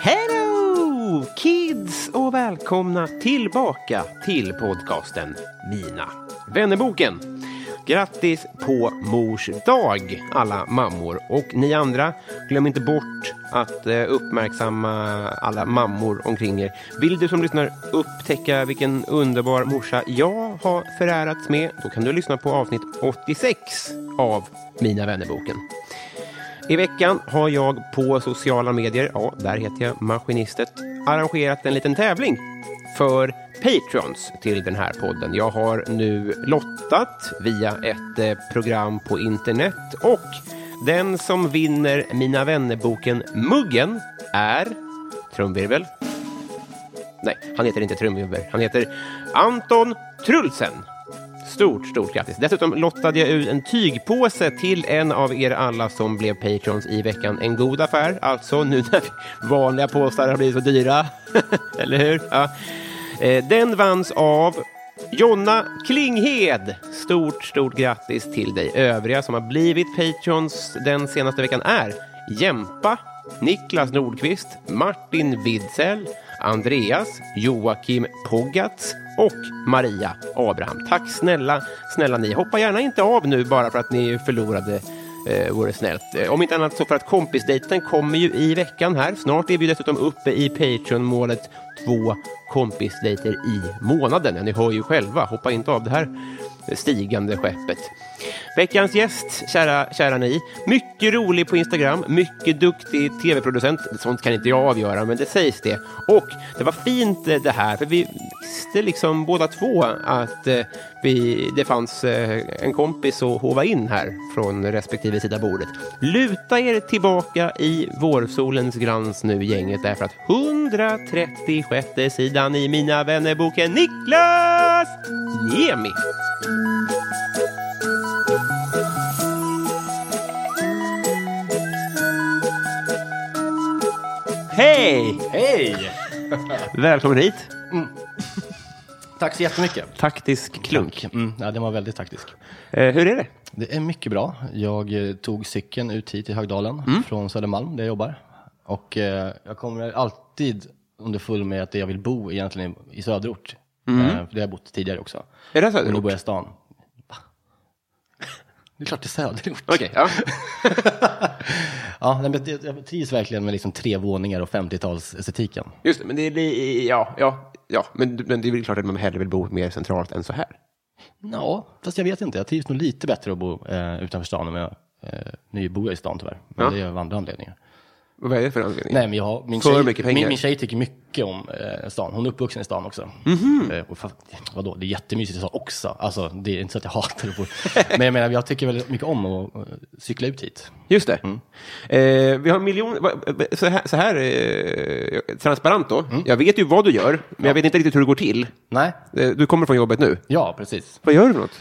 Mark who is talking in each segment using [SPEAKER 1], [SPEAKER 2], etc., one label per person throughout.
[SPEAKER 1] Hello kids och välkomna tillbaka till podcasten Mina vännerboken. Grattis på mors dag alla mammor och ni andra glöm inte bort att eh, uppmärksamma alla mammor omkring er. Vill du som lyssnar upptäcka vilken underbar morsa jag har förärats med då kan du lyssna på avsnitt 86 av Mina vännerboken. I veckan har jag på sociala medier, ja, där heter jag Maskinistet, arrangerat en liten tävling för Patrons till den här podden. Jag har nu lottat via ett eh, program på internet och den som vinner Mina vännerboken muggen är, trumvirvel, nej, han heter inte trumvirvel, han heter Anton Trulsen. Stort, stort grattis. Dessutom lottade jag ut en tygpåse till en av er alla som blev patrons i veckan. En god affär, alltså nu när vanliga påsar har blivit så dyra. Eller hur? Ja. Eh, Den vanns av Jonna Klinghed. Stort, stort grattis till dig. Övriga som har blivit patrons den senaste veckan är Jämpa, Niklas Nordqvist, Martin Widsell, Andreas, Joakim Poggatz och Maria Abraham. Tack snälla, snälla ni. Hoppa gärna inte av nu bara för att ni förlorade eh, vore snällt. Eh, Om inte annat så för att kompisdejten kommer ju i veckan här. Snart är vi dessutom uppe i Patreon-målet två kompisdejter i månaden. Ja, Ni hör ju själva, hoppa inte av det här stigande skeppet. Veckans gäst, kära, kära ni. Mycket rolig på Instagram, mycket duktig tv-producent. Sånt kan inte jag avgöra, men det sägs det. Och det var fint eh, det här, för vi visste liksom båda två att eh, vi, det fanns eh, en kompis att hova in här från respektive sida bordet. Luta er tillbaka i vårsolens glans nu, gänget, därför att 136 sidan i Mina vännerboken Niklas Niemi. Hej!
[SPEAKER 2] Hej!
[SPEAKER 1] Välkommen hit.
[SPEAKER 2] Tack så jättemycket.
[SPEAKER 1] Taktisk klunk.
[SPEAKER 2] Mm, ja, den var väldigt taktisk.
[SPEAKER 1] Eh, hur är det?
[SPEAKER 2] Det är mycket bra. Jag eh, tog cykeln ut hit till Högdalen från Södermalm där jag jobbar. Och eh, jag kommer alltid underfull med att jag vill bo egentligen i söderort. Eh, för det har jag bott tidigare också.
[SPEAKER 1] Är det
[SPEAKER 2] Och nu
[SPEAKER 1] söderort?
[SPEAKER 2] bor
[SPEAKER 1] Okej,
[SPEAKER 2] jag i stan. Va? Det är klart det är söderort.
[SPEAKER 1] ja.
[SPEAKER 2] Ja, nej, men det- jag trivs verkligen med liksom tre våningar och 50-talsestetiken.
[SPEAKER 1] Just det, men det är li- ja, ja, ja. Men, men det är väl klart att man hellre vill bo mer centralt än så här.
[SPEAKER 2] Ja, fast jag vet inte. Jag trivs nog lite bättre att bo eh, utanför stan. Om jag, eh, nu bor jag i stan tyvärr, men
[SPEAKER 1] Ja.
[SPEAKER 2] det är av andra anledningar.
[SPEAKER 1] Vad är det för anledning?
[SPEAKER 2] Nej, men jag har, min,
[SPEAKER 1] För
[SPEAKER 2] tjej,
[SPEAKER 1] mycket pengar.
[SPEAKER 2] Min, min tjej tycker mycket om eh, stan. Hon är uppvuxen i stan också. Eh, och fan, vadå, det är jättemysigt i stan också. Alltså, det är inte så att jag hatar att bo. men jag menar, jag tycker väldigt mycket om att eh, cykla ut hit.
[SPEAKER 1] Just det.
[SPEAKER 2] Mm.
[SPEAKER 1] Eh, vi har en miljon... va- va- Så här, så här eh, transparent då.
[SPEAKER 2] Mm.
[SPEAKER 1] Jag vet ju vad du gör, men jag vet inte riktigt hur det går till.
[SPEAKER 2] Nej,
[SPEAKER 1] Eh, du kommer från jobbet nu.
[SPEAKER 2] ja, precis.
[SPEAKER 1] Vad gör du för något?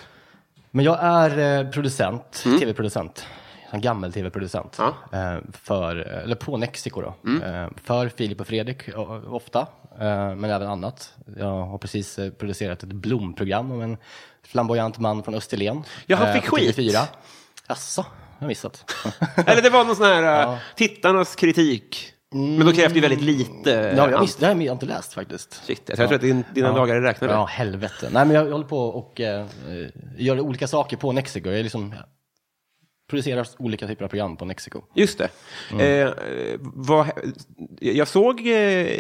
[SPEAKER 2] Men jag är eh, producent, tv-producent. En gammal tv-producent.
[SPEAKER 1] Mm. Ja. Mm.
[SPEAKER 2] Eh, för, eller på Nexiko då. Eh, för Filip och Fredrik eh, ofta. Eh, men även annat. Jag har precis eh, producerat ett blomprogram om en flamboyant man från Österlen. Eh,
[SPEAKER 1] Ja, han fick
[SPEAKER 2] på
[SPEAKER 1] skit.
[SPEAKER 2] TV4. Jaså, jag har missat.
[SPEAKER 1] Eller det var någon sån här eh, tittarnas kritik. Men då krävs det ju väldigt lite.
[SPEAKER 2] Ja, jag
[SPEAKER 1] eh,
[SPEAKER 2] visste, det här har jag inte läst faktiskt.
[SPEAKER 1] Shit, alltså, jag tror att din, dina dagar är räknade.
[SPEAKER 2] Ja, helvete. Nej, men jag, jag håller på och eh, eh, gör olika saker på Nexiko. Jag är liksom jag producerar olika typer av program på Nexiko.
[SPEAKER 1] Just det.
[SPEAKER 2] Mm.
[SPEAKER 1] Eh, vad, jag såg eh,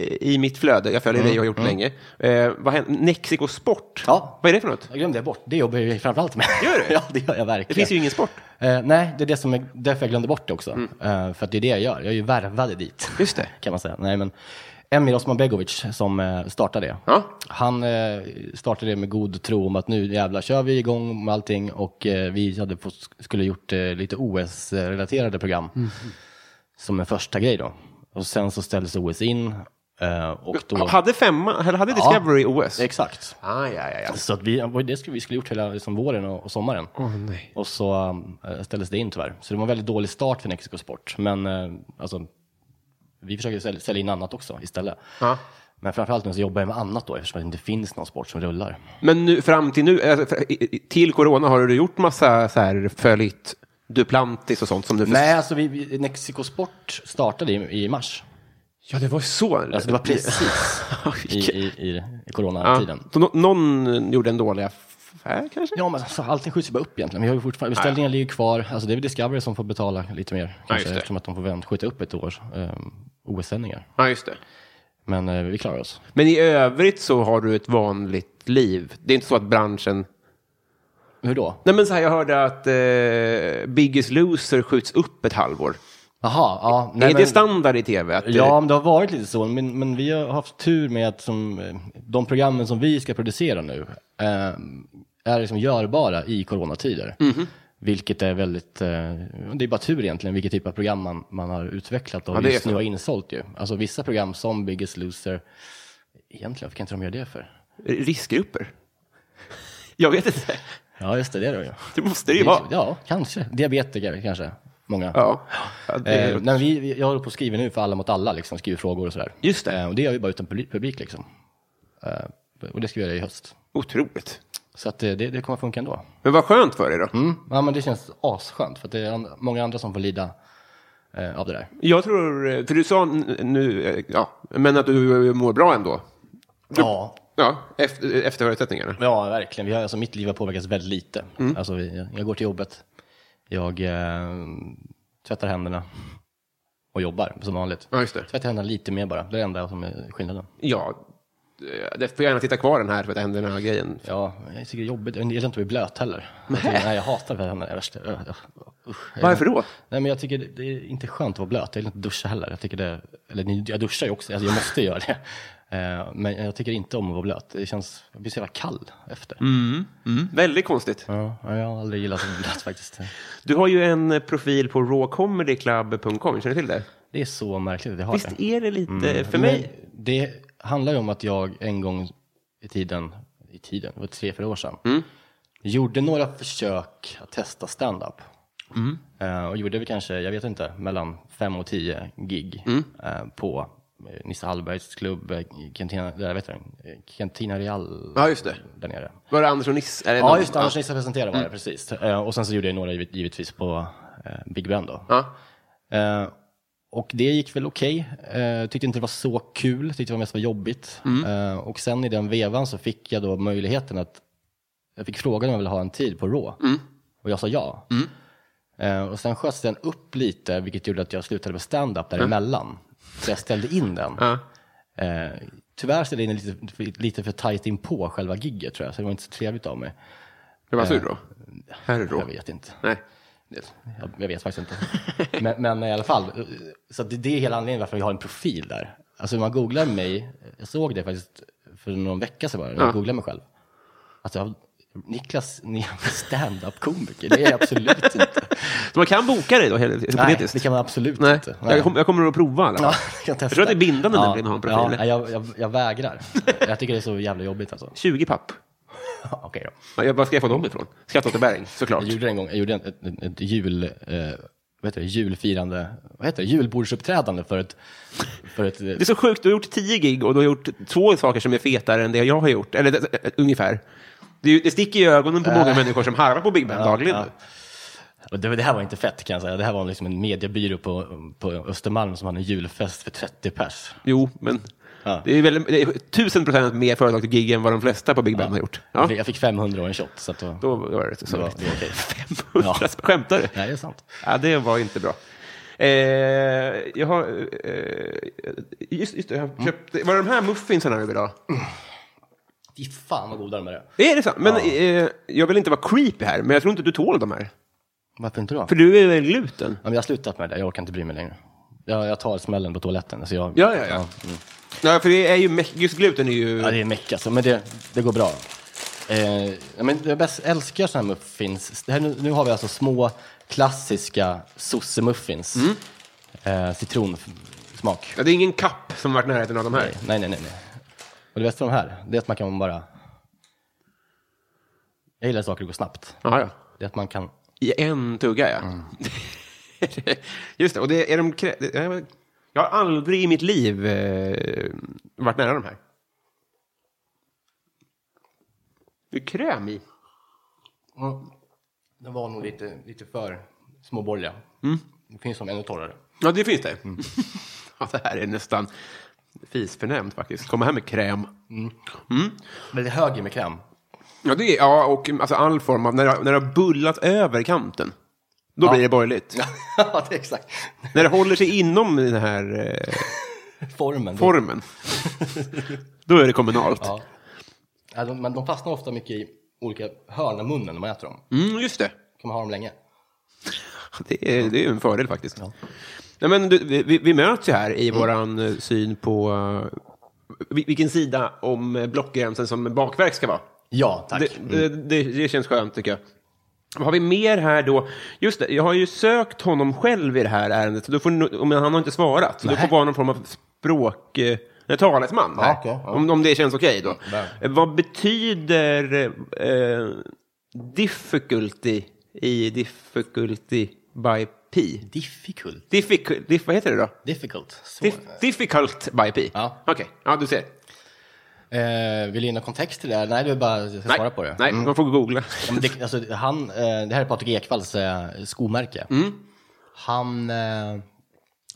[SPEAKER 1] i mitt flöde, jag
[SPEAKER 2] Mm.
[SPEAKER 1] följer dig och har gjort det länge, eh, vad hände? Nexiko Sport.
[SPEAKER 2] Ja.
[SPEAKER 1] Vad är det för något?
[SPEAKER 2] Jag glömde bort, det jobbar jag ju framförallt med.
[SPEAKER 1] Gör du?
[SPEAKER 2] ja, det gör jag verkligen.
[SPEAKER 1] Det finns ju ingen sport.
[SPEAKER 2] Eh, nej, det är det som är, därför jag glömde bort det också. Eh, för att det är det jag gör. Jag är ju värvad dit.
[SPEAKER 1] Just det.
[SPEAKER 2] Kan man säga. Nej, men Emir Osman Begovic som eh, startade det.
[SPEAKER 1] Ja.
[SPEAKER 2] Han eh, startade det med god tro om att nu jävlar kör vi igång med allting. Och eh, vi hade fått, skulle gjort eh, lite OS-relaterade program.
[SPEAKER 1] Mm.
[SPEAKER 2] Som en första grej då. Och sen så ställdes OS in. Eh, och då...
[SPEAKER 1] Hade, femma, eller hade Discovery OS?
[SPEAKER 2] Exakt.
[SPEAKER 1] Ah, ja, ja, ja.
[SPEAKER 2] Så att vi, vad det skulle, vi skulle gjort hela liksom, våren och, och sommaren.
[SPEAKER 1] nej.
[SPEAKER 2] Och så eh, ställdes det in tyvärr. Så det var en väldigt dålig start för Nexiko Sport. Men eh, alltså, vi försöker sälja, sälja in annat också istället.
[SPEAKER 1] Ja.
[SPEAKER 2] Men framförallt nu så jobbar jag med annat då eftersom det inte finns någon sport som rullar.
[SPEAKER 1] Men nu, fram till nu, eh, för- i- i- till corona, har du gjort massa så här, följt Duplantis och sånt som du...
[SPEAKER 2] Nej, alltså vi, vi, Nexiko Sport startade i, i mars.
[SPEAKER 1] Ja, det var ju så.
[SPEAKER 2] Alltså det var precis i, i, i, i coronatiden.
[SPEAKER 1] Så nå- någon gjorde en dålig affär kanske?
[SPEAKER 2] Ja, men alltså, allting skjuts ju bara upp egentligen. Vi har ju fortfarande, beställningar ligger ju kvar. Alltså, det är väl Discovery som får betala lite mer.
[SPEAKER 1] just
[SPEAKER 2] Kanske,
[SPEAKER 1] det.
[SPEAKER 2] eftersom att de får vänt, skjuta upp ett års eh, OS-sändningar.
[SPEAKER 1] Ja, just det.
[SPEAKER 2] Men eh, vi klarar oss.
[SPEAKER 1] Men i övrigt så har du ett vanligt liv. Det är inte så att branschen...
[SPEAKER 2] Hur då?
[SPEAKER 1] Nej, men så här, jag hörde att eh, Biggest Loser skjuts upp ett halvår.
[SPEAKER 2] Jaha, ja. Nej,
[SPEAKER 1] är
[SPEAKER 2] men,
[SPEAKER 1] det standard i tv? Att, eh,
[SPEAKER 2] Ja, men det har varit lite så. Men, men vi har haft tur med att som, eh, de programmen som vi ska producera nu eh, är liksom görbara i coronatider. Vilket är väldigt, eh, det är bara tur egentligen vilket typ av program man, man har utvecklat och
[SPEAKER 1] det är
[SPEAKER 2] just
[SPEAKER 1] så.
[SPEAKER 2] nu har insålt ju. Alltså vissa program som Biggest Loser, egentligen, varför kan inte de göra det för?
[SPEAKER 1] eh, Riskgrupper? jag vet inte.
[SPEAKER 2] Ja, just det, det är det ju.
[SPEAKER 1] Det måste det ju vara.
[SPEAKER 2] Ja, kanske. Diabetiker kanske, många.
[SPEAKER 1] Ja. Ja, det är-
[SPEAKER 2] Eh, nej, vi, vi- jag håller på och skriver nu för alla mot alla, liksom, skriver frågor och sådär.
[SPEAKER 1] Just det.
[SPEAKER 2] Eh, och det gör vi bara utan publi- publik. Liksom. Eh, och det ska vi göra i höst.
[SPEAKER 1] Otroligt.
[SPEAKER 2] Så att, eh, det, det kommer funka ändå.
[SPEAKER 1] Men vad skönt för er då.
[SPEAKER 2] Mm. Ja, men det känns asskönt, för att det är an- många andra som får lida eh, av det där.
[SPEAKER 1] Jag tror, eh, för du sa n- nu, eh, ja, men att du eh, mår bra ändå.
[SPEAKER 2] Ja.
[SPEAKER 1] Ja, efter, efter förutsättningarna.
[SPEAKER 2] ja, verkligen. Vi har, alltså, mitt liv har påverkats väldigt lite.
[SPEAKER 1] Mm.
[SPEAKER 2] Alltså, vi, jag går till jobbet, jag eh, tvättar händerna och jobbar som vanligt.
[SPEAKER 1] Ja, just det.
[SPEAKER 2] Tvättar händerna lite mer bara, det är det enda som är skillnaden.
[SPEAKER 1] Ja, eh, det får gärna titta kvar den här, för att det händer den här grejen.
[SPEAKER 2] Ja, jag tycker det är jobbigt. Jag gillar inte att bli blöt heller. Jag tycker, nej, jag hatar det här. Det är värst. Ö, ö, usch.
[SPEAKER 1] Varför då?
[SPEAKER 2] Nej, men jag tycker det- det är inte skönt att vara blöt. Jag gillar inte att duscha heller. Jag, tycker det, eller, ni- jag duschar ju också, alltså, jag måste göra det. Eh, Men jag tycker inte om att vara blöt. Det känns, jag blir så jävla kall efter.
[SPEAKER 1] Mm. Väldigt konstigt.
[SPEAKER 2] Ja, jag har aldrig gillat att vara blöt faktiskt.
[SPEAKER 1] Du har ju en eh, profil på rawcomedyclub.com, känner du till det?
[SPEAKER 2] Det är så märkligt att jag har det.
[SPEAKER 1] Visst är det lite, för
[SPEAKER 2] Men
[SPEAKER 1] mig...
[SPEAKER 2] Det handlar ju om att jag en gång i tiden, i tiden, det var tre, fyra år sedan, gjorde några försök att testa stand-up. Eh, och gjorde vi kanske, jag vet inte, mellan fem och tio gig eh, på eh, Nisse Hallbergs klubb, eh, Cantina, där, vet jag, Cantina Eh, Real
[SPEAKER 1] Ja, just det.
[SPEAKER 2] där nere.
[SPEAKER 1] Var det Andersson Niss? Är det
[SPEAKER 2] Ja,
[SPEAKER 1] någon-
[SPEAKER 2] just det, Anders Nisse presenterade var det, precis. Eh, och sen så gjorde jag några givet, givetvis på eh, Big Ben då.
[SPEAKER 1] Ja.
[SPEAKER 2] Eh, och det gick väl okej. Eh, tyckte inte det var så kul, tyckte det var mest var jobbigt. Eh, och sen i den vevan så fick jag då möjligheten att, jag fick frågan om jag ville ha en tid på Rå. Och jag sa ja. Eh, och sen sköts den upp lite, vilket gjorde att jag slutade med stand-up däremellan. Så jag ställde in den. Eh, tyvärr ställde jag in den lite, lite för tajt in på själva gigget tror jag, så det var inte så trevligt av mig.
[SPEAKER 1] Det var sur då? Här är
[SPEAKER 2] Eh, Jag
[SPEAKER 1] då.
[SPEAKER 2] vet inte.
[SPEAKER 1] Nej.
[SPEAKER 2] Jag, jag vet faktiskt inte. Men, men i alla fall, eh, så att det, det är hela anledningen varför jag har en profil där. Alltså om man googlar mig, jag såg det faktiskt för någon vecka sedan bara, när jag googlade mig själv. Att jag, Niklas, ni är stand-up-komiker, det är jag absolut inte.
[SPEAKER 1] Så man kan boka dig då, helt
[SPEAKER 2] Nej,
[SPEAKER 1] hypotetiskt?
[SPEAKER 2] det kan man absolut
[SPEAKER 1] Nej.
[SPEAKER 2] inte.
[SPEAKER 1] Jag, kom, jag kommer att prova i alla fall.
[SPEAKER 2] jag,
[SPEAKER 1] tror att det är bindande nämligen att ha en profil.
[SPEAKER 2] Ja, nej, jag, jag, jag vägrar. Jag tycker det är så jävla jobbigt alltså.
[SPEAKER 1] 20 papp.
[SPEAKER 2] Ja, Okej då.
[SPEAKER 1] Ja, jag- Var ska jag få dem ifrån? Skatteåterbäring, såklart.
[SPEAKER 2] Jag gjorde det en gång, jag gjorde en- ett, ett, ett jul, eh, vad heter det, julfirande, vad heter det, julbordsuppträdande för ett, för ett eh,
[SPEAKER 1] Det är så sjukt, du har gjort 10 gig och du har gjort två saker som är fetare än det jag har gjort. Eller eh, ungefär. Det, är ju- det sticker i ögonen på många människor som harvar på Big Ben dagligen.
[SPEAKER 2] Äh. ja. Och det, det här var inte fett kan jag säga. Det här var liksom en mediebyrå på, på Östermalm som hade en julfest för 30 pers.
[SPEAKER 1] Jo, men
[SPEAKER 2] Ja.
[SPEAKER 1] det är väl det är tusen procent mer företag till gig än vad de flesta på Big Ben har gjort. Ja,
[SPEAKER 2] Jag fick- Jag fick 500 och en shot. Så att då,
[SPEAKER 1] då var det så.
[SPEAKER 2] det var, det var okej.
[SPEAKER 1] 500
[SPEAKER 2] Ja.
[SPEAKER 1] Skämtar du?
[SPEAKER 2] Nej, det är sant.
[SPEAKER 1] Ja, det var inte bra. Eh, jag har... Eh, just, just det, jag
[SPEAKER 2] Mm.
[SPEAKER 1] har köpt... Var det de här muffinsarna du ville ha?
[SPEAKER 2] Fy fan vad goda de är.
[SPEAKER 1] Är det så? Men eh, jag vill inte vara creepy här, men jag tror inte du tål de här.
[SPEAKER 2] Varför inte då?
[SPEAKER 1] För du är väl gluten?
[SPEAKER 2] Ja, men jag har slutat med det. Jag orkar inte bry mig längre. Jag, jag tar smällen på toaletten. Så jag,
[SPEAKER 1] Ja, ja, ja. Ja, för det är ju... me- Just gluten är ju...
[SPEAKER 2] mm. Ja, det är meck alltså, men det, det går bra. Eh, ja, men jag bäst älskar sådana här muffins. Det här, nu, nu har vi alltså små klassiska sossemuffins. Eh, citronsmak.
[SPEAKER 1] Ja, det är ingen kapp som varit i närheten av de här.
[SPEAKER 2] Nej, nej, nej. nej. Och det bästa med de här, det är att man kan bara... Jag gillar saker som går snabbt.
[SPEAKER 1] Ja, ja.
[SPEAKER 2] Det är att man kan...
[SPEAKER 1] I en tugga, ja. Just det, och det är de... krä- det är- Jag har aldrig i mitt liv eh, varit nära de här. Det är kräm i.
[SPEAKER 2] De var nog lite, lite för småborgerliga.
[SPEAKER 1] Mm.
[SPEAKER 2] Det finns som ännu torrare.
[SPEAKER 1] Ja, det finns det. Mm. ja, det här är nästan fisförnämt faktiskt. Komma här med kräm.
[SPEAKER 2] Men det är höger med kräm.
[SPEAKER 1] Ja, det är, ja och alltså, all form av... När det, har- när det har bullat över kanten, då blir det borgerligt.
[SPEAKER 2] ja, det är exakt.
[SPEAKER 1] när det håller sig inom den här eh,
[SPEAKER 2] Formen.
[SPEAKER 1] formen, då är det kommunalt.
[SPEAKER 2] Ja. Ja, de, men de fastnar ofta mycket i olika hörn av munnen när man äter dem.
[SPEAKER 1] Mm, just det.
[SPEAKER 2] kan man ha dem länge.
[SPEAKER 1] Det är, det är ju en fördel faktiskt. Nej, men du, vi- vi, vi möts ju här i våran eh, syn på eh, vil- vilken sida om eh, blockgränsen som bakverk ska vara.
[SPEAKER 2] Ja, tack. Mm.
[SPEAKER 1] Det, det, det, det känns skönt tycker jag. Vad har vi mer här då? Just det, jag har ju sökt honom själv i det här ärendet. Så då får, ni- men han har inte svarat. Så du
[SPEAKER 2] Nej.
[SPEAKER 1] får vara någon form av språk... eh, Nej, talesman. här.
[SPEAKER 2] okej, ja.
[SPEAKER 1] om, om det känns okej då.
[SPEAKER 2] Ja.
[SPEAKER 1] Eh, Vad betyder eh, difficulty i difficulty by pi?
[SPEAKER 2] Difficult.
[SPEAKER 1] Difficult, diff, vad heter det då?
[SPEAKER 2] Difficult. Så.
[SPEAKER 1] Diff, difficult by pi?
[SPEAKER 2] Ja.
[SPEAKER 1] Okej, ja, du ser.
[SPEAKER 2] eh, vill du ge någon kontext till det här? Nej, det är bara jag ska
[SPEAKER 1] Nej,
[SPEAKER 2] svara på det. Mm.
[SPEAKER 1] Nej, man får googla.
[SPEAKER 2] Ja, men det, alltså, han, eh, det här är Patrik Ekvalls eh, skomärke. Han... Eh,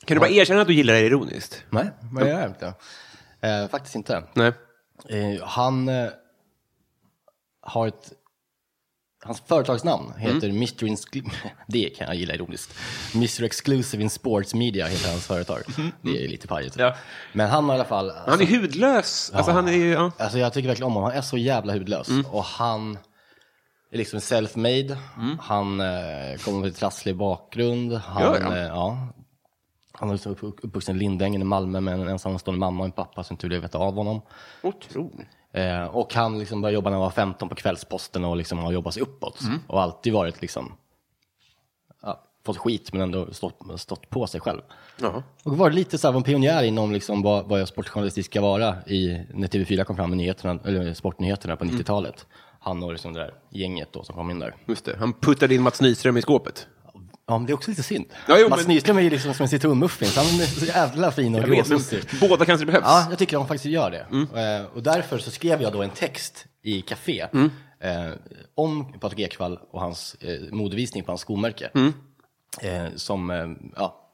[SPEAKER 1] Kan du bara erkänna att du gillar det ironiskt?
[SPEAKER 2] nej, vad gör jag inte? Eh, faktiskt inte.
[SPEAKER 1] Nej.
[SPEAKER 2] Eh, han eh, har ett... Hans företagsnamn heter Mr. Inscl- det kan jag gilla ironiskt. Mr. Exclusive in Sports Media heter hans företag. Det är lite pajigt.
[SPEAKER 1] Ja.
[SPEAKER 2] Men han har i alla fall...
[SPEAKER 1] Han är hudlös. Alltså han är ju... Ja.
[SPEAKER 2] Alltså jag tycker verkligen om honom. Han är så jävla hudlös.
[SPEAKER 1] Mm.
[SPEAKER 2] Och han är liksom self-made.
[SPEAKER 1] Mm.
[SPEAKER 2] Han eh, kommer från en trasslig bakgrund. Han,
[SPEAKER 1] Gör han?
[SPEAKER 2] Eh, ja, han är liksom upp- uppvuxen i Lindängen i Malmö med en ensamstående mamma och en pappa som inte ville veta av honom.
[SPEAKER 1] Otroligt.
[SPEAKER 2] Eh, och han liksom började jobba när han var 15 på Kvällsposten och liksom har jobbat sig uppåt.
[SPEAKER 1] Mm.
[SPEAKER 2] Och alltid varit liksom, ja, fått skit men ändå stått, stått på sig själv.
[SPEAKER 1] Ja.
[SPEAKER 2] Och var lite så här, var en pionjär inom liksom vad, vad jag sportjournalistik ska vara i, när TV4 kom fram med nyheterna, eller sportnyheterna
[SPEAKER 1] Mm.
[SPEAKER 2] på 90-talet. Han och liksom det där gänget då som kom in där.
[SPEAKER 1] Just det. Han puttade in Mats Nyström i skåpet.
[SPEAKER 2] Ja, men det är också lite synd.
[SPEAKER 1] Ja, jo,
[SPEAKER 2] Mats
[SPEAKER 1] men-
[SPEAKER 2] Nyström är ju liksom som en citronmuffins. Han är så jävla fin och
[SPEAKER 1] Jag vet, men Mm.
[SPEAKER 2] gråsossig.
[SPEAKER 1] båda kanske det behövs.
[SPEAKER 2] Ja, jag tycker de faktiskt gör det. Eh, och därför så skrev jag då en text i Café
[SPEAKER 1] Mm.
[SPEAKER 2] eh, om Patrik Ekwall och hans eh, modevisning på hans skomärke.
[SPEAKER 1] Mm.
[SPEAKER 2] Eh, som eh, ja,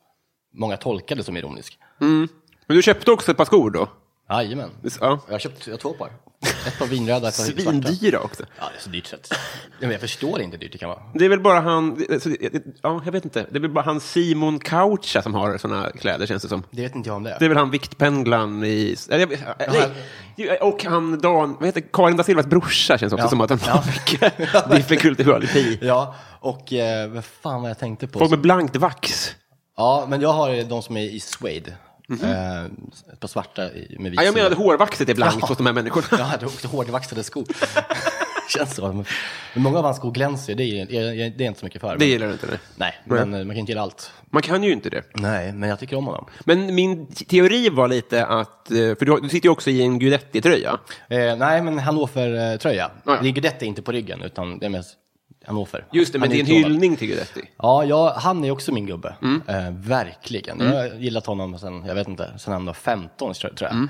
[SPEAKER 2] många tolkade som ironisk.
[SPEAKER 1] Men du köpte också ett par skor då?
[SPEAKER 2] Jajamän.
[SPEAKER 1] Ja.
[SPEAKER 2] Jag har köpt jag har två par. Ett par vinröda, ett par svarta.
[SPEAKER 1] Svindyra också.
[SPEAKER 2] Ja, det är så dyrt så att... Ja, men jag förstår inte hur dyrt det kan vara.
[SPEAKER 1] Det är väl bara han... alltså, det- det- Ja, jag vet inte. Det är väl bara han Simon Coucha som har såna kläder, känns det som.
[SPEAKER 2] Det vet inte jag om det är.
[SPEAKER 1] Det är väl han viktpendlaren i... eller jag vet- Nej. Och han Dan... Vad heter Karin da Silvas brorsa känns också
[SPEAKER 2] Ja.
[SPEAKER 1] som att han
[SPEAKER 2] Ja.
[SPEAKER 1] har mycket difficulty pi.
[SPEAKER 2] Ja, och eh, vad fan var jag tänkte på?
[SPEAKER 1] Folk med blankt vax.
[SPEAKER 2] Ja, men jag har de som är i suede. eh, ett par svarta i- med
[SPEAKER 1] Mhm.
[SPEAKER 2] vit
[SPEAKER 1] Ja, jag menade
[SPEAKER 2] sida.
[SPEAKER 1] hårvaxet är blankt
[SPEAKER 2] Ja.
[SPEAKER 1] hos de här människorna.
[SPEAKER 2] Ja, det är också hårdvaxade skor. Känns så. Men, men många av hans skor glänser ju, det är, jag- jag- det är inte så mycket för.
[SPEAKER 1] Det
[SPEAKER 2] men-
[SPEAKER 1] gillar du inte? Nej.
[SPEAKER 2] Nej,
[SPEAKER 1] Nej.
[SPEAKER 2] men eh, man kan inte gilla allt.
[SPEAKER 1] Man kan ju inte det.
[SPEAKER 2] Nej, men jag tycker om honom.
[SPEAKER 1] Men min teori var lite att, eh, för du, har- du sitter ju också i en Guidetti-tröja.
[SPEAKER 2] Eh, nej, men Hannover-tröja.
[SPEAKER 1] Ja, ja.
[SPEAKER 2] Det ligger detta inte på ryggen, utan det är mest Hannover.
[SPEAKER 1] Just det, men
[SPEAKER 2] Han
[SPEAKER 1] det är en
[SPEAKER 2] utlånad.
[SPEAKER 1] hyllning till Guidetti.
[SPEAKER 2] Ja, jag, han är också min gubbe. Eh, verkligen. Jag har gillat honom sen, jag vet inte, sen han var 15 tror jag.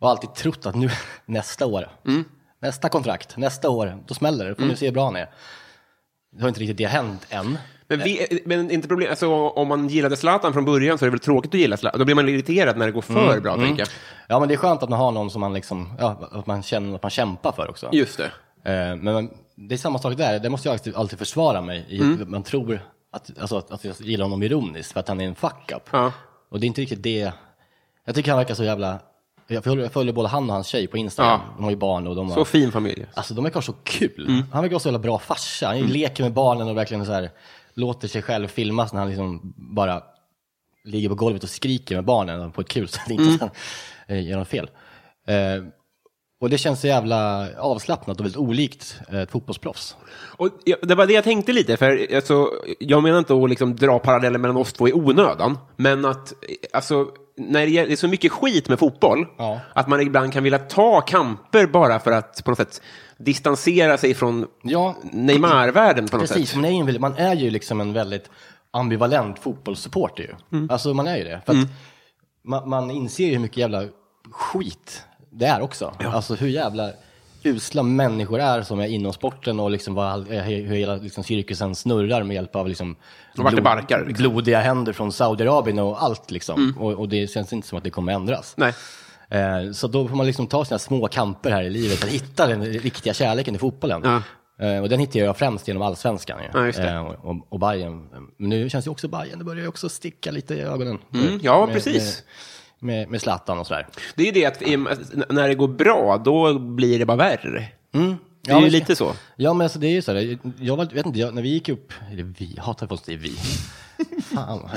[SPEAKER 2] Och alltid trott att nu, nästa år, nästa kontrakt, nästa år, då smäller det. Får nu se hur bra han är. Det har inte riktigt det hänt än.
[SPEAKER 1] Men, vi, men inte problem, alltså, om man gillade Zlatan från början så är det väl tråkigt att gilla Zlatan. Då blir man irriterad när det går för bra, tänker jag.
[SPEAKER 2] Ja, men det är skönt att man har någon som man, liksom, ja, att man känner att man kämpar för också.
[SPEAKER 1] Just det.
[SPEAKER 2] Eh, men man- det är samma sak där, det måste jag alltid, alltid försvara mig i. Man tror att, alltså, att, att jag gillar honom ironiskt för att han är en fuck-up.
[SPEAKER 1] Ja.
[SPEAKER 2] Och det är inte riktigt det. Jag tycker han verkar så jävla... Jag följer, jag följer både han och hans tjej på Instagram.
[SPEAKER 1] Ja.
[SPEAKER 2] De har ju barn och de har...
[SPEAKER 1] Så Mm. fin familj.
[SPEAKER 2] Alltså de verkar ha så kul. Han verkar ha så jävla bra farsa. Han
[SPEAKER 1] Mm.
[SPEAKER 2] leker med barnen och verkligen så här, låter sig själv filmas när han liksom bara ligger på golvet och skriker med barnen på ett kul sätt. Inte
[SPEAKER 1] Mm.
[SPEAKER 2] så att han eh, gör något fel. Eh, och det känns så jävla avslappnat och väldigt olikt eh, ett fotbollsproffs.
[SPEAKER 1] Och ja, det var det jag tänkte lite, för alltså, jag menar inte att liksom dra paralleller mellan oss två i onödan, men att eh, alltså, när det är så mycket skit med fotboll,
[SPEAKER 2] Ja.
[SPEAKER 1] att man ibland kan vilja ta kamper bara för att på något sätt distansera sig från
[SPEAKER 2] Ja,
[SPEAKER 1] Neymar-världen på något
[SPEAKER 2] Precis,
[SPEAKER 1] sätt.
[SPEAKER 2] man är, ju en, väldigt- man är ju liksom en väldigt ambivalent fotbollssupporter ju. Alltså man är ju det. För att man, man inser ju hur mycket jävla skit det är också. Alltså hur jävla usla människor är som är inom sporten och liksom vad, all- eh, hur hela liksom cirkusen snurrar med hjälp av liksom
[SPEAKER 1] Och vart det barkar, liksom.
[SPEAKER 2] blodiga händer från Saudiarabien och allt liksom. Och, och det känns inte som att det kommer ändras.
[SPEAKER 1] Nej.
[SPEAKER 2] Eh, Så då får man liksom ta sina små kamper här i livet för att hitta den riktiga kärleken i fotbollen. Eh, Och den hittar jag främst genom allsvenskan ju.
[SPEAKER 1] Ja, just det.
[SPEAKER 2] Eh, Och, och- och Bayern. Men nu känns ju också Bayern, det börjar ju också sticka lite i ögonen. Eh,
[SPEAKER 1] Mm, ja, precis.
[SPEAKER 2] Med, med, med Zlatan och sådär.
[SPEAKER 1] Det är ju det att i- att när det går bra, då blir det bara värre. Det är
[SPEAKER 2] Ja,
[SPEAKER 1] ju
[SPEAKER 2] men-
[SPEAKER 1] lite så.
[SPEAKER 2] Ja, men alltså det är ju så här, jag var, vet inte, jag, när vi gick upp, eller vi, jag hatar att det är vi. Fan.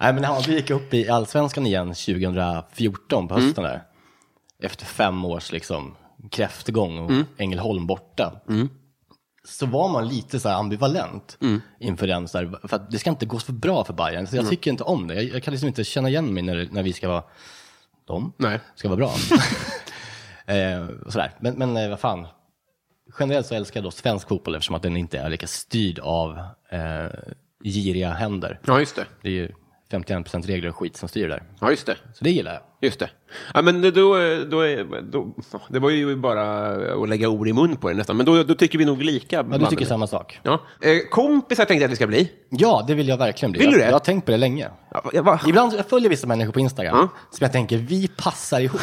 [SPEAKER 2] Nej, men när vi gick upp i allsvenskan igen 2014 på hösten
[SPEAKER 1] Mm.
[SPEAKER 2] där, efter fem års liksom kräftgång
[SPEAKER 1] Mm.
[SPEAKER 2] och Ängelholm borta, så var man lite så här ambivalent
[SPEAKER 1] Mm.
[SPEAKER 2] inför den, så här, för att det ska inte gå så bra för Bayern, så jag tycker inte om det. Jag, jag kan liksom inte känna igen mig när, det- när vi ska vara de
[SPEAKER 1] Nej.
[SPEAKER 2] ska vara bra. eh, och sådär. Men, men eh, vad fan. Generellt så älskar jag då svensk fotboll eftersom att den inte är lika styrd av eh, giriga händer.
[SPEAKER 1] Ja, just det.
[SPEAKER 2] Det är ju 51% regler och skit som styr där.
[SPEAKER 1] Ja, just det.
[SPEAKER 2] Så det gillar jag.
[SPEAKER 1] Just det. Ja, men då, då, då, det var ju bara att lägga ord i mun på det nästan, men då, då tycker vi nog lika.
[SPEAKER 2] Ja, du
[SPEAKER 1] mannen.
[SPEAKER 2] tycker samma sak.
[SPEAKER 1] Ja. Eh, kompisar tänkte jag att vi ska bli.
[SPEAKER 2] Ja, det vill jag verkligen bli.
[SPEAKER 1] Vill du
[SPEAKER 2] jag,
[SPEAKER 1] det?
[SPEAKER 2] jag har tänkt på det länge.
[SPEAKER 1] Ja, jag bara,
[SPEAKER 2] Ibland jag följer vissa människor på Instagram
[SPEAKER 1] Ja.
[SPEAKER 2] som jag tänker, vi passar ihop.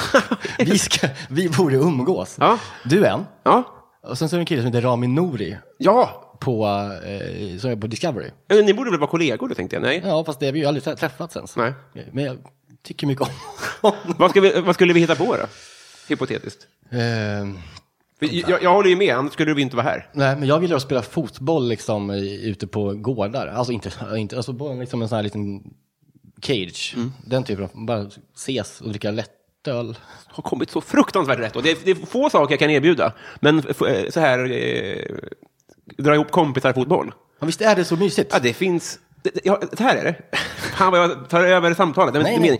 [SPEAKER 2] vi, ska, vi borde umgås.
[SPEAKER 1] Ja.
[SPEAKER 2] Du är en.
[SPEAKER 1] ja.
[SPEAKER 2] Och sen så är det en kille som heter Rami Nouri
[SPEAKER 1] ja.
[SPEAKER 2] på, eh, som är på Discovery.
[SPEAKER 1] Eh, Ni borde väl vara kollegor då, tänkte jag. Nej.
[SPEAKER 2] Ja, fast det har vi ju aldrig trä- träffats ens.
[SPEAKER 1] Nej.
[SPEAKER 2] Men jag tycker mycket om honom.
[SPEAKER 1] Vad, ska vi, vad skulle vi hitta på då? Hypotetiskt.
[SPEAKER 2] Ehm,
[SPEAKER 1] För Jag, jag håller ju med, annars skulle vi inte vara här.
[SPEAKER 2] nej, men jag gillar att spela fotboll liksom i- ute på gårdar. Alltså inte, inte alltså på en- liksom en sån här liten cage.
[SPEAKER 1] Mm.
[SPEAKER 2] Den typen av, bara ses och dricka lättöl.
[SPEAKER 1] Har kommit så fruktansvärt rätt. Och det, är- det är få saker jag kan erbjuda, men f- eh, så här... Eh, dra ihop kompisar fotboll.
[SPEAKER 2] Ja, visst är det så mysigt?
[SPEAKER 1] Ja, det finns... Det, det, ja, det här är det. Fan vad jag tar över samtalet. Det var inte
[SPEAKER 2] Nej,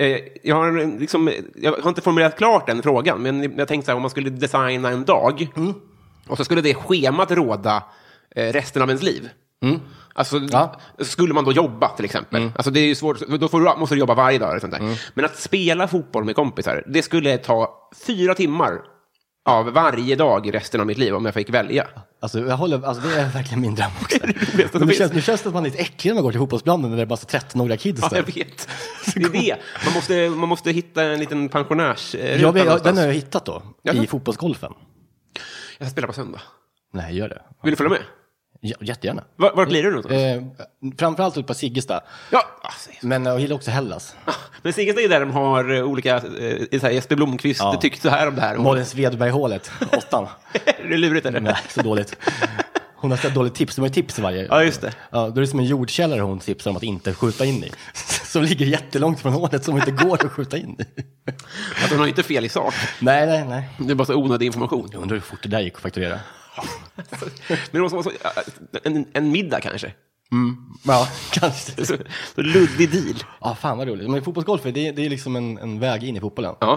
[SPEAKER 1] meningen. Eh, Jag har, en- liksom, jag har inte formulerat klart den frågan, men jag tänkte så här, om man skulle designa en dag
[SPEAKER 2] Mm.
[SPEAKER 1] och så skulle det schemat råda eh, resten av ens liv. Alltså,
[SPEAKER 2] Mm. Ja. Mm.
[SPEAKER 1] Skulle man då jobba till exempel? Alltså, det är ju svårt, då får du, måste du jobba varje dag. Eller sånt där. Men att spela fotboll med kompisar, det skulle ta fyra timmar av varje dag i resten av mitt liv om jag fick välja.
[SPEAKER 2] Alltså, jag håller, alltså, det är verkligen min dröm också.
[SPEAKER 1] bästa som
[SPEAKER 2] Men det
[SPEAKER 1] finns.
[SPEAKER 2] känns, nu känns det att man är lite äcklig när man går till fotbollsplanen när det är bara så 13-åriga kids
[SPEAKER 1] Ja,
[SPEAKER 2] där.
[SPEAKER 1] jag vet. Det är det. Man måste, man måste hitta en liten pensionärs... eh,
[SPEAKER 2] Jag
[SPEAKER 1] ruta
[SPEAKER 2] vet, jag, den
[SPEAKER 1] någonstans.
[SPEAKER 2] har jag hittat då,
[SPEAKER 1] Jaså?
[SPEAKER 2] i fotbollsgolfen.
[SPEAKER 1] jag spelar på söndag.
[SPEAKER 2] Nej, gör det.
[SPEAKER 1] Vill du följa med?
[SPEAKER 2] Ja, Jättegärna.
[SPEAKER 1] Var, vart lirar du någonstans?
[SPEAKER 2] Eh, framförallt ute på Siggesta.
[SPEAKER 1] Ja, alltså,
[SPEAKER 2] Men eh, jag gillar också Hellas.
[SPEAKER 1] men Siggesta är ju där de har eh, olika... Eh, så här, Jesper Blomqvist
[SPEAKER 2] Ja.
[SPEAKER 1] tyckte så här om det här. Och,
[SPEAKER 2] Malin Svedberg-hålet, åttan.
[SPEAKER 1] är det lurigt eller?
[SPEAKER 2] Nej, så dåligt. Hon har så dåligt tips, de har ju tips i varje.
[SPEAKER 1] Ja, just det.
[SPEAKER 2] Ja, då är det som en jordkällare hon tipsar om att inte skjuta in i. Som ligger jättelångt från hålet som inte går att skjuta in i.
[SPEAKER 1] Att de har ju inte fel i sak.
[SPEAKER 2] Nej, nej, nej.
[SPEAKER 1] Det är bara så onödig information.
[SPEAKER 2] Jag undrar hur fort det där gick att fakturera.
[SPEAKER 1] Men det måste vara så, en, en middag kanske.
[SPEAKER 2] Ja, kanske.
[SPEAKER 1] Så, så luddig deal.
[SPEAKER 2] Ja, fan vad roligt. Men fotbollsgolf, det är, det är liksom en, en väg in i fotbollen.
[SPEAKER 1] Ja.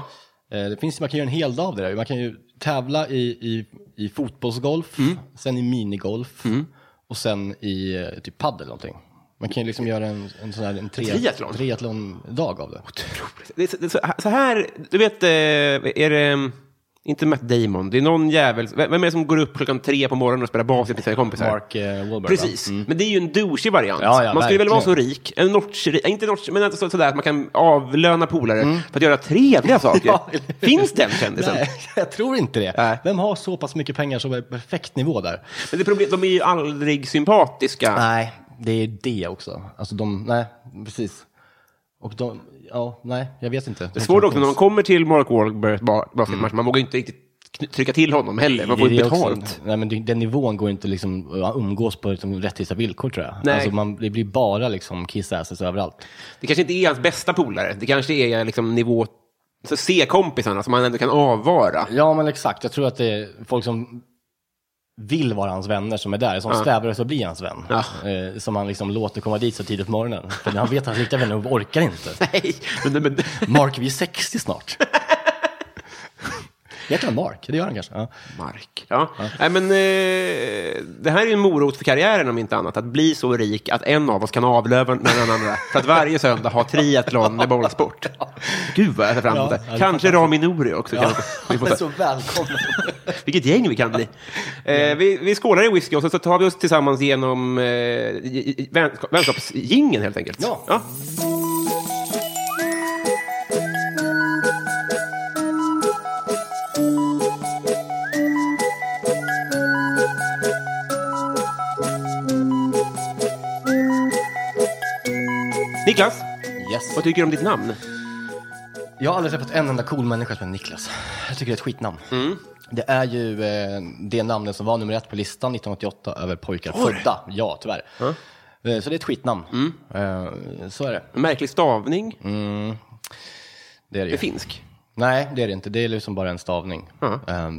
[SPEAKER 2] Eh, Det finns, ju- man kan göra en hel dag av det där. Man kan ju tävla i, i, i fotbollsgolf,
[SPEAKER 1] Mm.
[SPEAKER 2] sen i minigolf och sen i eh, typ padel eller någonting. Man kan ju liksom göra en, en sån här en tre,
[SPEAKER 1] Triathlon.
[SPEAKER 2] triathlon-dag av det.
[SPEAKER 1] Det, är så- det, är så- så här, du vet, eh, är det... Inte Matt Damon. Det är någon jävel. Vem vem är det som går upp klockan tre på morgonen och spelar basket med sina kompisar?
[SPEAKER 2] Mark eh, Wahlberg. va?
[SPEAKER 1] Precis,
[SPEAKER 2] Mm.
[SPEAKER 1] men det är ju en douchig variant.
[SPEAKER 2] Ja, ja,
[SPEAKER 1] man skulle väl
[SPEAKER 2] verkligen.
[SPEAKER 1] vara så rik, en notch, ri- inte notch, men så, sådär att man kan avlöna polare för att göra trevliga saker.
[SPEAKER 2] Mm. Ja, eller hur?
[SPEAKER 1] Finns den kändisen?
[SPEAKER 2] Nej, jag tror inte det.
[SPEAKER 1] Nej.
[SPEAKER 2] Vem har så pass mycket pengar som är perfekt nivå där?
[SPEAKER 1] Men det problem, de är ju aldrig sympatiska.
[SPEAKER 2] Nej, det är det också. Alltså de, nej, precis. Och de, ja, nej, jag vet inte. Mm.
[SPEAKER 1] Det är svårt också när man kommer till Mark Wahlbergs ba- basketmatch, man vågar ju inte riktigt kn- trycka till honom heller, man får
[SPEAKER 2] Det
[SPEAKER 1] ju
[SPEAKER 2] är också-
[SPEAKER 1] betalt.
[SPEAKER 2] Nej, men det- den nivån går inte liksom att umgås på liksom rättvisa villkor tror jag.
[SPEAKER 1] Nej.
[SPEAKER 2] Alltså man, det blir bara liksom kiss asses överallt.
[SPEAKER 1] Det kanske inte är hans bästa polare, det kanske är liksom nivå så C-kompisarna som man ändå kan avvara.
[SPEAKER 2] Ja, men exakt. Jag tror att det är folk som vill vara hans vänner som är där, som strävar efter att bli hans vän.
[SPEAKER 1] Ja.
[SPEAKER 2] Eh, som han liksom låter komma dit så tidigt på morgonen. För han vet att hans riktiga vänner orkar inte.
[SPEAKER 1] Nej, men, men,
[SPEAKER 2] Mark, vi är 60 snart. Heter han Mark? Det gör han kanske. Ja.
[SPEAKER 1] Mark. Ja. Nej, men, eh, det här är ju en morot för karriären om inte annat. Att bli så rik att en av oss kan avlöva den andra. för att varje söndag ha triathlon med bollsport. Gud vad jag ser fram emot
[SPEAKER 2] Ja,
[SPEAKER 1] det.
[SPEAKER 2] ja, det är
[SPEAKER 1] Kanske Rami Nouri också. Kan vi
[SPEAKER 2] Han
[SPEAKER 1] få
[SPEAKER 2] är
[SPEAKER 1] ta-
[SPEAKER 2] så välkommen.
[SPEAKER 1] vilket gäng vi kan bli. Eh, vi, vi skålar i whisky och så- så tar vi oss tillsammans genom eh, i- i- vän, vänskapsgingen helt enkelt.
[SPEAKER 2] Ja.
[SPEAKER 1] Niklas,
[SPEAKER 2] Yes.
[SPEAKER 1] vad tycker du om ditt namn?
[SPEAKER 2] Jag har aldrig träffat en enda cool människa som heter Niklas. Jag tycker det är ett skitnamn.
[SPEAKER 1] Mm.
[SPEAKER 2] Det är ju eh, det namnet som var nummer ett på listan 1988 över pojkar födda. Ja, tyvärr. Eh, så det är ett skitnamn.
[SPEAKER 1] Mm.
[SPEAKER 2] Eh, så är det.
[SPEAKER 1] En märklig stavning.
[SPEAKER 2] Det är det
[SPEAKER 1] Det är
[SPEAKER 2] ju.
[SPEAKER 1] finsk.
[SPEAKER 2] Nej, det är det inte. Det är liksom bara en stavning.
[SPEAKER 1] Ja.
[SPEAKER 2] Eh,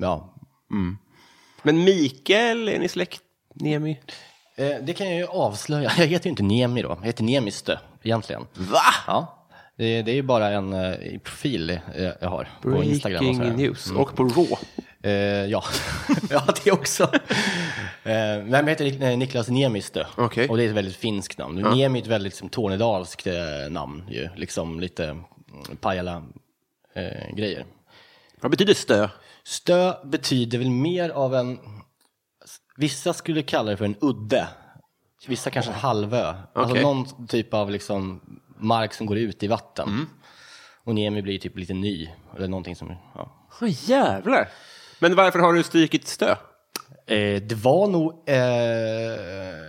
[SPEAKER 2] ja.
[SPEAKER 1] Men Mikael, är ni släkt? Nemi?
[SPEAKER 2] Eh, det kan jag ju avslöja. Jag heter ju inte Niemi då. Jag heter Niemistö egentligen.
[SPEAKER 1] Va?
[SPEAKER 2] Ja. Det, det är ju bara en eh, profil eh, jag har på Instagram. Och så här.
[SPEAKER 1] Breaking
[SPEAKER 2] Mm.
[SPEAKER 1] news. Och på Raw.
[SPEAKER 2] Eh, ja. ja, det också. eh, nej, men jag heter Nik- eh, Niklas Niemistö.
[SPEAKER 1] Okej.
[SPEAKER 2] Och det är ett väldigt finskt namn. Niemi är ett väldigt liksom, tornedalskt eh, namn. Ju. Liksom lite mm, Pajala-grejer.
[SPEAKER 1] Vad betyder stö?
[SPEAKER 2] Stö betyder väl mer av en... Vissa skulle kalla det för en udde. Vissa kanske en halvö. Alltså
[SPEAKER 1] Okej.
[SPEAKER 2] någon typ av liksom mark som går ut i vatten.
[SPEAKER 1] Mm.
[SPEAKER 2] Och Niemi blir typ lite ny. Eller någonting som... Ja.
[SPEAKER 1] Åh jävlar. Men varför har du strykit stö?
[SPEAKER 2] Eh, det var nog... Eh,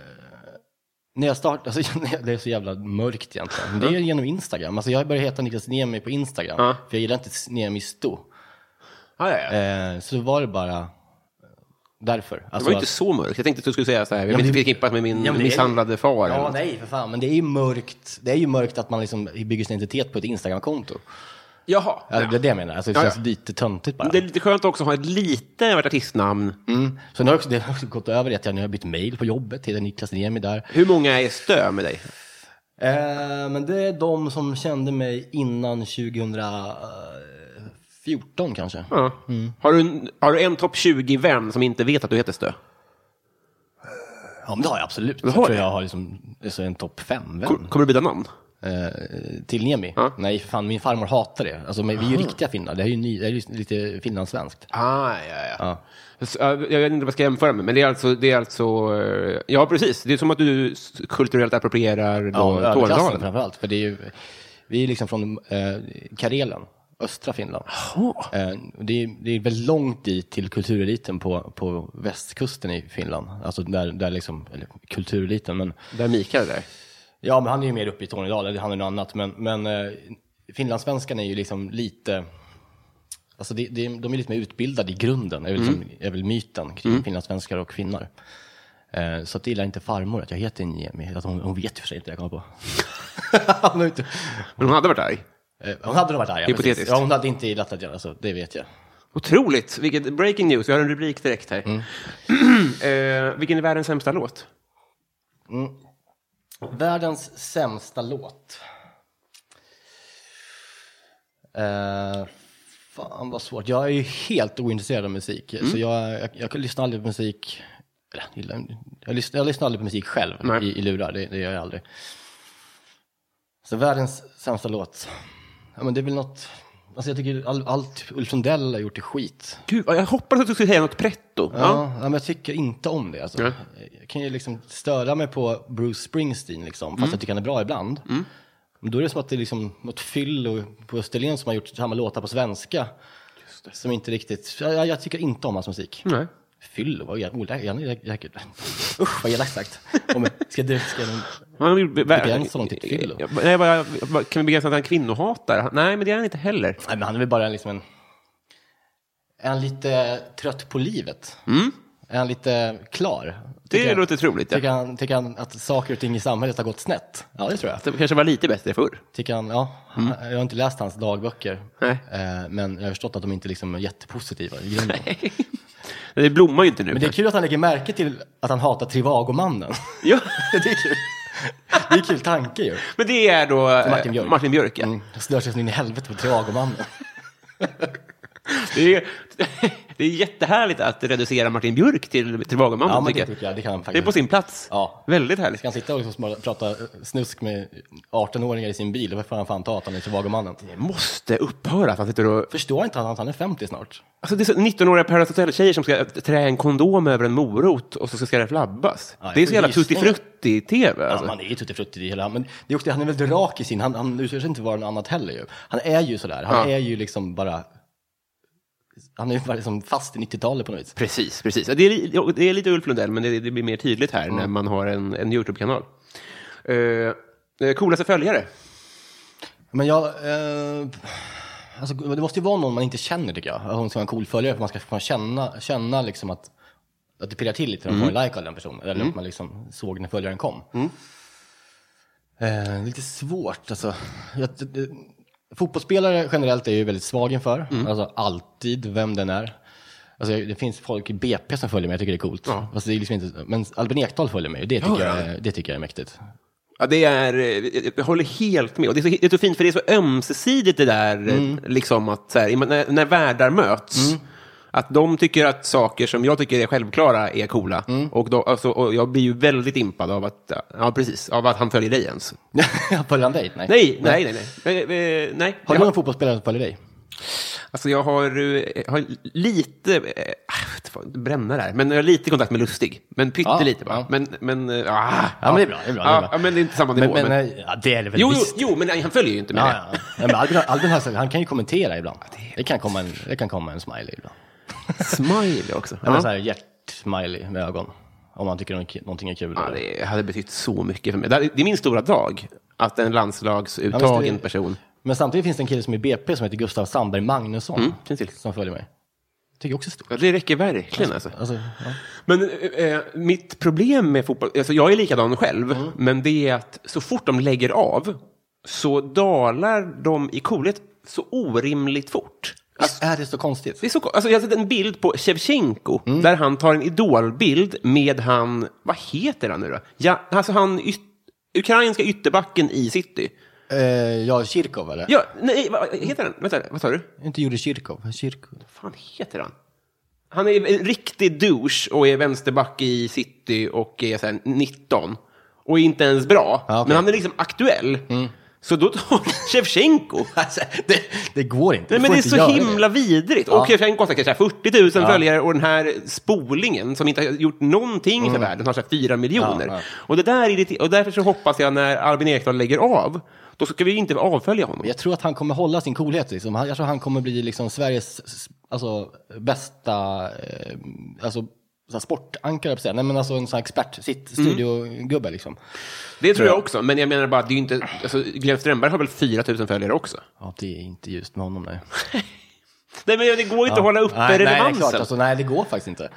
[SPEAKER 2] när jag startade, alltså, det är så jävla mörkt egentligen. Men det är genom Instagram. Alltså, jag började heta Niklas Niemi på Instagram. För jag gillar inte Niemisto.
[SPEAKER 1] Ah, ja, ja.
[SPEAKER 2] Eh, så var det bara eh, därför.
[SPEAKER 1] Det
[SPEAKER 2] Alltså,
[SPEAKER 1] var ju inte
[SPEAKER 2] att-
[SPEAKER 1] så mörkt. Jag tänkte att du skulle säga så här. Vi
[SPEAKER 2] men
[SPEAKER 1] blir
[SPEAKER 2] det-
[SPEAKER 1] förknippat med min
[SPEAKER 2] Ja, men det-
[SPEAKER 1] misshandlade far. eller
[SPEAKER 2] Ja,
[SPEAKER 1] något.
[SPEAKER 2] nej för fan. Men det är ju mörkt. Det är ju mörkt att man liksom bygger sin identitet på ett Instagram-konto.
[SPEAKER 1] Jaha.
[SPEAKER 2] Ja, Det är det jag menar. Alltså, det
[SPEAKER 1] Ja, ja.
[SPEAKER 2] känns lite töntigt bara.
[SPEAKER 1] Det är lite skönt också att ha ett lite av ett artistnamn.
[SPEAKER 2] Mm. Så nu har jag också, det har också gått över i att jag nu har bytt mail på jobbet. Heter Niklas Niemi där.
[SPEAKER 1] Hur många är stö med dig?
[SPEAKER 2] Eh, men det är de som kände mig innan 2014 kanske.
[SPEAKER 1] Ja. Har, du en, har du en topp 20-vän som inte vet att du heter stö?
[SPEAKER 2] Ja, men det har jag absolut.
[SPEAKER 1] har
[SPEAKER 2] jag tror
[SPEAKER 1] det?
[SPEAKER 2] jag har liksom, alltså en topp
[SPEAKER 1] Ko-
[SPEAKER 2] fem-vän
[SPEAKER 1] Kommer du byta namn?
[SPEAKER 2] eh, till Niemi.
[SPEAKER 1] Ja.
[SPEAKER 2] Nej, för fan, min farmor hatar det. Alltså, men vi är ju riktiga finnar. Det här är ju, ny, det här är ju lite finlandssvenskt.
[SPEAKER 1] Ah, ja, ja. Så, eh, Jag vet inte vad jag ska jämföra med, men det är alltså... Det är alltså eh, ja, precis. Det är som att du s- kulturellt approprierar då
[SPEAKER 2] Ja, överklassen
[SPEAKER 1] Tornedalen.
[SPEAKER 2] framför allt. För det är ju, vi är liksom från eh, Karelen, östra Finland. Eh, det, är, det är väl långt dit till kultureliten på, på västkusten i Finland. Alltså där, där liksom, eller kultureliten, men
[SPEAKER 1] Där Mikael är.
[SPEAKER 2] ja, men han är ju mer uppe i Tornedalen, det handlar ju om något annat. Men, men eh, finlandssvenskan är ju liksom lite, alltså det, det, de är lite mer utbildade i grunden, är väl, liksom, är väl myten kring finlandssvenskar och finnar. Eh, Så att det gillar inte farmor att jag heter Niemi. Att hon, hon vet ju för sig inte, jag kommer på. hon, har inte,
[SPEAKER 1] Men hon hade varit arg.
[SPEAKER 2] eh, hon hade nog varit arg. ja,
[SPEAKER 1] Hypotetiskt.
[SPEAKER 2] precis. Ja, hon hade inte gillat att jag, alltså, det vet jag.
[SPEAKER 1] Otroligt! Vilket breaking news. Vi har en rubrik direkt här.
[SPEAKER 2] Mm.
[SPEAKER 1] eh, vilken är världens sämsta låt?
[SPEAKER 2] Världens sämsta låt. Eh, fan vad svårt. Jag är ju helt ointresserad av musik. Så jag, jag, jag lyssnar aldrig på musik. Eller, jag gillar- Jag lyssnar, jag lyssnar aldrig på musik själv
[SPEAKER 1] Nej.
[SPEAKER 2] i, i lurar. Det, det gör jag aldrig. Så världens sämsta låt. Ja, men det är väl något... Alltså jag tycker all, allt Ulf Sundell har gjort är skit.
[SPEAKER 1] Gud, jag hoppades att du skulle säga något pretto.
[SPEAKER 2] Ja.
[SPEAKER 1] Ja.
[SPEAKER 2] men jag tycker inte om det. Alltså.
[SPEAKER 1] Nej.
[SPEAKER 2] Jag kan ju liksom störa mig på Bruce Springsteen, liksom,
[SPEAKER 1] Mm.
[SPEAKER 2] fast jag tycker han är bra ibland. Men Då är det som att det är liksom något fyllo på Österlen som har gjort samma låtar på svenska. Som inte riktigt... Jag, jag tycker inte om hans musik.
[SPEAKER 1] Nej.
[SPEAKER 2] Fyllo, vad oh, elakt sagt. Usch, vad elakt sagt. Om jag ska du... Ska jag,
[SPEAKER 1] Han gjorde-
[SPEAKER 2] Begränsa honom till ett fyllo.
[SPEAKER 1] Ja, nej, vad jag- vad- Kan vi begränsa att han kvinnohatar? Han- Nej, men det är han inte heller.
[SPEAKER 2] nej, men han är väl bara liksom en... Är han lite trött på livet? Är han lite klar?
[SPEAKER 1] Mm. Det
[SPEAKER 2] Tycker jag-
[SPEAKER 1] låter troligt. Ja.
[SPEAKER 2] Tycker han, tycker han att saker och ting i samhället har gått snett? Ja, det tror jag.
[SPEAKER 1] Det kanske var lite bättre förr.
[SPEAKER 2] Tycker han, ja, han- Jag har inte läst hans dagböcker,
[SPEAKER 1] Nej.
[SPEAKER 2] Eh, men jag har förstått att de inte liksom är jättepositiva i grunden.
[SPEAKER 1] Men det blommar ju inte nu.
[SPEAKER 2] Men det är kul att han lägger märke till att han hatar Trivago-mannen.
[SPEAKER 1] Ja,
[SPEAKER 2] det är kul. Det är en kul tanke ju.
[SPEAKER 1] men det är då eh,
[SPEAKER 2] Martin Björk.
[SPEAKER 1] Martin Björk ja.
[SPEAKER 2] Mm, han stör sig så in i helvete på Trivago-mannen.
[SPEAKER 1] det, är, det är jättehärligt att reducera Martin Björk till Trivagomannen.
[SPEAKER 2] Ja, men
[SPEAKER 1] tycker
[SPEAKER 2] det
[SPEAKER 1] jag.
[SPEAKER 2] tycker jag. Det kan han
[SPEAKER 1] det är
[SPEAKER 2] faktiskt.
[SPEAKER 1] på sin plats.
[SPEAKER 2] Ja.
[SPEAKER 1] Väldigt härligt.
[SPEAKER 2] Ska han sitta och liksom bara prata snusk med 18-åringar i sin bil? Varför får han fan ta att han är Trivago-mannen?
[SPEAKER 1] måste upphöra. Att han sitter och...
[SPEAKER 2] Förstår inte han att han är 50 snart?
[SPEAKER 1] alltså, det är så 19-åriga Paradise Hotel-tjejer som ska trä en kondom över en morot och så ska det flabbas.
[SPEAKER 2] Ja, jag
[SPEAKER 1] det är
[SPEAKER 2] får
[SPEAKER 1] så jävla
[SPEAKER 2] gissningar.
[SPEAKER 1] tuttifrutti-tv.
[SPEAKER 2] Ja,
[SPEAKER 1] Alltså.
[SPEAKER 2] man är ju tuttifrutti i hela... Men det är också, det, han är väl drak i sin... Han, han utgör sig inte vara något annat heller ju. Han är ju sådär. Han
[SPEAKER 1] Ja.
[SPEAKER 2] är ju liksom bara... Han är ju bara liksom fast i 90-talet på något vis.
[SPEAKER 1] Precis, precis. Ja, Det är, li- det är lite Ulf Lundell, men det, det blir mer tydligt
[SPEAKER 2] Mm.
[SPEAKER 1] här när man har en, en YouTube-kanal. Eh, eh, coolaste följare?
[SPEAKER 2] Men jag... Eh, alltså, det måste ju vara någon man inte känner tycker jag. Hon ska vara en cool följare för man ska få känna, känna liksom att, att det pirrar till lite när
[SPEAKER 1] Mm.
[SPEAKER 2] man får en like av den personen. Eller att man liksom såg när följaren kom. Eh, lite svårt alltså. Jag, det, det, fotbollsspelare generellt är jag ju väldigt svag inför.
[SPEAKER 1] Mm.
[SPEAKER 2] Alltså alltid, vem den är. Alltså, jag- det finns folk i BP som följer mig, jag tycker det är coolt. Fast det är liksom inte, men Albin Ekdal följer mig, och det tycker,
[SPEAKER 1] Ja, ja.
[SPEAKER 2] Jag, det tycker jag är mäktigt.
[SPEAKER 1] Ja, det är, eh, jag- jag håller helt med. Och det, är så, det är så fint, för det är så ömsesidigt det där, eh,
[SPEAKER 2] Mm.
[SPEAKER 1] liksom att så här, i- när, när världar möts. Att de tycker att saker som jag tycker är självklara är coola.
[SPEAKER 2] Mm.
[SPEAKER 1] Och, då, alltså, och jag blir ju väldigt impad av att, ja, precis, av att han följer dig ens.
[SPEAKER 2] följer han dig? Nej.
[SPEAKER 1] Nej, nej, nej. nej. Eh, eh, nej.
[SPEAKER 2] Har
[SPEAKER 1] Jag-
[SPEAKER 2] du någon fotbollsspelare som följer dig?
[SPEAKER 1] Alltså jag har, eh, har lite, eh, ah, fan, bränna där, men jag har lite kontakt med Lustig. Men pyttelite
[SPEAKER 2] Ja,
[SPEAKER 1] bara.
[SPEAKER 2] ja.
[SPEAKER 1] Men, men, eh, ah, ja,
[SPEAKER 2] men det är bra, det är bra, det är
[SPEAKER 1] Ja,
[SPEAKER 2] bra.
[SPEAKER 1] ja, men det är inte samma
[SPEAKER 2] Men,
[SPEAKER 1] nivå.
[SPEAKER 2] men,
[SPEAKER 1] Men,
[SPEAKER 2] nej, ja, det är det väl
[SPEAKER 1] jo, jo,
[SPEAKER 2] visst.
[SPEAKER 1] jo, men nej, han följer ju inte med
[SPEAKER 2] Ja,
[SPEAKER 1] det.
[SPEAKER 2] ja. ja. Nej, men Albin, Albin har, han kan ju kommentera ibland. Det kan komma en, det kan komma en smiley ibland.
[SPEAKER 1] Smiley också.
[SPEAKER 2] Ja.
[SPEAKER 1] Ja.
[SPEAKER 2] men Så här hjärt-smiley med ögon. Om man tycker någon- någonting är kul.
[SPEAKER 1] Ja,
[SPEAKER 2] eller-
[SPEAKER 1] det hade betytt så mycket för mig. Det här- det är min stora dag, att en
[SPEAKER 2] Ja, visst,
[SPEAKER 1] landslagsuttagen
[SPEAKER 2] det-
[SPEAKER 1] person.
[SPEAKER 2] Men samtidigt finns det en kille som är BP som heter Gustav Sandberg Magnusson.
[SPEAKER 1] känner Mm, till.
[SPEAKER 2] Som följer mig. Tycker jag också är stort.
[SPEAKER 1] Ja, det räcker verkligen alltså.
[SPEAKER 2] Alltså, ja.
[SPEAKER 1] Men eh, eh, mitt problem med fotboll, alltså jag är likadan själv, men det är att så fort de lägger av så dalar de i coolhet så orimligt fort.
[SPEAKER 2] Visst är det så konstigt?
[SPEAKER 1] Det är så, ko- alltså jag har sett en bild på Shevchenko där han tar en idolbild med han, vad heter han nu då? Ja, alltså han yt, ukrainska ytterbacken i city.
[SPEAKER 2] Eh, ja, Kirkov eller?
[SPEAKER 1] Ja, nej, vad heter han? Vänta, vad sa du?
[SPEAKER 2] Inte Jurij Kirkov. Kirkov.
[SPEAKER 1] fan heter han? Han är en riktig douche och är vänsterback i city och är så här 19. Och är inte ens bra.
[SPEAKER 2] Ja, Ah, okej. Mm.
[SPEAKER 1] Men han är liksom aktuell. Så då tar Shevchenko.
[SPEAKER 2] Alltså, det, det går inte.
[SPEAKER 1] Nej,
[SPEAKER 2] Du
[SPEAKER 1] men
[SPEAKER 2] får
[SPEAKER 1] det är
[SPEAKER 2] inte
[SPEAKER 1] så
[SPEAKER 2] göra
[SPEAKER 1] himla vidrigt.
[SPEAKER 2] Ja.
[SPEAKER 1] Och Shevchenko har säkert så här 40 000 följare och den här spolingen som inte har gjort någonting för världen har så här 4 miljoner.
[SPEAKER 2] Mm. Ja, ja.
[SPEAKER 1] Och, det där är irriter- och därför så hoppas jag när Albin Ekdal lägger av, då ska vi inte avfölja honom.
[SPEAKER 2] Jag tror att han kommer hålla sin coolhet. Liksom. Han- Jag tror han kommer bli liksom Sveriges s- alltså, bästa eh, alltså, så här sportankare, höll jag på att säga. Nej, men alltså en sån här expert, sitt
[SPEAKER 1] Mm.
[SPEAKER 2] studiogubbe liksom.
[SPEAKER 1] Det tror jag också, men jag menar bara att det är ju inte... Alltså, Glenn Strömberg har väl 4 000 följare också?
[SPEAKER 2] Ja, det är inte just med honom nej.
[SPEAKER 1] Nej, men det går inte att hålla uppe
[SPEAKER 2] nej, nej, det är
[SPEAKER 1] relevansen.
[SPEAKER 2] klart, alltså, nej, det går faktiskt inte.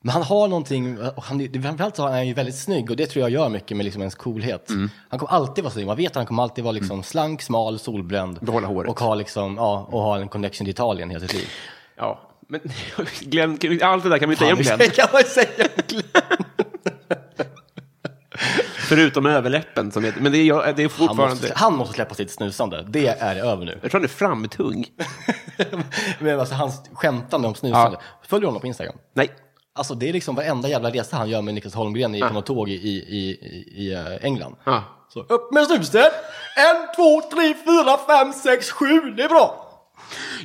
[SPEAKER 2] Men han har någonting, och han, det- framförallt så är han ju väldigt snygg och det tror jag gör mycket med liksom ens coolhet.
[SPEAKER 1] Mm.
[SPEAKER 2] Han kommer alltid vara snygg, man vet att han kommer alltid vara liksom slank, smal, solbränd.
[SPEAKER 1] Behålla håret.
[SPEAKER 2] Och ha, liksom, ja, och ha en connection till Italien hela sitt liv.
[SPEAKER 1] Ja, men Glenn, allt det där kan vi säga om Glenn,
[SPEAKER 2] det kan man säga om Glenn.
[SPEAKER 1] förutom överläppen. Som är, men det är, jag- det är
[SPEAKER 2] Han
[SPEAKER 1] fortfarande...
[SPEAKER 2] måste, han måste släppa sitt snusande. Det är över nu.
[SPEAKER 1] Jag tror han är framtung.
[SPEAKER 2] Men alltså hans skämtande om snusande. Följer du honom på Instagram?
[SPEAKER 1] Nej,
[SPEAKER 2] Alltså det är liksom varenda jävla resa han gör med Niklas Holmgren i, på något tåg i, i, i, i eh, England.
[SPEAKER 1] Ja.
[SPEAKER 2] Så upp med snuset! En, två, tre, fyra, fem, sex, sju, det är bra!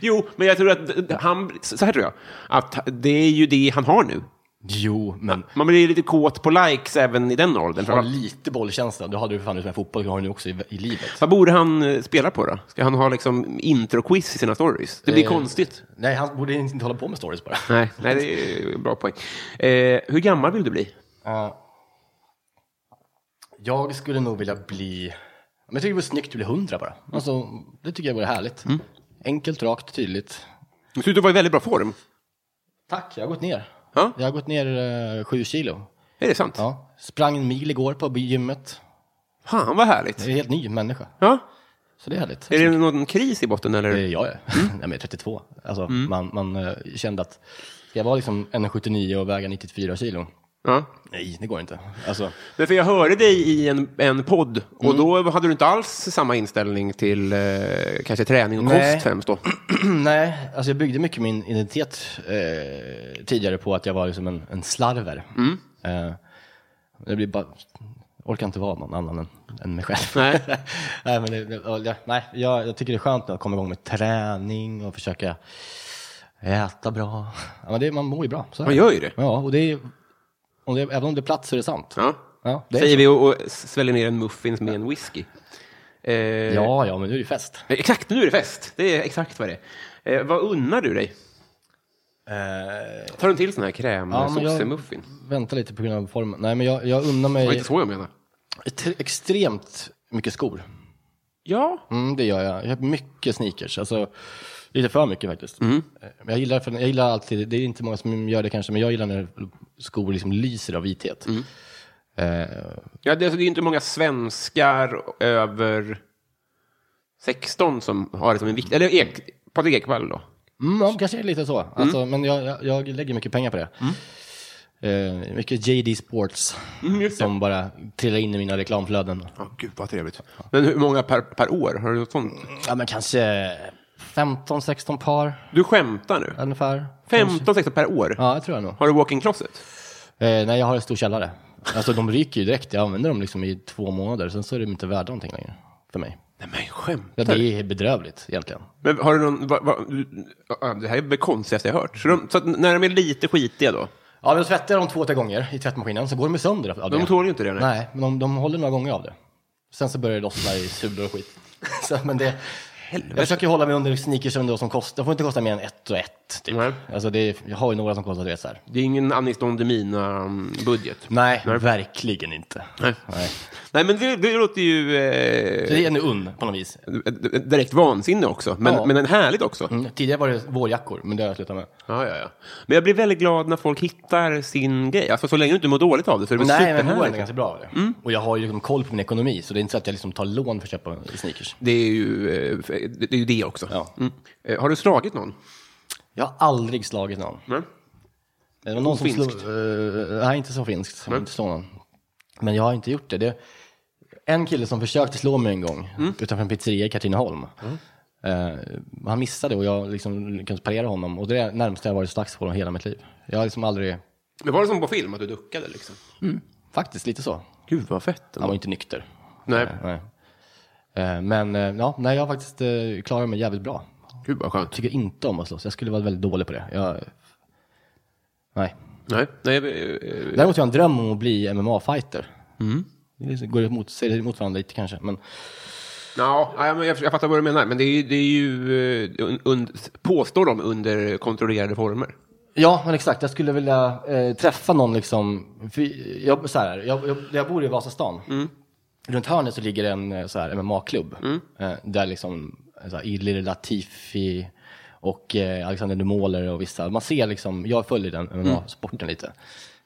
[SPEAKER 1] Jo, men jag tror att d- d- han, så här tror jag, att det är ju det han har nu.
[SPEAKER 2] Jo, men
[SPEAKER 1] Man blir lite kåt på likes även i den åldern.
[SPEAKER 2] ha
[SPEAKER 1] För
[SPEAKER 2] Mm. lite bollkänsla. Då hade du fan ut med fotboll, du har nu också i, i livet.
[SPEAKER 1] vad borde han eh, spela på då? Ska han ha liksom intro-quiz i sina stories? Det blir
[SPEAKER 2] Eh.
[SPEAKER 1] konstigt.
[SPEAKER 2] Nej, han borde inte hålla på med stories bara.
[SPEAKER 1] Nej, nej, det är en bra poäng. Eh, hur gammal vill du bli?
[SPEAKER 2] Eh, jag skulle nog vilja bli... Men jag tycker det vore snyggt att bli hundra bara. Alltså, det tycker jag vore härligt.
[SPEAKER 1] Mm.
[SPEAKER 2] Enkelt, rakt, tydligt.
[SPEAKER 1] Du ser ut att vara i väldigt bra form.
[SPEAKER 2] Tack, jag har gått ner.
[SPEAKER 1] Ja.
[SPEAKER 2] Jag har gått ner eh, sju kilo.
[SPEAKER 1] Är det sant?
[SPEAKER 2] Ja. Sprang en mil igår på gymmet.
[SPEAKER 1] Fan, vad härligt.
[SPEAKER 2] Jag är en helt ny människa.
[SPEAKER 1] Ja.
[SPEAKER 2] Så det är härligt.
[SPEAKER 1] Är det Mm. någon kris i botten? Eller?
[SPEAKER 2] Det är jag är. Nej, men jag är 32. Alltså,
[SPEAKER 1] Mm.
[SPEAKER 2] man, man eh, kände att ska jag vara liksom 1,79 och väga 94 kilo?
[SPEAKER 1] Ja.
[SPEAKER 2] Nej, det går inte. Alltså,
[SPEAKER 1] Men för jag hörde dig i en, en podd och då hade du inte alls samma inställning till eh, kanske träning och
[SPEAKER 2] Nej.
[SPEAKER 1] kost främst då.
[SPEAKER 2] nej, alltså jag byggde mycket min identitet eh, tidigare på att jag var liksom en, en slarver.
[SPEAKER 1] Mm.
[SPEAKER 2] Eh, jag blir bara, jag orkar inte vara någon annan än, än mig själv.
[SPEAKER 1] Nej.
[SPEAKER 2] nej, men det, det, jag, nej jag, jag tycker det är skönt att komma igång med träning och försöka äta bra. Ja, men det, man mår ju bra. Så är
[SPEAKER 1] Man
[SPEAKER 2] det.
[SPEAKER 1] gör ju det.
[SPEAKER 2] Ja, och det är, om det, även om det är platt så är det sant.
[SPEAKER 1] Ja.
[SPEAKER 2] Ja, det är
[SPEAKER 1] Säger
[SPEAKER 2] så.
[SPEAKER 1] vi och, och sväljer ner en muffins med en whisky. Eh,
[SPEAKER 2] ja, ja, men nu är det ju fest.
[SPEAKER 1] Exakt, nu är det fest. Det är exakt vad det är. Eh, vad unnar du dig? Tar du en till sån här
[SPEAKER 2] Ja, men jag-
[SPEAKER 1] krämsossemuffin?
[SPEAKER 2] Vänta lite på grund av formen. Nej, men jag, jag unnar
[SPEAKER 1] Det var
[SPEAKER 2] mig
[SPEAKER 1] inte så jag menar.
[SPEAKER 2] ett- extremt mycket skor.
[SPEAKER 1] Ja.
[SPEAKER 2] Mm, det gör jag. Jag har mycket sneakers. Alltså, lite för mycket faktiskt. Eh, Men jag gillar, för, jag gillar alltid, det är inte många som gör det kanske, men jag gillar när skor liksom lyser av vithet. Eh,
[SPEAKER 1] ja det, alltså, det är ju inte många svenskar över 16 som har det som en vikt... Eller ek, Patrik Ekwall då?
[SPEAKER 2] Mm, Mm. ja, kanske är lite så. Alltså, Men jag, jag, jag lägger mycket pengar på det. Eh, mycket JD Sports som bara trillar in i mina reklamflöden.
[SPEAKER 1] Ja, gud vad trevligt. Men hur många per, per år? Har du något sånt?
[SPEAKER 2] Ja, men kanske 15-16 par
[SPEAKER 1] Du skämtar nu?
[SPEAKER 2] ungefär.
[SPEAKER 1] 15, 16 per år?
[SPEAKER 2] Ja, det tror jag nog.
[SPEAKER 1] Har du walk-in closet?
[SPEAKER 2] Eh, nej, jag har en stor källare. Alltså, de ryker ju direkt. Jag använder dem liksom i två månader, sen så är de inte värda någonting längre för mig.
[SPEAKER 1] Nej men skämt.
[SPEAKER 2] Ja, det är bedrövligt egentligen.
[SPEAKER 1] Men har du någon, va, va, du- ja, det här är det konstigaste jag har hört. Så, de, så att när de är lite skitiga då?
[SPEAKER 2] Ja, men då tvättar jag dem två, tre gånger i tvättmaskinen, så går de ju sönder av det.
[SPEAKER 1] De tål ju inte det. Nej.
[SPEAKER 2] Nej, men de, de håller några gånger av det. Sen så börjar det lossna i sulor och skit. Så, men det, jag försöker hålla mig under sneakers under vad som kostar. De får inte kosta mer än ett och ett. Typ.
[SPEAKER 1] Nej.
[SPEAKER 2] Alltså det är, jag har ju några som kostar, du vet så här.
[SPEAKER 1] Det är ingen Anis Don Demina-budget.
[SPEAKER 2] Nej, verkligen inte.
[SPEAKER 1] Nej.
[SPEAKER 2] Nej.
[SPEAKER 1] Nej, men det, det låter ju eh,
[SPEAKER 2] Det är en unn på något vis.
[SPEAKER 1] direkt vansinne också. Men,
[SPEAKER 2] Ja.
[SPEAKER 1] men en härligt också.
[SPEAKER 2] Mm, Tidigare var det vårjackor, men det har jag slutat med.
[SPEAKER 1] Ja, ja, ja. Men jag blir väldigt glad när folk hittar sin grej. Alltså så länge du inte mår dåligt av det så är det väl
[SPEAKER 2] Nej, men våren är
[SPEAKER 1] superhärligt.
[SPEAKER 2] ganska bra. av det. Och jag har ju liksom koll på min ekonomi, så det är inte så att jag liksom tar lån för att köpa sneakers.
[SPEAKER 1] Det är ju eh, det, är ju det också.
[SPEAKER 2] Ja.
[SPEAKER 1] Mm. Eh, Har du slagit någon?
[SPEAKER 2] Jag har aldrig slagit någon.
[SPEAKER 1] Nej.
[SPEAKER 2] Det var någon som slog,
[SPEAKER 1] Ofinskt.
[SPEAKER 2] eh, nej, inte så finskt. Jag vill inte slå någon. Men jag har inte gjort det. det en kille som försökte slå mig en gång utanför en pizzeria i Katrineholm. Eh, han missade och jag liksom lyckades parera honom. Och det är det närmaste jag varit slagsmål hela mitt liv. Jag har liksom aldrig,
[SPEAKER 1] Men var det som på film, att du duckade liksom?
[SPEAKER 2] faktiskt lite så.
[SPEAKER 1] Gud vad fett.
[SPEAKER 2] Han
[SPEAKER 1] ändå.
[SPEAKER 2] var inte nykter.
[SPEAKER 1] Nej,
[SPEAKER 2] Nej. Eh, men eh, ja, nej, jag har faktiskt eh, klarat mig jävligt bra.
[SPEAKER 1] gud vad skönt.
[SPEAKER 2] Tycker inte om att slåss. Jag skulle vara väldigt dålig på det. Jag, nej.
[SPEAKER 1] Nej, nej, eh, eh,
[SPEAKER 2] Däremot har jag en dröm om att bli MMA-fighter. Det liksom- går emot, säger emot varandra lite kanske. Men
[SPEAKER 1] ja, nej, men jag, jag fattar vad du menar. Men det är ju, det är ju eh, un, un, påstår de, under kontrollerade former.
[SPEAKER 2] ja, men exakt. Jag skulle vilja eh, träffa någon liksom. För jag, så här, jag, jag, jag bor i Vasastan. Runt hörnet så ligger en eh, så här, MMA-klubb. Eh, där liksom eh, så här, Ilir Latifi och eh, Alexander Demoler och vissa. Man ser liksom, jag följer den MMA-sporten lite.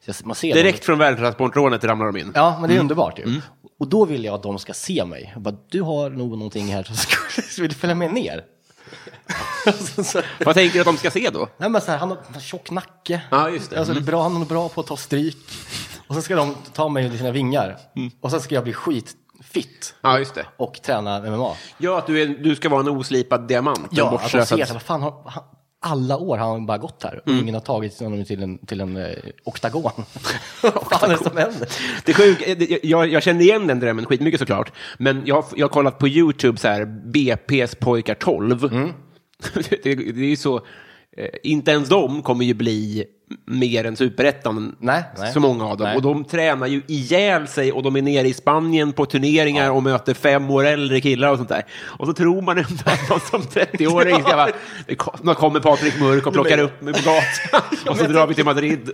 [SPEAKER 2] Så jag, man ser
[SPEAKER 1] Direkt från värdetransportrånet ramlar de in.
[SPEAKER 2] Ja, men det är underbart ju. Och då vill jag att de ska se mig. Jag bara, du har nog någonting här som skulle... Så vill du följa med ner? Alltså, så,
[SPEAKER 1] Vad tänker du att de ska se då?
[SPEAKER 2] nej, men så här, han har en tjock nacke.
[SPEAKER 1] Ja, just det.
[SPEAKER 2] Alltså, det är bra, han är bra på att ta stryk. Och sen ska de ta mig under sina vingar. Och sen ska jag bli skitfitt
[SPEAKER 1] Ja, just det.
[SPEAKER 2] och träna MMA.
[SPEAKER 1] Ja, att du, är, du ska vara en oslipad diamant. en
[SPEAKER 2] Ja, alltså, att de
[SPEAKER 1] bortslösad-
[SPEAKER 2] ser så här, vad fan, har, Mm. han, alla år har han bara gått här. Och ingen har tagit honom till en, till en eh, oktagon. vad fan är det som händer?
[SPEAKER 1] Det är sjuk, eh, det- jag, jag känner igen den drömmen
[SPEAKER 2] Mm.
[SPEAKER 1] skitmycket såklart. Men jag, har- jag har kollat på YouTube så här, BP's pojkar 12. det, det är ju så, eh, inte ens de kommer ju bli mer än superettan,
[SPEAKER 2] Nej, nej.
[SPEAKER 1] så många av dem.
[SPEAKER 2] Nej.
[SPEAKER 1] Och de tränar ju ihjäl sig och de är nere i Spanien på turneringar och möter fem år äldre killar och sånt där. Och så tror man ändå att man som 30-åring ska bara, det kom- då kommer Patrik Mörk och plockar upp mig på gatan och så drar vi till Madrid.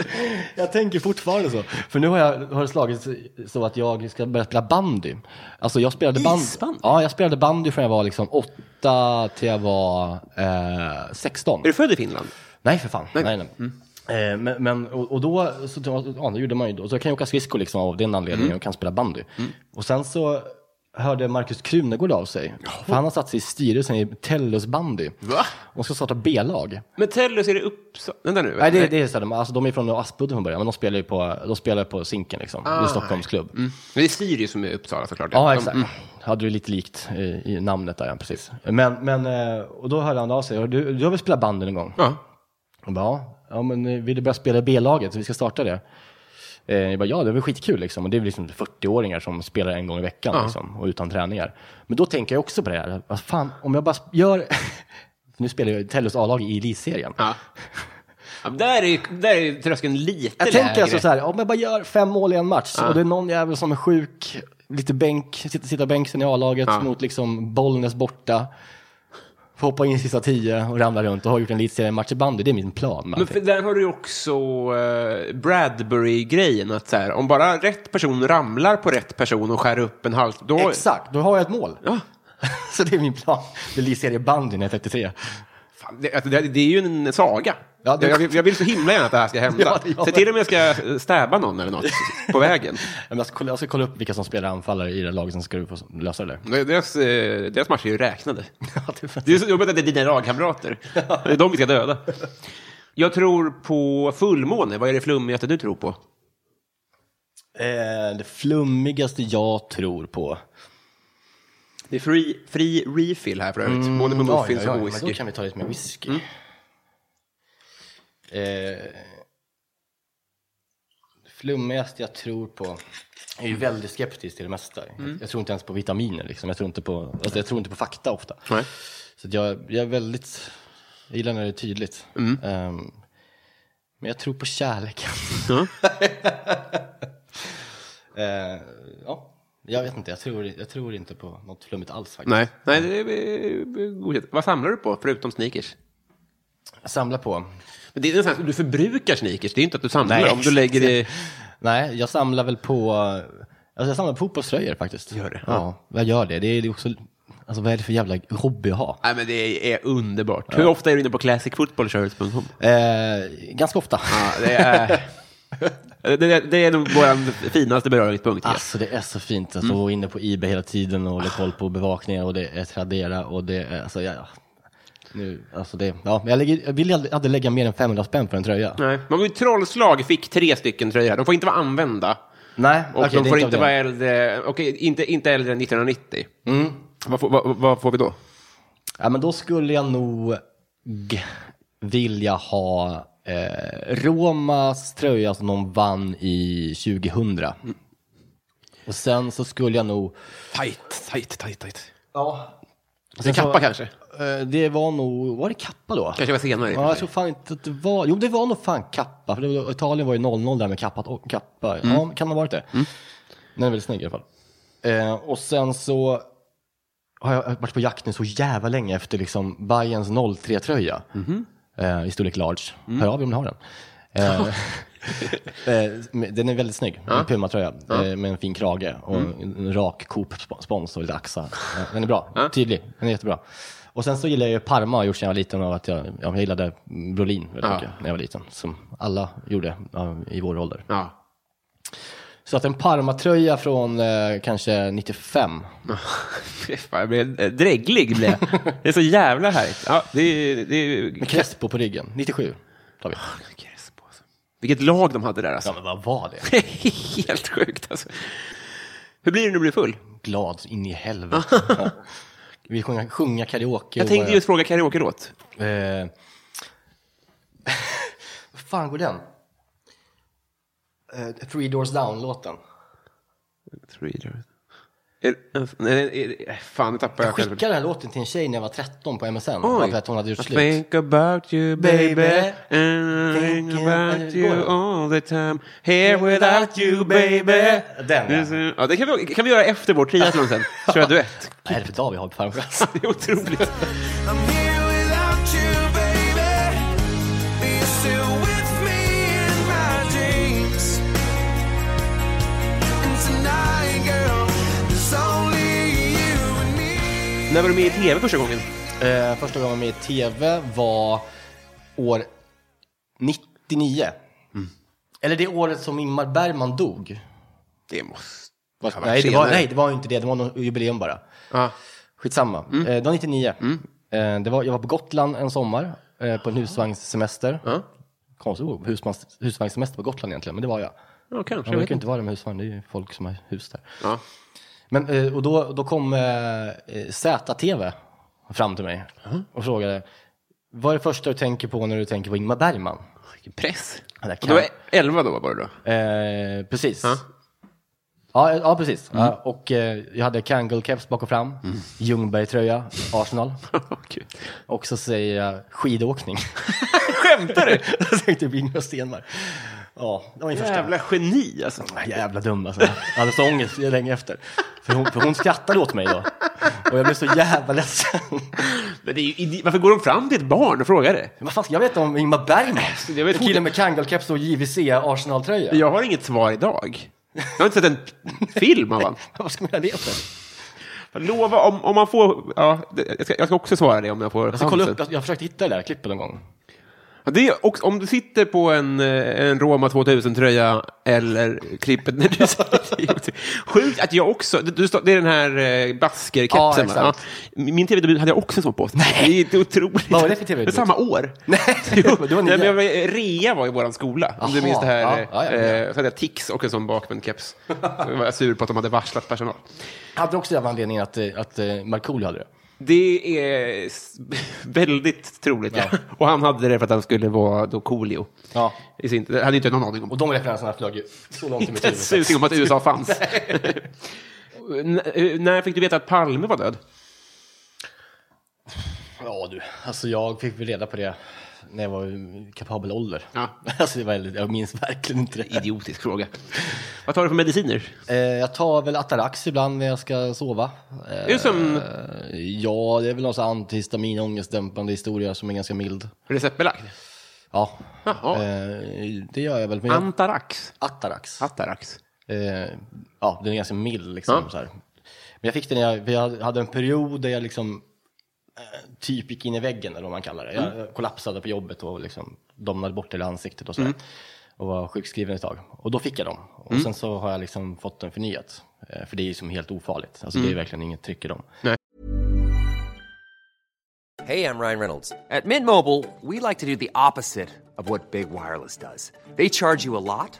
[SPEAKER 2] Jag tänker fortfarande så. För nu har, jag, har det slagit så att jag ska börja spela bandy. Alltså jag spelade bandy.
[SPEAKER 1] Isbandy?
[SPEAKER 2] Ja, jag spelade bandy från jag var liksom åtta till jag var eh, 16.
[SPEAKER 1] Är Mm. du född i Finland?
[SPEAKER 2] Nej, för fan. Nej. Nej, Eh, Men, men, och, och då så, ja, det gjorde man ju då. Så jag kan ju åka skridskor liksom, av den
[SPEAKER 1] Mm.
[SPEAKER 2] anledningen och kan spela bandy. Och sen så hörde Markus Krunegård av sig. För han har satt sig i styrelsen i Tellus bandy.
[SPEAKER 1] Va?
[SPEAKER 2] Och ska starta B-lag.
[SPEAKER 1] Men Tellus, är det Uppsala? Vänta nu.
[SPEAKER 2] Nej, det, det är så här, de, alltså, de är från Aspudden från början, men de spelar ju på, de spelar på Zinken liksom. Det är en Stockholmsklubb.
[SPEAKER 1] Mm. Men Det är Sirius som är Uppsala såklart.
[SPEAKER 2] Ja,
[SPEAKER 1] De-
[SPEAKER 2] exakt. Hade du lite likt i, i namnet där, ja, precis. Men, men, eh, och då hörde han av sig. Du, du har väl spelat bandy någon gång?
[SPEAKER 1] Ja.
[SPEAKER 2] Och bara, ja, ja, men eh, vill du börja spela i B-laget? Så vi ska starta det. Eh, jag bara, ja, det är väl skitkul liksom. Och det är väl liksom 40-åringar som spelar en gång i veckan liksom, och utan träningar. Men då tänker jag också på det här. Vad fan, om jag bara sp- gör... nu spelar jag i Tellus A-lag i elitserien.
[SPEAKER 1] Ja. Ja, men där, är, ju- där är ju tröskeln lite
[SPEAKER 2] Jag
[SPEAKER 1] lägre.
[SPEAKER 2] tänker alltså så här, om jag bara gör fem mål i en match och det är någon jävel som är sjuk, lite bänk, sitter, sitter bänken i A-laget mot liksom Bollnäs borta, får hoppa in i sista tio och ramla runt och har gjort en elitseriematch match i bandy, det är min plan. med
[SPEAKER 1] Men
[SPEAKER 2] allting.
[SPEAKER 1] för där har du ju också eh, Bradbury-grejen, att så här, om bara rätt person ramlar på rätt person och skär upp en hals, då...
[SPEAKER 2] Exakt, då har jag ett mål.
[SPEAKER 1] Ja.
[SPEAKER 2] så det är min plan. Det är elitserie bandy när jag är 33.
[SPEAKER 1] Fan, det, alltså, det, det är ju en saga.
[SPEAKER 2] Ja, det-
[SPEAKER 1] jag, jag- jag vill så himla gärna att det här ska hända.
[SPEAKER 2] Ja, ja,
[SPEAKER 1] Se till om jag ska eh, stäba någon eller något på vägen.
[SPEAKER 2] Men Jag ska, kolla, jag ska kolla upp vilka som spelar anfallare i det här laget, sen ska du få lösa det där.
[SPEAKER 1] Deras, eh, deras matcher är ju räknade.
[SPEAKER 2] Ja, det är fan-
[SPEAKER 1] Det är så jobbigt att det är dina lagkamrater. Det är de vi ska döda. Jag tror på fullmåne. Vad är det flummigaste du tror på?
[SPEAKER 2] Eh, det flummigaste jag tror på.
[SPEAKER 1] Det är fri, fri refill här för övrigt.
[SPEAKER 2] Mm,
[SPEAKER 1] Både på muffins
[SPEAKER 2] Oj, oj,
[SPEAKER 1] och
[SPEAKER 2] oj, men Då
[SPEAKER 1] whisky. Mm.
[SPEAKER 2] kan vi ta lite mer whisky. Eh, det flummigaste jag tror på, jag
[SPEAKER 1] Mm.
[SPEAKER 2] är ju väldigt skeptisk till det mesta. Jag, jag tror inte ens på vitaminer, liksom. jag, tror inte på, alltså, jag tror inte på fakta ofta.
[SPEAKER 1] Nej.
[SPEAKER 2] Så att jag, jag är väldigt, jag gillar när det är tydligt.
[SPEAKER 1] Mm.
[SPEAKER 2] Ehm, men jag tror på kärleken. eh, ja, jag vet inte, jag tror, jag tror inte på något flummigt alls faktiskt.
[SPEAKER 1] Nej, nej det är eh, godkänt. Vad samlar du på, förutom sneakers?
[SPEAKER 2] Jag samlar på
[SPEAKER 1] Men det är en sån här, du förbrukar sneakers, det är inte att du samlar.
[SPEAKER 2] Nej,
[SPEAKER 1] om du lägger det...
[SPEAKER 2] Nej, jag samlar väl på... Alltså jag samlar på fotbollströjor faktiskt. Gör
[SPEAKER 1] det?
[SPEAKER 2] Ja, jag gör det. Det är också... Alltså vad är det för jävla hobby att ha?
[SPEAKER 1] Nej, men det är underbart. Hur ofta är du inne på classicfootballshirts.com?
[SPEAKER 2] Eh, ganska ofta.
[SPEAKER 1] Ja, det, är, det, det, det är nog vår finaste beröringspunkt. ja.
[SPEAKER 2] Alltså det är så fint. Alltså, att vara inne på eBay hela tiden och hålla koll på bevakningar och det är Tradera och det är... Alltså, jag, ja. nu, alltså det, ja, men jag, lägger, jag vill aldrig, aldrig lägga mer än 500 spänn för en tröja.
[SPEAKER 1] Nej. Man var ju trollslag, fick tre stycken tröjor. här. De får inte vara använda.
[SPEAKER 2] Nej,
[SPEAKER 1] Och
[SPEAKER 2] okej,
[SPEAKER 1] de
[SPEAKER 2] det är
[SPEAKER 1] får
[SPEAKER 2] av
[SPEAKER 1] inte
[SPEAKER 2] det.
[SPEAKER 1] vara äldre, okej, inte, inte äldre än 1990. Mm. Vad, får, vad, vad får vi då?
[SPEAKER 2] Ja, men då skulle jag nog vilja ha eh, Romas tröja som de vann i 2000. Och sen så skulle jag nog...
[SPEAKER 1] Tight, tight, tight, tight.
[SPEAKER 2] Ja.
[SPEAKER 1] En kappa kanske?
[SPEAKER 2] Eh, det var nog... Var det kappa då?
[SPEAKER 1] Kanske var senare. i och
[SPEAKER 2] Ja,
[SPEAKER 1] för
[SPEAKER 2] jag
[SPEAKER 1] sig.
[SPEAKER 2] tror fan inte att det var... Jo, det var nog fan kappa. För det var, Italien var ju 0-0 där med kappat och kappa. Ja, kan ha varit det. Den är väldigt snygg i alla fall. Eh, och sen så har jag varit på jakt nu så jävla länge efter liksom Bayerns 0-3-tröja. Eh, I storlek large. Hör av er om ni har den. Eh, eh, men den är väldigt snygg. En Puma-tröja eh, med en fin krage och
[SPEAKER 1] Mm.
[SPEAKER 2] en rak Coop-spons och lite axlar. Eh, Den är bra. Tydlig. Den är jättebra. Och sen så gillar jag ju Parma, har jag gjort sedan jag var liten, och att jag, ja, jag gillade Brolin väldigt mycket när jag var liten. Som alla gjorde ja, i vår ålder.
[SPEAKER 1] Ja.
[SPEAKER 2] Så att en Parma-tröja från eh, kanske 95.
[SPEAKER 1] Fy fan, jag blir eh, dräglig. Blir jag. Det är så jävla härligt. Ja, det är, det är...
[SPEAKER 2] Med Crespo på ryggen. 97 tar vi.
[SPEAKER 1] Crespo, alltså. Vilket lag de hade där alltså.
[SPEAKER 2] Ja, men vad var det?
[SPEAKER 1] Det är Helt sjukt alltså. Hur blir du när du blir full?
[SPEAKER 2] Glad så in i helvete. ja. Vi sjunga, sjunga karaoke.
[SPEAKER 1] Jag
[SPEAKER 2] och
[SPEAKER 1] tänkte
[SPEAKER 2] bara-
[SPEAKER 1] just fråga karaoke-låt.
[SPEAKER 2] Eh, Vad fan går den? Eh, Three Doors Down-låten.
[SPEAKER 1] Three Doors. Är, nej, är, är, fan, nu tappar jag,
[SPEAKER 2] Jag skickade den här låten till en tjej när jag var 13 på MSN. Bara för att hon hade gjort
[SPEAKER 1] I
[SPEAKER 2] slut.
[SPEAKER 1] think about you baby,
[SPEAKER 2] Baby.
[SPEAKER 1] and I think
[SPEAKER 2] Thinking-
[SPEAKER 1] about
[SPEAKER 2] Går
[SPEAKER 1] you
[SPEAKER 2] den?
[SPEAKER 1] all the time, here without you baby.
[SPEAKER 2] Den, ja.
[SPEAKER 1] This is- ja. Det kan vi, kan vi göra efter vår triathlon sen, kör jag duett.
[SPEAKER 2] Vad är det för dag vi har på farmor?
[SPEAKER 1] Det är otroligt.
[SPEAKER 3] I'm here without you, baby. Are you still with me in my dreams? And tonight, girl, there's only you and me.
[SPEAKER 1] När var du med i tv första gången?
[SPEAKER 2] Eh, första gången jag var med i tv var år 99. Mm. Eller det året som Ingmar Bergman dog.
[SPEAKER 1] Det måste...
[SPEAKER 2] Fast-
[SPEAKER 1] varit
[SPEAKER 2] nej, det var,
[SPEAKER 1] senare.
[SPEAKER 2] nej, det var ju inte det. Det var någon jubileum bara.
[SPEAKER 1] Ja.
[SPEAKER 2] Skitsamma.
[SPEAKER 1] Mm.
[SPEAKER 2] Eh, det var 99. Eh, det var, jag var på Gotland en sommar eh, på en husvagnssemester.
[SPEAKER 1] Ja.
[SPEAKER 2] Konstigt ord, husmans- husvagnssemester på Gotland egentligen, men det var jag.
[SPEAKER 1] Ja, kanske.
[SPEAKER 2] Man
[SPEAKER 1] Jag
[SPEAKER 2] brukar
[SPEAKER 1] vet inte.
[SPEAKER 2] inte vara det med husvagn, det är ju folk som har hus där.
[SPEAKER 1] Ja.
[SPEAKER 2] Men, eh, och då, då kom eh, eh, ZTV fram till mig och frågade vad är det första du tänker på när du tänker på Ingmar Bergman?
[SPEAKER 1] Vilken Press.
[SPEAKER 2] Ja, det
[SPEAKER 1] Och
[SPEAKER 2] kan-
[SPEAKER 1] du var 11 då, var det då?
[SPEAKER 2] Eh, precis. Ja, eh, ja, precis.
[SPEAKER 1] Mm.
[SPEAKER 2] Ja, och eh, jag hade Kangol-keps bak och fram, Ljungberg-tröja, Arsenal.
[SPEAKER 1] Kul.
[SPEAKER 2] Och så säger jag skidåkning. Skämtar du? Jag tänkte Bingo Stenmark. Ja, det var min första.
[SPEAKER 1] Jävla geni alltså.
[SPEAKER 2] Jävla dum alltså. Jag hade så ångest länge efter. För hon, för hon skrattade åt mig då. Och jag blev så jävla ledsen.
[SPEAKER 1] Men det är ju, idi- varför går de fram till ett barn och frågar det?
[SPEAKER 2] Vad fan ska jag veta om Ingmar Bergman?
[SPEAKER 1] Jag vet
[SPEAKER 2] Killen med Kangol-keps och JVC Arsenal-tröja.
[SPEAKER 1] Jag har inget svar idag. Jag har inte sett en film av honom.
[SPEAKER 2] Vad ska man göra det för?
[SPEAKER 1] Lova om, om man får... Ja, det, jag, ska, jag ska också svara det om jag får
[SPEAKER 2] Jag ska Alltså, kolla upp,
[SPEAKER 1] chansen.
[SPEAKER 2] jag, jag försökte hitta det där klippet någon gång.
[SPEAKER 1] Ja, det är också, om du sitter på en, eh, en Roma 2000-tröja eller klippet när du säger Sjukt att jag också... Du, du, står- det är den här eh,
[SPEAKER 2] Ja,
[SPEAKER 1] baskerkepsen. va?
[SPEAKER 2] exakt.
[SPEAKER 1] Ja. Min tv-debut hade jag också en sån på. Nej. Det är otroligt.
[SPEAKER 2] Vad var det för TV-debut?
[SPEAKER 1] samma år. Nej,
[SPEAKER 2] men du var nio.
[SPEAKER 1] men jag var- rea var i vår skola. Om du
[SPEAKER 2] Jaha.
[SPEAKER 1] minns det här.
[SPEAKER 2] Ja,
[SPEAKER 1] eh,
[SPEAKER 2] ja, ja, ja.
[SPEAKER 1] eh, Så hade jag tics och en sån bakvänd-keps. Så var jag sur på att de hade varslat personal.
[SPEAKER 2] Hade också jävla anledningen att, eh, att eh, Markoolio hade det.
[SPEAKER 1] Det är s- väldigt troligt. Ja. Och han hade det för att han skulle vara då Coolio.
[SPEAKER 2] Ja.
[SPEAKER 1] I sin, det hade inte jag någon aning om.
[SPEAKER 2] Och de referenserna flög ju så långt i mitt
[SPEAKER 1] Inte en
[SPEAKER 2] huvud.
[SPEAKER 1] susning om att USA fanns. N- eh, när fick du veta att Palme var död?
[SPEAKER 2] Ja du, alltså jag fick väl reda på det när jag var i kapabel ålder.
[SPEAKER 1] Ja.
[SPEAKER 2] Alltså det var, väldigt- jag minns verkligen inte det.
[SPEAKER 1] Idiotisk fråga. Vad tar du för mediciner?
[SPEAKER 2] Eh, jag tar väl Atarax ibland när jag ska sova. Eh,
[SPEAKER 1] Är det som
[SPEAKER 2] ja, det är väl någon sån här antihistamin, ångestdämpande historia som är ganska mild.
[SPEAKER 1] receptbelagd?
[SPEAKER 2] Ja,
[SPEAKER 1] Jaha.
[SPEAKER 2] eh, det gör jag väl. Men jag,
[SPEAKER 1] Antarax?
[SPEAKER 2] Atarax.
[SPEAKER 1] Atarax?
[SPEAKER 2] Eh, ja, den är ganska mild liksom.
[SPEAKER 1] Ja.
[SPEAKER 2] Så här. Men jag fick den, när jag, för jag hade en period där jag liksom eh, typ gick in i väggen eller vad man kallar det. Jag
[SPEAKER 1] Mm.
[SPEAKER 2] jag kollapsade på jobbet och liksom domnade bort hela ansiktet och sådär.
[SPEAKER 1] Mm.
[SPEAKER 2] Och var sjukskriven ett tag. Och då fick jag dem. Och sen så har jag liksom fått den förnyat. Eh, För det är ju som helt ofarligt. Alltså
[SPEAKER 1] Mm.
[SPEAKER 2] det är verkligen inget tryck i dem.
[SPEAKER 4] Hey, I'm Ryan Reynolds. At Mint Mobile, we like to do the opposite of what Big Wireless does. They charge you a lot,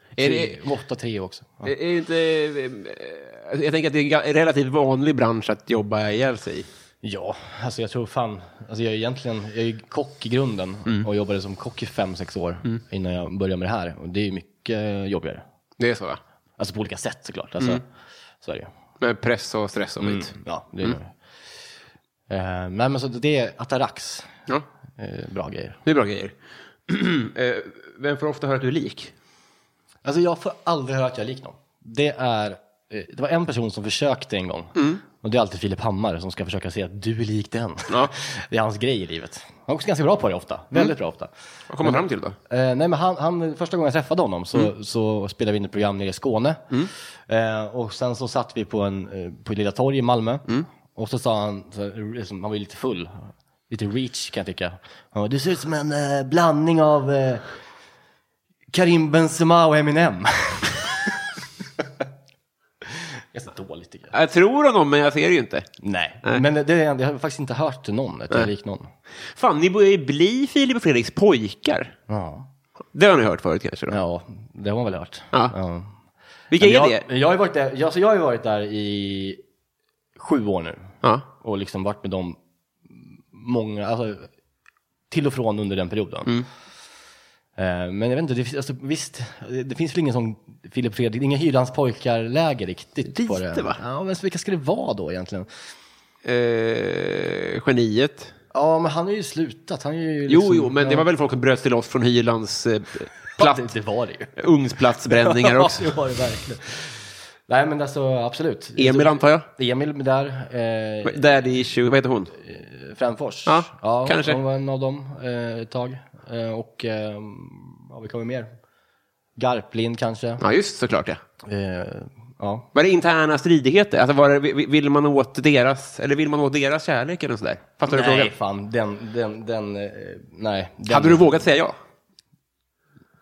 [SPEAKER 1] Är det,
[SPEAKER 2] 8-3 också. Ja.
[SPEAKER 1] är det inte... eh, Jag tänker att det är en ga- relativt vanlig bransch att jobba ihjäl sig i.
[SPEAKER 2] Ja, alltså jag tror fan, alltså jag är egentligen, jag är ju kock i grunden och jobbade som kock i fem sex år innan jag började med det här. Och det är ju mycket jobbigare.
[SPEAKER 1] Det är så, va?
[SPEAKER 2] Alltså på olika sätt såklart. Alltså, Så är det ju. Mm,
[SPEAKER 1] Med press och stress och skit.
[SPEAKER 2] Ja, det är det. Eh, nej men så det är Atarax,
[SPEAKER 1] Ja,
[SPEAKER 2] eh, bra grejer.
[SPEAKER 1] det är bra grejer. Eh, Vem får ofta höra att du är lik?
[SPEAKER 2] Alltså jag får aldrig höra att jag är lik någon. Det är eh, det var en person som försökte en gång. Och det är alltid Filip Hammar som ska försöka se att du är lik den. Det är hans grej i livet. Han är också ganska bra på det ofta. Väldigt bra ofta.
[SPEAKER 1] Vad kommer man fram till då?
[SPEAKER 2] Eh, nej, men han, han, första gången jag träffade honom så, så spelade vi in ett program nere i Skåne. Eh, och sen så satt vi på, en, eh, på Lilla torg i Malmö. Och så sa han, så, här, liksom, han var ju lite full, lite reach kan jag tycka. Han bara, du ser ut som en eh, blandning av eh, Karim Benzema och Eminem. Ganska dåligt tycker jag.
[SPEAKER 1] Jag tror honom, men jag ser det ju inte.
[SPEAKER 2] Nej, men det, det, jag har faktiskt inte hört någon, att jag är lik någon.
[SPEAKER 1] Fan, ni börjar ju bli Filip och Fredriks pojkar.
[SPEAKER 2] Ja.
[SPEAKER 1] Det har ni hört förut kanske? Då.
[SPEAKER 2] ja, det har man väl hört.
[SPEAKER 1] Ja.
[SPEAKER 2] Ja.
[SPEAKER 1] Vilka är
[SPEAKER 2] Men jag,
[SPEAKER 1] det?
[SPEAKER 2] Jag har, ju varit där, jag, så jag har ju varit där i sju år nu
[SPEAKER 1] Ja.
[SPEAKER 2] och liksom varit med dem många, alltså, till och från under den perioden.
[SPEAKER 1] Mm.
[SPEAKER 2] Eh, Men jag vet inte, det, finns- alltså, visst, det, det finns väl ingen sån Filip Fredrik, inga Hylands pojkar-läger riktigt på
[SPEAKER 1] Lite,
[SPEAKER 2] det.
[SPEAKER 1] va?
[SPEAKER 2] Ja, men så vilka ska det vara då egentligen?
[SPEAKER 1] Eh, geniet.
[SPEAKER 2] Ja, men han har ju slutat, han är ju
[SPEAKER 1] Jo,
[SPEAKER 2] liksom,
[SPEAKER 1] jo, men det var väl folk som bröt till oss från Hylands eh, platt,
[SPEAKER 2] Det, det var det ju.
[SPEAKER 1] ugnsplatsbränningar också.
[SPEAKER 2] Ja, det var det verkligen. Nej, men alltså absolut.
[SPEAKER 1] Emil antar jag?
[SPEAKER 2] Emil där. Eh,
[SPEAKER 1] Daddy issue, vad heter hon?
[SPEAKER 2] Fränfors.
[SPEAKER 1] Ja, kanske.
[SPEAKER 2] Hon var en av dem eh, ett tag. Eh, och eh, ja, vi kommer mer. Garplind kanske.
[SPEAKER 1] Ja, just såklart ja.
[SPEAKER 2] Eh, ja.
[SPEAKER 1] Var det interna stridigheter? Alltså, var det, vi- vill man åt deras, eller vill man åt deras kärlek eller sådär? Fattar du frågan?
[SPEAKER 2] fan. Den, den, den, eh, nej. Den,
[SPEAKER 1] Hade du vågat säga ja?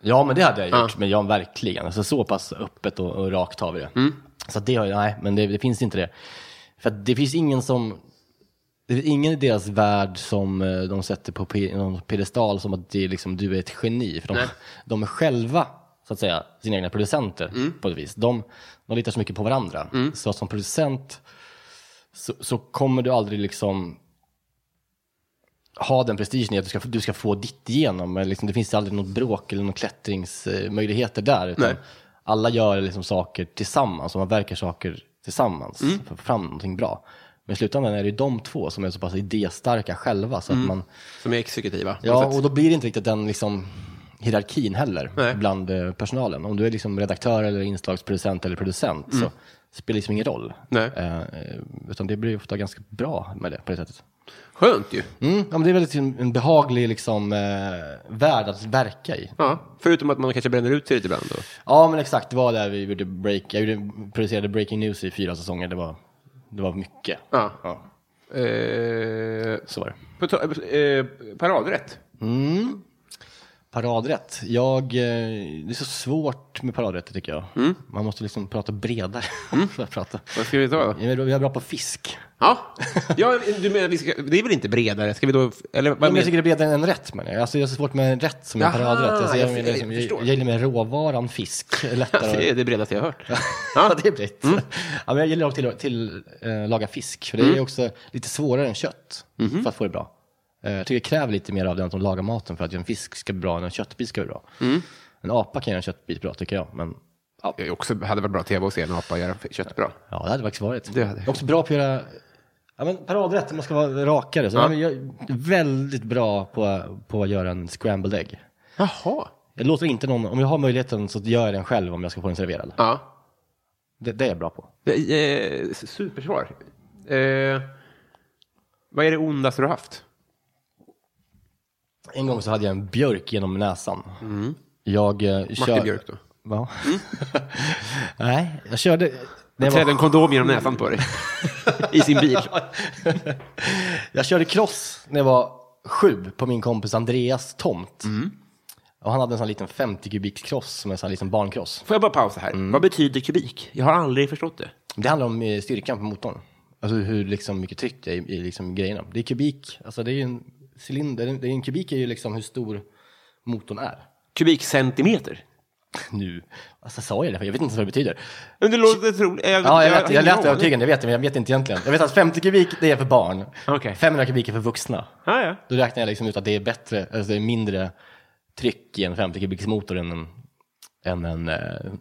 [SPEAKER 2] Ja, men det hade jag gjort. Men jag verkligen. Alltså, så pass öppet och, och rakt har vi det. Så det har jag, nej, men det, det finns inte det. För att det finns ingen som, det finns ingen i deras värld som eh, de sätter på pe- någon piedestal som att det är liksom, du är ett geni. För de, de är själva, så att säga, sina egna producenter på ett vis. De, de litar så mycket på varandra. Så att som producent så, så kommer du aldrig liksom ha den prestigen i att du ska, du ska få ditt igenom. Men liksom, det finns aldrig något bråk eller några klättringsmöjligheter där. Utan
[SPEAKER 1] Nej.
[SPEAKER 2] Alla gör liksom saker tillsammans och man verkar saker tillsammans för att få fram någonting bra. Men i slutändan är det ju de två som är så pass idéstarka själva. Så att man,
[SPEAKER 1] Som är exekutiva? på
[SPEAKER 2] ja,
[SPEAKER 1] något
[SPEAKER 2] och
[SPEAKER 1] sätt.
[SPEAKER 2] då blir det inte riktigt den liksom, hierarkin heller
[SPEAKER 1] Nej.
[SPEAKER 2] bland eh, personalen. Om du är liksom redaktör eller inslagsproducent eller producent så spelar det liksom ingen roll.
[SPEAKER 1] Mm. Nej.
[SPEAKER 2] Eh, eh, utan det blir ofta ganska bra med det på det sättet.
[SPEAKER 1] Skönt ju.
[SPEAKER 2] Mm, ja, men det är väldigt en, en behaglig liksom, eh, värld att verka i.
[SPEAKER 1] Ja, förutom att man kanske bränner ut sig lite ibland. Då.
[SPEAKER 2] Ja, men exakt. Det var där vi gjorde break, jag gjorde, producerade Breaking News i fyra säsonger. Det var, det var mycket.
[SPEAKER 1] Ja.
[SPEAKER 2] Ja,
[SPEAKER 1] Eh,
[SPEAKER 2] så var det.
[SPEAKER 1] på ta- eh, paradrätt.
[SPEAKER 2] Paradrätt. Jag, eh, det är så svårt med paradrätter tycker jag. Man måste liksom prata bredare. för att prata.
[SPEAKER 1] Mm. Vad ska vi ta då?
[SPEAKER 2] Jag är bra- jag är bra på fisk.
[SPEAKER 1] Ja, ja du menar, vi ska, det är väl inte bredare? Ska vi då, eller
[SPEAKER 2] Ja,
[SPEAKER 1] vad
[SPEAKER 2] men jag
[SPEAKER 1] menar
[SPEAKER 2] tycker det är bredare än rätt menar jag. Alltså, jag har så svårt med en rätt som en
[SPEAKER 1] Jaha,
[SPEAKER 2] paradrätt. Alltså, jag,
[SPEAKER 1] jag-
[SPEAKER 2] jag,
[SPEAKER 1] jag
[SPEAKER 2] liksom, jag,
[SPEAKER 1] förstår.
[SPEAKER 2] jag gillar mer råvaran fisk. Lättare.
[SPEAKER 1] Det är Mm. det bredaste jag har hört.
[SPEAKER 2] Ja, det är brett. Ja, men jag gillar också till, till eh, laga fisk, för det
[SPEAKER 1] Mm.
[SPEAKER 2] är också lite svårare än kött
[SPEAKER 1] Mm-hmm.
[SPEAKER 2] för att få det bra. Eh, jag tycker det kräver lite mer av den som lagar maten för att en fisk ska bli bra än en köttbit ska bli bra.
[SPEAKER 1] Mm.
[SPEAKER 2] En apa kan göra en köttbit bra tycker jag, men
[SPEAKER 1] Jag är också hade varit bra tv att se en apa göra kött bra.
[SPEAKER 2] ja, det hade faktiskt varit.
[SPEAKER 1] Det hade jag.
[SPEAKER 2] Också bra på att göra ja, men paradrätt, man ska vara rakare. Så, ja. men jag är väldigt bra på, på att göra en scrambled egg.
[SPEAKER 1] Jaha.
[SPEAKER 2] Jag låter inte någon, om jag har möjligheten så gör jag den själv om jag ska få den serverad.
[SPEAKER 1] Ja.
[SPEAKER 2] Det, det är jag bra på.
[SPEAKER 1] Det är, Eh, supersvar. Eh, vad är det ondaste du har haft?
[SPEAKER 2] En gång så hade jag en björk genom näsan. Jag eh, kör-
[SPEAKER 1] Mm. Björk då? Mm.
[SPEAKER 2] Va? Nej, jag körde... Jag,
[SPEAKER 1] Jag trädde en kondom genom näsan på dig. I sin bil.
[SPEAKER 2] jag körde cross när jag var sju på min kompis Andreas tomt.
[SPEAKER 1] Mm.
[SPEAKER 2] Och han hade en sån här liten 50 kubiks cross som är en sån här liten barncross.
[SPEAKER 1] Får jag bara pausa här? Vad betyder kubik? Jag har aldrig förstått det.
[SPEAKER 2] Det handlar om eh, styrkan på motorn. Alltså hur liksom mycket tryck det är i, i liksom grejerna. Det är kubik, alltså det är ju en cylinder. Det är en kubik är ju liksom hur stor motorn är.
[SPEAKER 1] Kubikcentimeter?
[SPEAKER 2] Nu, alltså sa jag det? Jag vet inte vad det betyder.
[SPEAKER 1] Men det låter troligt.
[SPEAKER 2] Ja, jag, lät, jag lät övertygande, jag vet det, men jag vet inte egentligen. Jag vet att 50 kubik, det är för barn.
[SPEAKER 1] Okej.
[SPEAKER 2] 500 kubik är för vuxna.
[SPEAKER 1] Ja, ja.
[SPEAKER 2] Då räknar jag liksom ut att det är bättre, alltså det är mindre tryck i en 50 kubiks motor än en, än en eh,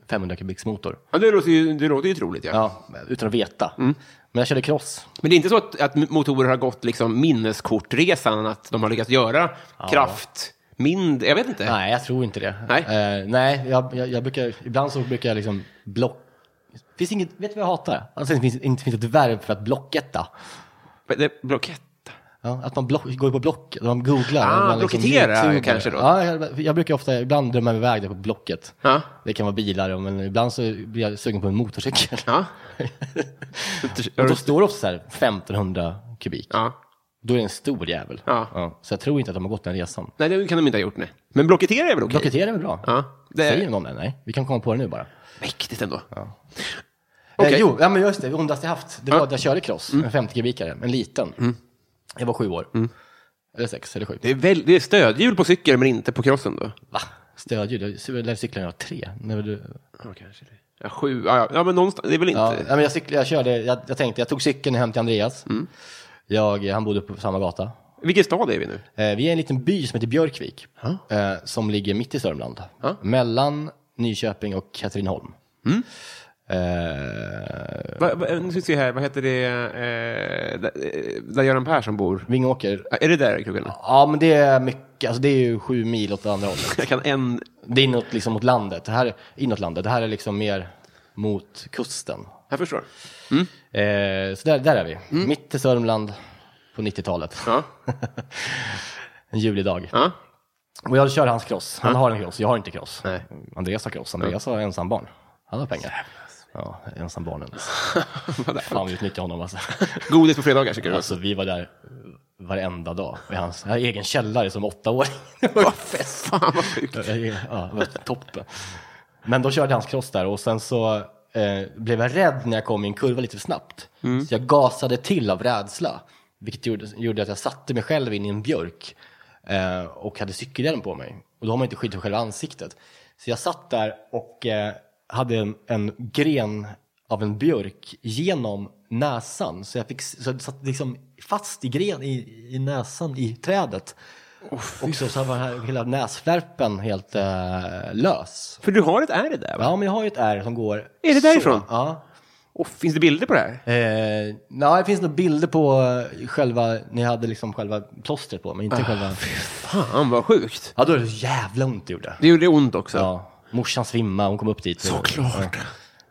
[SPEAKER 2] 500 kubiks motor.
[SPEAKER 1] Ja, det, låter ju, det låter ju troligt. Ja.
[SPEAKER 2] Ja, utan att veta. Men jag körde cross.
[SPEAKER 1] Men det är inte så att, att motorer har gått liksom minneskortresan, att de har lyckats göra kraft mindre? Jag vet inte.
[SPEAKER 2] Nej, jag tror inte det.
[SPEAKER 1] Nej.
[SPEAKER 2] Eh, nej jag, jag, jag brukar, ibland så brukar jag liksom blocka Finns inget, vet du vad jag hatar? Alltså, det finns, inte finns ett verb för att blocketta.
[SPEAKER 1] Men det- Blockett?
[SPEAKER 2] Ja, att man block, går på Block, att man googlar.
[SPEAKER 1] Ah,
[SPEAKER 2] man
[SPEAKER 1] blockettera
[SPEAKER 2] youtuber.
[SPEAKER 1] kanske då.
[SPEAKER 2] Ja, jag, jag brukar ofta, ibland drömmer jag iväg det på Blocket.
[SPEAKER 1] Ja.
[SPEAKER 2] Det kan vara bilar, men ibland så blir jag sugen på en motorcykel.
[SPEAKER 1] Ja.
[SPEAKER 2] Och då står det ofta så här 1500 kubik.
[SPEAKER 1] ja.
[SPEAKER 2] Då är det en stor jävel.
[SPEAKER 1] Ja.
[SPEAKER 2] Så jag tror inte att de har gått den resan.
[SPEAKER 1] Nej, det kan de inte ha gjort. Nej. Men blockettera är väl okej?
[SPEAKER 2] Blockettera är väl bra?
[SPEAKER 1] Ja, det är-
[SPEAKER 2] Säger någon det? Nej, vi kan komma på det nu bara.
[SPEAKER 1] Mäktigt ändå.
[SPEAKER 2] Okay.
[SPEAKER 1] Okej. Mm.
[SPEAKER 2] Eh, jo, ja, men just det, ondast jag haft. Det var att jag körde cross, en 50 kubikare, en liten. Jag var sju år. Eller sex, eller sju.
[SPEAKER 1] Det, är väl, det är stödhjul på cykeln, men inte på crossen då?
[SPEAKER 2] Va? Stödhjul? Jag lärde cykla när jag var tre. När du...
[SPEAKER 1] Ja, kanske det. Ja, sju. Ja, ja. ja, men någonstans. Det är väl inte...
[SPEAKER 2] ja, nej, men jag, cyklade, jag, körde, jag, jag tänkte, jag tog cykeln hem till Andreas.
[SPEAKER 1] Mm.
[SPEAKER 2] Jag, eh, han bodde på samma gata.
[SPEAKER 1] Vilken stad är vi nu?
[SPEAKER 2] Eh, vi är i en liten by som heter Björkvik, eh, som ligger mitt i Sörmland. Mellan Nyköping och Katrineholm.
[SPEAKER 1] Mm.
[SPEAKER 2] Eh,
[SPEAKER 1] Va, va, nu ska vi se här, vad heter det, eh, där, eh, där Göran Persson bor?
[SPEAKER 2] Vingåker.
[SPEAKER 1] Är det där krogen? Ja.
[SPEAKER 2] Ja, men det är mycket. Alltså det är ju sju mil åt andra hållet.
[SPEAKER 1] Jag kan en...
[SPEAKER 2] Det är inåt, liksom, mot landet. Det här är inåt landet. Det här är liksom mer mot kusten.
[SPEAKER 1] Jag förstår.
[SPEAKER 2] Eh, så där, där är vi. Mitt i Sörmland på 90-talet.
[SPEAKER 1] Mm. Ja.
[SPEAKER 2] en julidag.
[SPEAKER 1] Ja.
[SPEAKER 2] Och jag kör hans cross. Han har en cross, jag har inte cross.
[SPEAKER 1] Nej.
[SPEAKER 2] Andreas har cross. Andreas har ensambarn. Han har pengar. Ja, ensambarnen. Fan, vi utnyttjar honom alltså.
[SPEAKER 1] Godis på fredagar, tycker du?
[SPEAKER 2] alltså. Vi var där varenda dag. I hans jag hade egen källare som åtta år. Det var fest.
[SPEAKER 1] Fan, vad sjukt.
[SPEAKER 2] Ja, det var toppen. Men då körde hans cross där och sen så eh, blev jag rädd när jag kom i en kurva lite för snabbt. Så jag gasade till av rädsla, vilket gjorde, gjorde att jag satte mig själv in i en björk eh, och hade cykelhjälm på mig. Och då har man inte skydd för själva ansiktet. Så jag satt där och eh, hade en, en gren av en björk genom näsan. Så jag, fick, så jag satt liksom fast i gren i, i näsan i trädet. Och så, så var den här, hela näsflärpen helt eh, lös.
[SPEAKER 1] För du har ett är det där, va?
[SPEAKER 2] Ja, men jag har ju ett ärr som går...
[SPEAKER 1] Är det därifrån?
[SPEAKER 2] Så, ja.
[SPEAKER 1] Och finns det bilder på det här?
[SPEAKER 2] Eh, nej, det finns nog bilder på eh, själva, ni hade liksom själva plåstret på, men inte själva...
[SPEAKER 1] Ah, Fan, vad sjukt.
[SPEAKER 2] Ja, då är det så jävla ont det gjorde.
[SPEAKER 1] Det gjorde ont också.
[SPEAKER 2] Ja, morsan svimmade, hon kom upp dit.
[SPEAKER 1] Såklart.
[SPEAKER 2] Ja.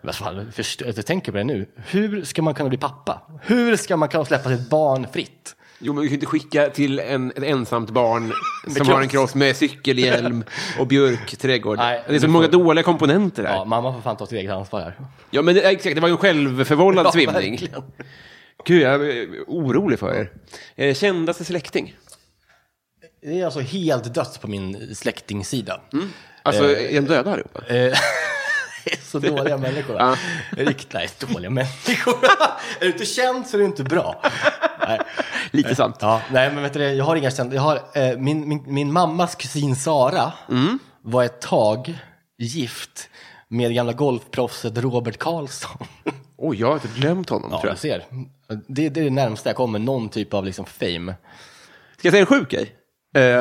[SPEAKER 2] Men fan, först, jag tänker på det nu. Hur ska man kunna bli pappa? Hur ska man kunna släppa sitt barn fritt?
[SPEAKER 1] Jo, men vi kan ju inte skicka till en, ett ensamt barn som
[SPEAKER 2] kross.
[SPEAKER 1] har en cross med cykelhjälm och björkträdgård.
[SPEAKER 2] Nej,
[SPEAKER 1] det är så
[SPEAKER 2] du
[SPEAKER 1] många
[SPEAKER 2] får-
[SPEAKER 1] dåliga komponenter där.
[SPEAKER 2] Ja,
[SPEAKER 1] Ja,
[SPEAKER 2] mamma får fan ta sitt eget ansvar här.
[SPEAKER 1] men det- exakt. Det var ju en självförvållad
[SPEAKER 2] Ja,
[SPEAKER 1] svimning.
[SPEAKER 2] verkligen.
[SPEAKER 1] Gud, jag är orolig för er. Eh, Kändaste släkting?
[SPEAKER 2] Det är alltså helt dött på min släktingsida.
[SPEAKER 1] Alltså, är de döda allihopa?
[SPEAKER 2] Så dåliga människor. Rikt, nej, dåliga människor. är du inte känd så är du inte bra. Nej.
[SPEAKER 1] Lite sant.
[SPEAKER 2] Ja, nej, men vet du, det, jag har inga kända. Jag har, eh, min, min, min mammas kusin Sara
[SPEAKER 1] Mm.
[SPEAKER 2] var ett tag gift med gamla golfproffset Robert Karlsson.
[SPEAKER 1] Oj, jag har typ glömt honom,
[SPEAKER 2] Ja,
[SPEAKER 1] tror
[SPEAKER 2] du
[SPEAKER 1] jag.
[SPEAKER 2] ser. Det, det är det närmsta jag kommer någon typ av liksom fame.
[SPEAKER 1] Ska jag säga en sjuk grej? Eh,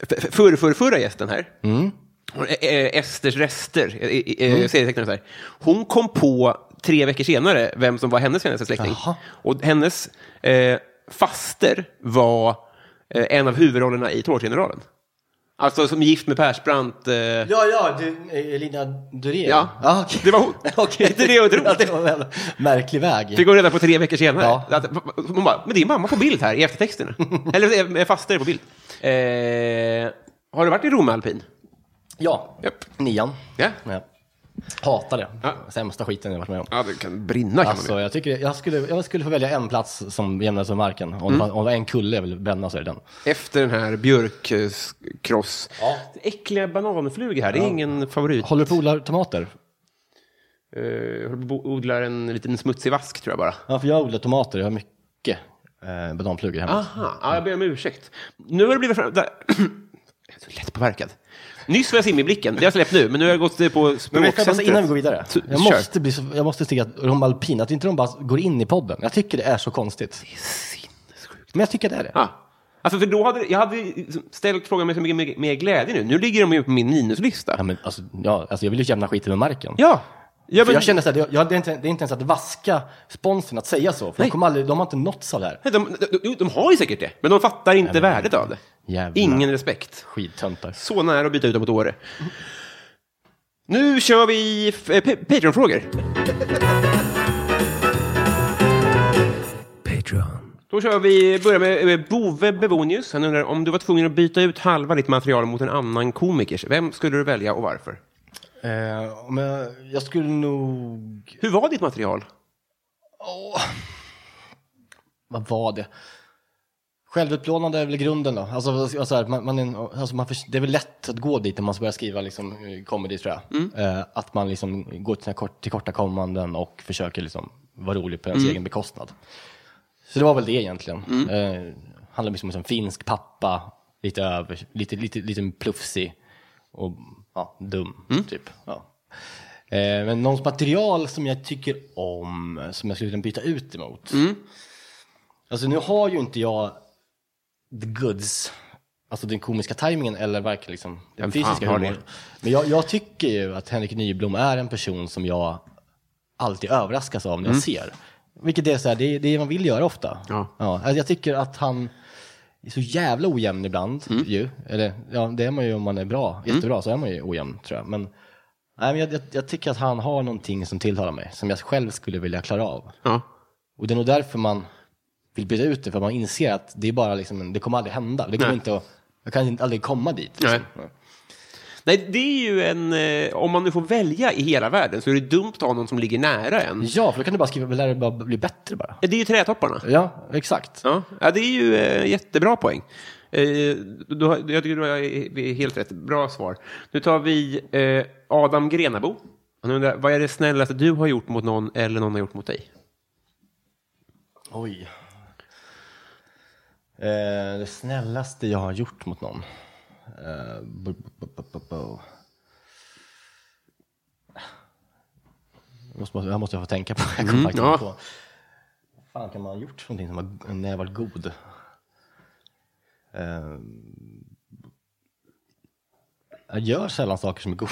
[SPEAKER 1] f- f- förr, förr, förra gästen här, hon- eh, eh, Esters rester, eh, eh, eh, serietecknaren så här. hon kom på tre veckor senare vem som var hennes senaste släkting.
[SPEAKER 2] Jaha.
[SPEAKER 1] Och hennes eh, faster var eh, en av huvudrollerna i Tårtgeneralen. Alltså som gift med Persbrandt. Eh, ja.
[SPEAKER 2] Ja, ja, du, Eh, Elina Durén. ah, okej.
[SPEAKER 1] det var hon.
[SPEAKER 2] Okej.
[SPEAKER 1] Inte det otroligt?
[SPEAKER 2] Ja, det var en jävla märklig väg.
[SPEAKER 1] Fick hon reda på tre veckor senare.
[SPEAKER 2] Ja.
[SPEAKER 1] Att, hon bara, men det är mamma på bild här i eftertexterna. Eller eh, faster på bild. Eh, har du varit i Rom med alpin?
[SPEAKER 2] Ja,
[SPEAKER 1] Japp.
[SPEAKER 2] nian.
[SPEAKER 1] Ja.
[SPEAKER 2] Ja. Hatar det.
[SPEAKER 1] Ja.
[SPEAKER 2] Sämsta skiten jag varit med om.
[SPEAKER 1] Ja, det kan brinna kan man
[SPEAKER 2] Alltså,
[SPEAKER 1] ju.
[SPEAKER 2] jag, tycker, jag, skulle, jag skulle få välja en plats som jämnades med marken. Om,
[SPEAKER 1] Mm.
[SPEAKER 2] det var, om det var en kulle jag ville bränna så är det den.
[SPEAKER 1] Efter den här björkkross.
[SPEAKER 2] Ja.
[SPEAKER 1] Äckliga bananflugor här, det är ingen favorit.
[SPEAKER 2] Håller du på att odla tomater?
[SPEAKER 1] Eh, Jag håller på att odla en liten smutsig vask tror jag bara.
[SPEAKER 2] Ja, för jag odlar tomater. Jag har mycket eh, bananplugor hemma.
[SPEAKER 1] Aha, ja, jag ber om ursäkt. Nu har det blivit... Fram... Där. Jag är så lätt påverkad. Nyss var jag simmeblicken, det har jag släppt nu, men nu har jag gått eh, på
[SPEAKER 2] Men jag kan passa
[SPEAKER 1] språkcentret.
[SPEAKER 2] innan vi går vidare.
[SPEAKER 1] Så-
[SPEAKER 2] Jag
[SPEAKER 1] kör.
[SPEAKER 2] måste, bli så, jag måste tycka att de alpina, att inte de bara går in i podden. Jag tycker det är så konstigt. Men jag tycker det är det.
[SPEAKER 1] Ja. Alltså, för då hade, jag hade liksom ställt frågan med så mycket mer- mer glädje nu. Nu ligger de ju på min minuslista.
[SPEAKER 2] Ja, men, alltså, ja, alltså, jag vill ju jämna skiten med marken.
[SPEAKER 1] Ja. Ja,
[SPEAKER 2] För
[SPEAKER 1] men-
[SPEAKER 2] jag känner så här, det, jag, det, är inte, det är inte ens att vaska sponsorn att säga så. För de, kommer aldrig, de har inte nåtts av det här.
[SPEAKER 1] Nej, De, de, de, de har ju säkert det, men de fattar inte värdet av det.
[SPEAKER 2] Jävlar.
[SPEAKER 1] Ingen respekt.
[SPEAKER 2] Skittöntar.
[SPEAKER 1] Så nära att byta ut dem mot Åre. Nu kör vi f- eh, pa- Patreon-frågor. Då kör vi, börjar med eh, Bove Bevonius. Han undrar om du var tvungen att byta ut halva ditt material mot en annan komikers. Vem skulle du välja och varför?
[SPEAKER 2] Eh, om jag, jag skulle nog...
[SPEAKER 1] Hur var ditt material?
[SPEAKER 2] Vad var det? Självutplånande är väl grunden då. Alltså, alltså, här, man, man är, en- alltså man förs- det är väl lätt att gå dit när man börjar skriva liksom, eh, comedy tror jag. Eh, att man liksom går till sina kort, tillkortakommanden och försöker liksom, vara rolig på ens egen bekostnad. Så det var väl det egentligen.
[SPEAKER 1] Mm.
[SPEAKER 2] Eh, handlar liksom om en finsk pappa, lite över, lite, lite, lite plufsig och ja, dum
[SPEAKER 1] Mm.
[SPEAKER 2] typ. Ja. Eh, men någons material som jag tycker om, som jag skulle kunna byta ut emot.
[SPEAKER 1] Mm.
[SPEAKER 2] Alltså nu har ju inte jag the goods, alltså den komiska tajmingen eller varken liksom den
[SPEAKER 1] Vem
[SPEAKER 2] fysiska
[SPEAKER 1] fan har
[SPEAKER 2] humorn.
[SPEAKER 1] det?
[SPEAKER 2] Men jag, jag tycker ju att Henrik Nyblom är en person som jag alltid överraskas av när jag ser. Vilket är så här, det är det man vill göra ofta.
[SPEAKER 1] Mm. Ja.
[SPEAKER 2] alltså jag tycker att han är så jävla ojämn ibland
[SPEAKER 1] Mm.
[SPEAKER 2] ju. Eller ja, det är man ju om man är bra, jättebra så är man ju ojämn tror jag. Men, nej, men jag, jag, jag tycker att han har någonting som tilltalar mig, som jag själv skulle vilja klara av.
[SPEAKER 1] Ja.
[SPEAKER 2] Och det är nog därför man vill byta ut det, för man inser att det är bara liksom, en- det kommer aldrig hända. Det kommer
[SPEAKER 1] Nej.
[SPEAKER 2] inte att, jag kan inte- aldrig komma dit.
[SPEAKER 1] Nej.
[SPEAKER 2] Liksom.
[SPEAKER 1] Nej, det är ju en... eh, Om man nu får välja i hela världen så är det dumt att ha någon som ligger nära en.
[SPEAKER 2] Ja, för då kan du bara skriva, lära dig bara bli bättre bara.
[SPEAKER 1] Det är ju trätopparna.
[SPEAKER 2] Ja, exakt.
[SPEAKER 1] Ja, ja det är ju eh, jättebra poäng. Eh, du, har- jag tycker du har eh, helt rätt. Bra svar. Nu tar vi eh, Adam Grenabo. Han undrar, vad är det snällaste du har gjort mot någon eller någon har gjort mot dig?
[SPEAKER 2] Oj. Eh, det snällaste jag har gjort mot någon. Eh, bu- bu- bu- bu- bu- bu. Jag måste, jag måste få tänka på. Jag kommer faktiskt
[SPEAKER 1] ja.
[SPEAKER 2] inte på. Vad fan kan man ha gjort för någonting som var, när jag var god? Eh, jag gör sällan saker som är goda.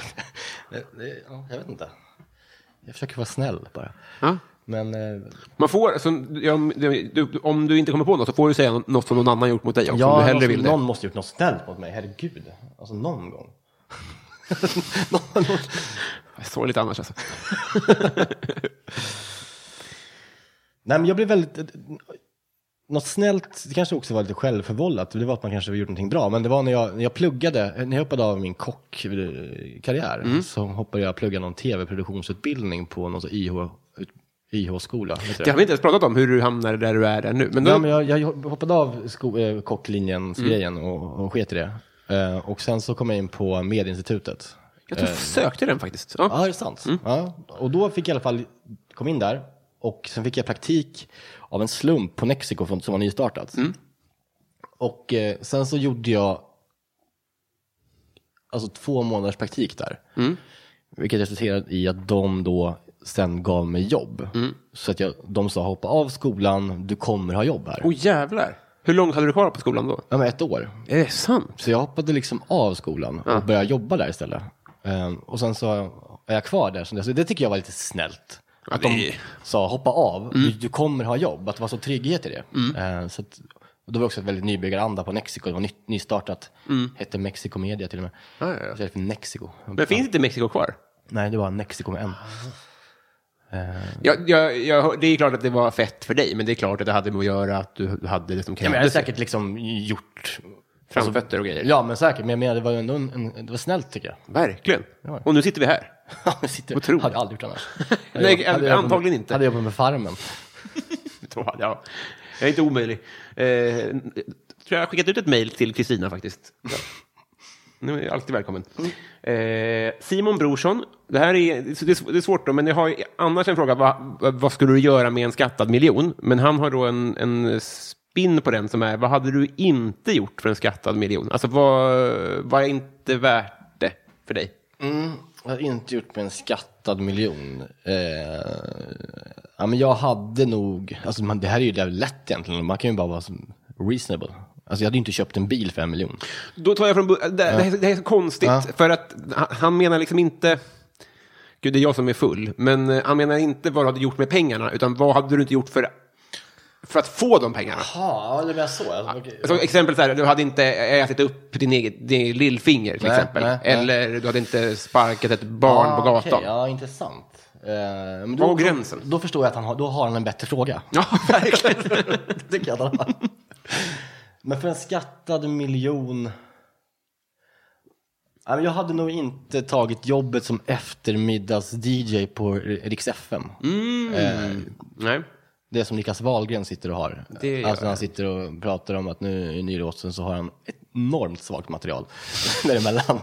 [SPEAKER 2] Det- det- ja, jag vet inte. Jag försöker vara snäll bara.
[SPEAKER 1] Ja.
[SPEAKER 2] Men eh,
[SPEAKER 1] Man får, alltså, ja, om- du, om du inte kommer på något så får du säga något som någon annan gjort mot dig också, om
[SPEAKER 2] Ja,
[SPEAKER 1] du hellre
[SPEAKER 2] någon,
[SPEAKER 1] vill det.
[SPEAKER 2] någon måste gjort något snällt mot mig, herregud. Alltså någon gång. Någon- någon-
[SPEAKER 1] Sorgligt annars alltså.
[SPEAKER 2] Nej men jag blev väldigt... Något snällt, det kanske också var lite självförvållat, det var att man kanske gjort någonting bra, men det var när jag, när jag pluggade, när jag hoppade av min kockkarriär,
[SPEAKER 1] Mm.
[SPEAKER 2] så hoppade jag plugga någon tv-produktionsutbildning på någon sån IH, IH-skola.
[SPEAKER 1] Det har vi inte ens pratat om, hur du hamnade där du är där nu. Men då,
[SPEAKER 2] Ja, men jag, jag hoppade av sko- eh, kocklinjens
[SPEAKER 1] Mm.
[SPEAKER 2] grejen och, och sket i det. Eh, och sen så kom jag in på Medieinstitutet.
[SPEAKER 1] jag tror jag sökte den faktiskt. Eh. Ja.
[SPEAKER 2] Ja, det är sant. Ja. Och då fick jag i alla fall, kom in där och sen fick jag praktik av en slump på Nexiko från- som var nystartat. Och eh, sen så gjorde jag alltså två månaders praktik där. Vilket resulterade i att de då sen gav mig jobb. Så att jag, de sa hoppa av skolan, du kommer ha jobb här.
[SPEAKER 1] Åh jävlar. Hur långt hade du kvar på skolan då?
[SPEAKER 2] Ja, men ett år.
[SPEAKER 1] Är det sant?
[SPEAKER 2] Så jag hoppade liksom av skolan och började jobba där istället. Ehm, och sen så är jag kvar där. Så det- så det tycker jag var lite snällt. Att de
[SPEAKER 1] det-
[SPEAKER 2] sa hoppa av,
[SPEAKER 1] Mm.
[SPEAKER 2] du, du kommer ha jobb. Att det var så trygghet i det. Ehm, så att, och det var också ett väldigt nybyggaranda på Mexiko. Det var ny, nystartat. Hette Mexico Media till och med.
[SPEAKER 1] Mm. Ja, ja, ja.
[SPEAKER 2] Istället för Mexico.
[SPEAKER 1] Men finns inte Mexiko kvar?
[SPEAKER 2] Nej, det var Mexico med en.
[SPEAKER 1] Ja, ja, ja, det är klart att det var fett för dig, men det är klart att det hade med att göra att du hade det som
[SPEAKER 2] Ja, men jag hade
[SPEAKER 1] krävdes.
[SPEAKER 2] säkert liksom gjort...
[SPEAKER 1] Framfötter och grejer.
[SPEAKER 2] Ja, men säkert. Men jag menar, det var ju ändå en, en, det var snällt tycker jag.
[SPEAKER 1] Verkligen.
[SPEAKER 2] Ja.
[SPEAKER 1] Och nu sitter vi här.
[SPEAKER 2] Jag sitter,
[SPEAKER 1] Otroligt.
[SPEAKER 2] hade jag aldrig gjort annars.
[SPEAKER 1] Nej,
[SPEAKER 2] Hade jag- hade jag-
[SPEAKER 1] antagligen inte.
[SPEAKER 2] Hade jag jobbat med Farmen.
[SPEAKER 1] Då, ja. Jag är inte omöjlig. Eh, jag tror jag har skickat ut ett mejl till Kristina faktiskt. Ja. Nu är jag alltid välkommen. Eh, Simon Brorsson, det här är, så det är sv- det är svårt då, men jag har ju annars en fråga. Vad, vad- vad skulle du göra med en skattad miljon? Men han har då en, en spinn på den som är, vad hade du inte gjort för en skattad miljon? Alltså vad, vad är inte värt det för dig?
[SPEAKER 2] Jag har inte gjort med en skattad miljon. Eh, ja, men jag hade nog, alltså man, det här är ju jävligt lätt egentligen. Man kan ju bara vara så reasonable. Alltså jag hade ju inte köpt en bil för en miljon.
[SPEAKER 1] Då tar jag från början. Det, det, här- det här är så konstigt,
[SPEAKER 2] Ja.
[SPEAKER 1] för att han- han menar liksom inte... Gud, det är jag som är full. Men eh, han menar inte vad du hade gjort med pengarna, utan vad hade du inte gjort för, för att få de pengarna?
[SPEAKER 2] Ja, det var så. Alltså,
[SPEAKER 1] Som exempel så här, du hade inte ätit upp din egen din egen lillfinger till
[SPEAKER 2] Nej, Ah,
[SPEAKER 1] exempel.
[SPEAKER 2] nej, nej.
[SPEAKER 1] Eller du hade inte sparkat ett barn på gatan.
[SPEAKER 2] Ja, intressant. Eh, men
[SPEAKER 1] Var
[SPEAKER 2] då,
[SPEAKER 1] går gränsen?
[SPEAKER 2] Då, då förstår jag att han har, då har han en bättre fråga.
[SPEAKER 1] Ja, verkligen.
[SPEAKER 2] Det tycker jag att han har. Men för en skattad miljon... Nej, men Jag hade nog inte tagit jobbet som eftermiddags-DJ på Rix FM.
[SPEAKER 1] Nej.
[SPEAKER 2] Det som Niklas Wahlgren sitter och har.
[SPEAKER 1] Det gör
[SPEAKER 2] alltså när han sitter och pratar om att nu i nylåten så har han ett enormt svagt material däremellan.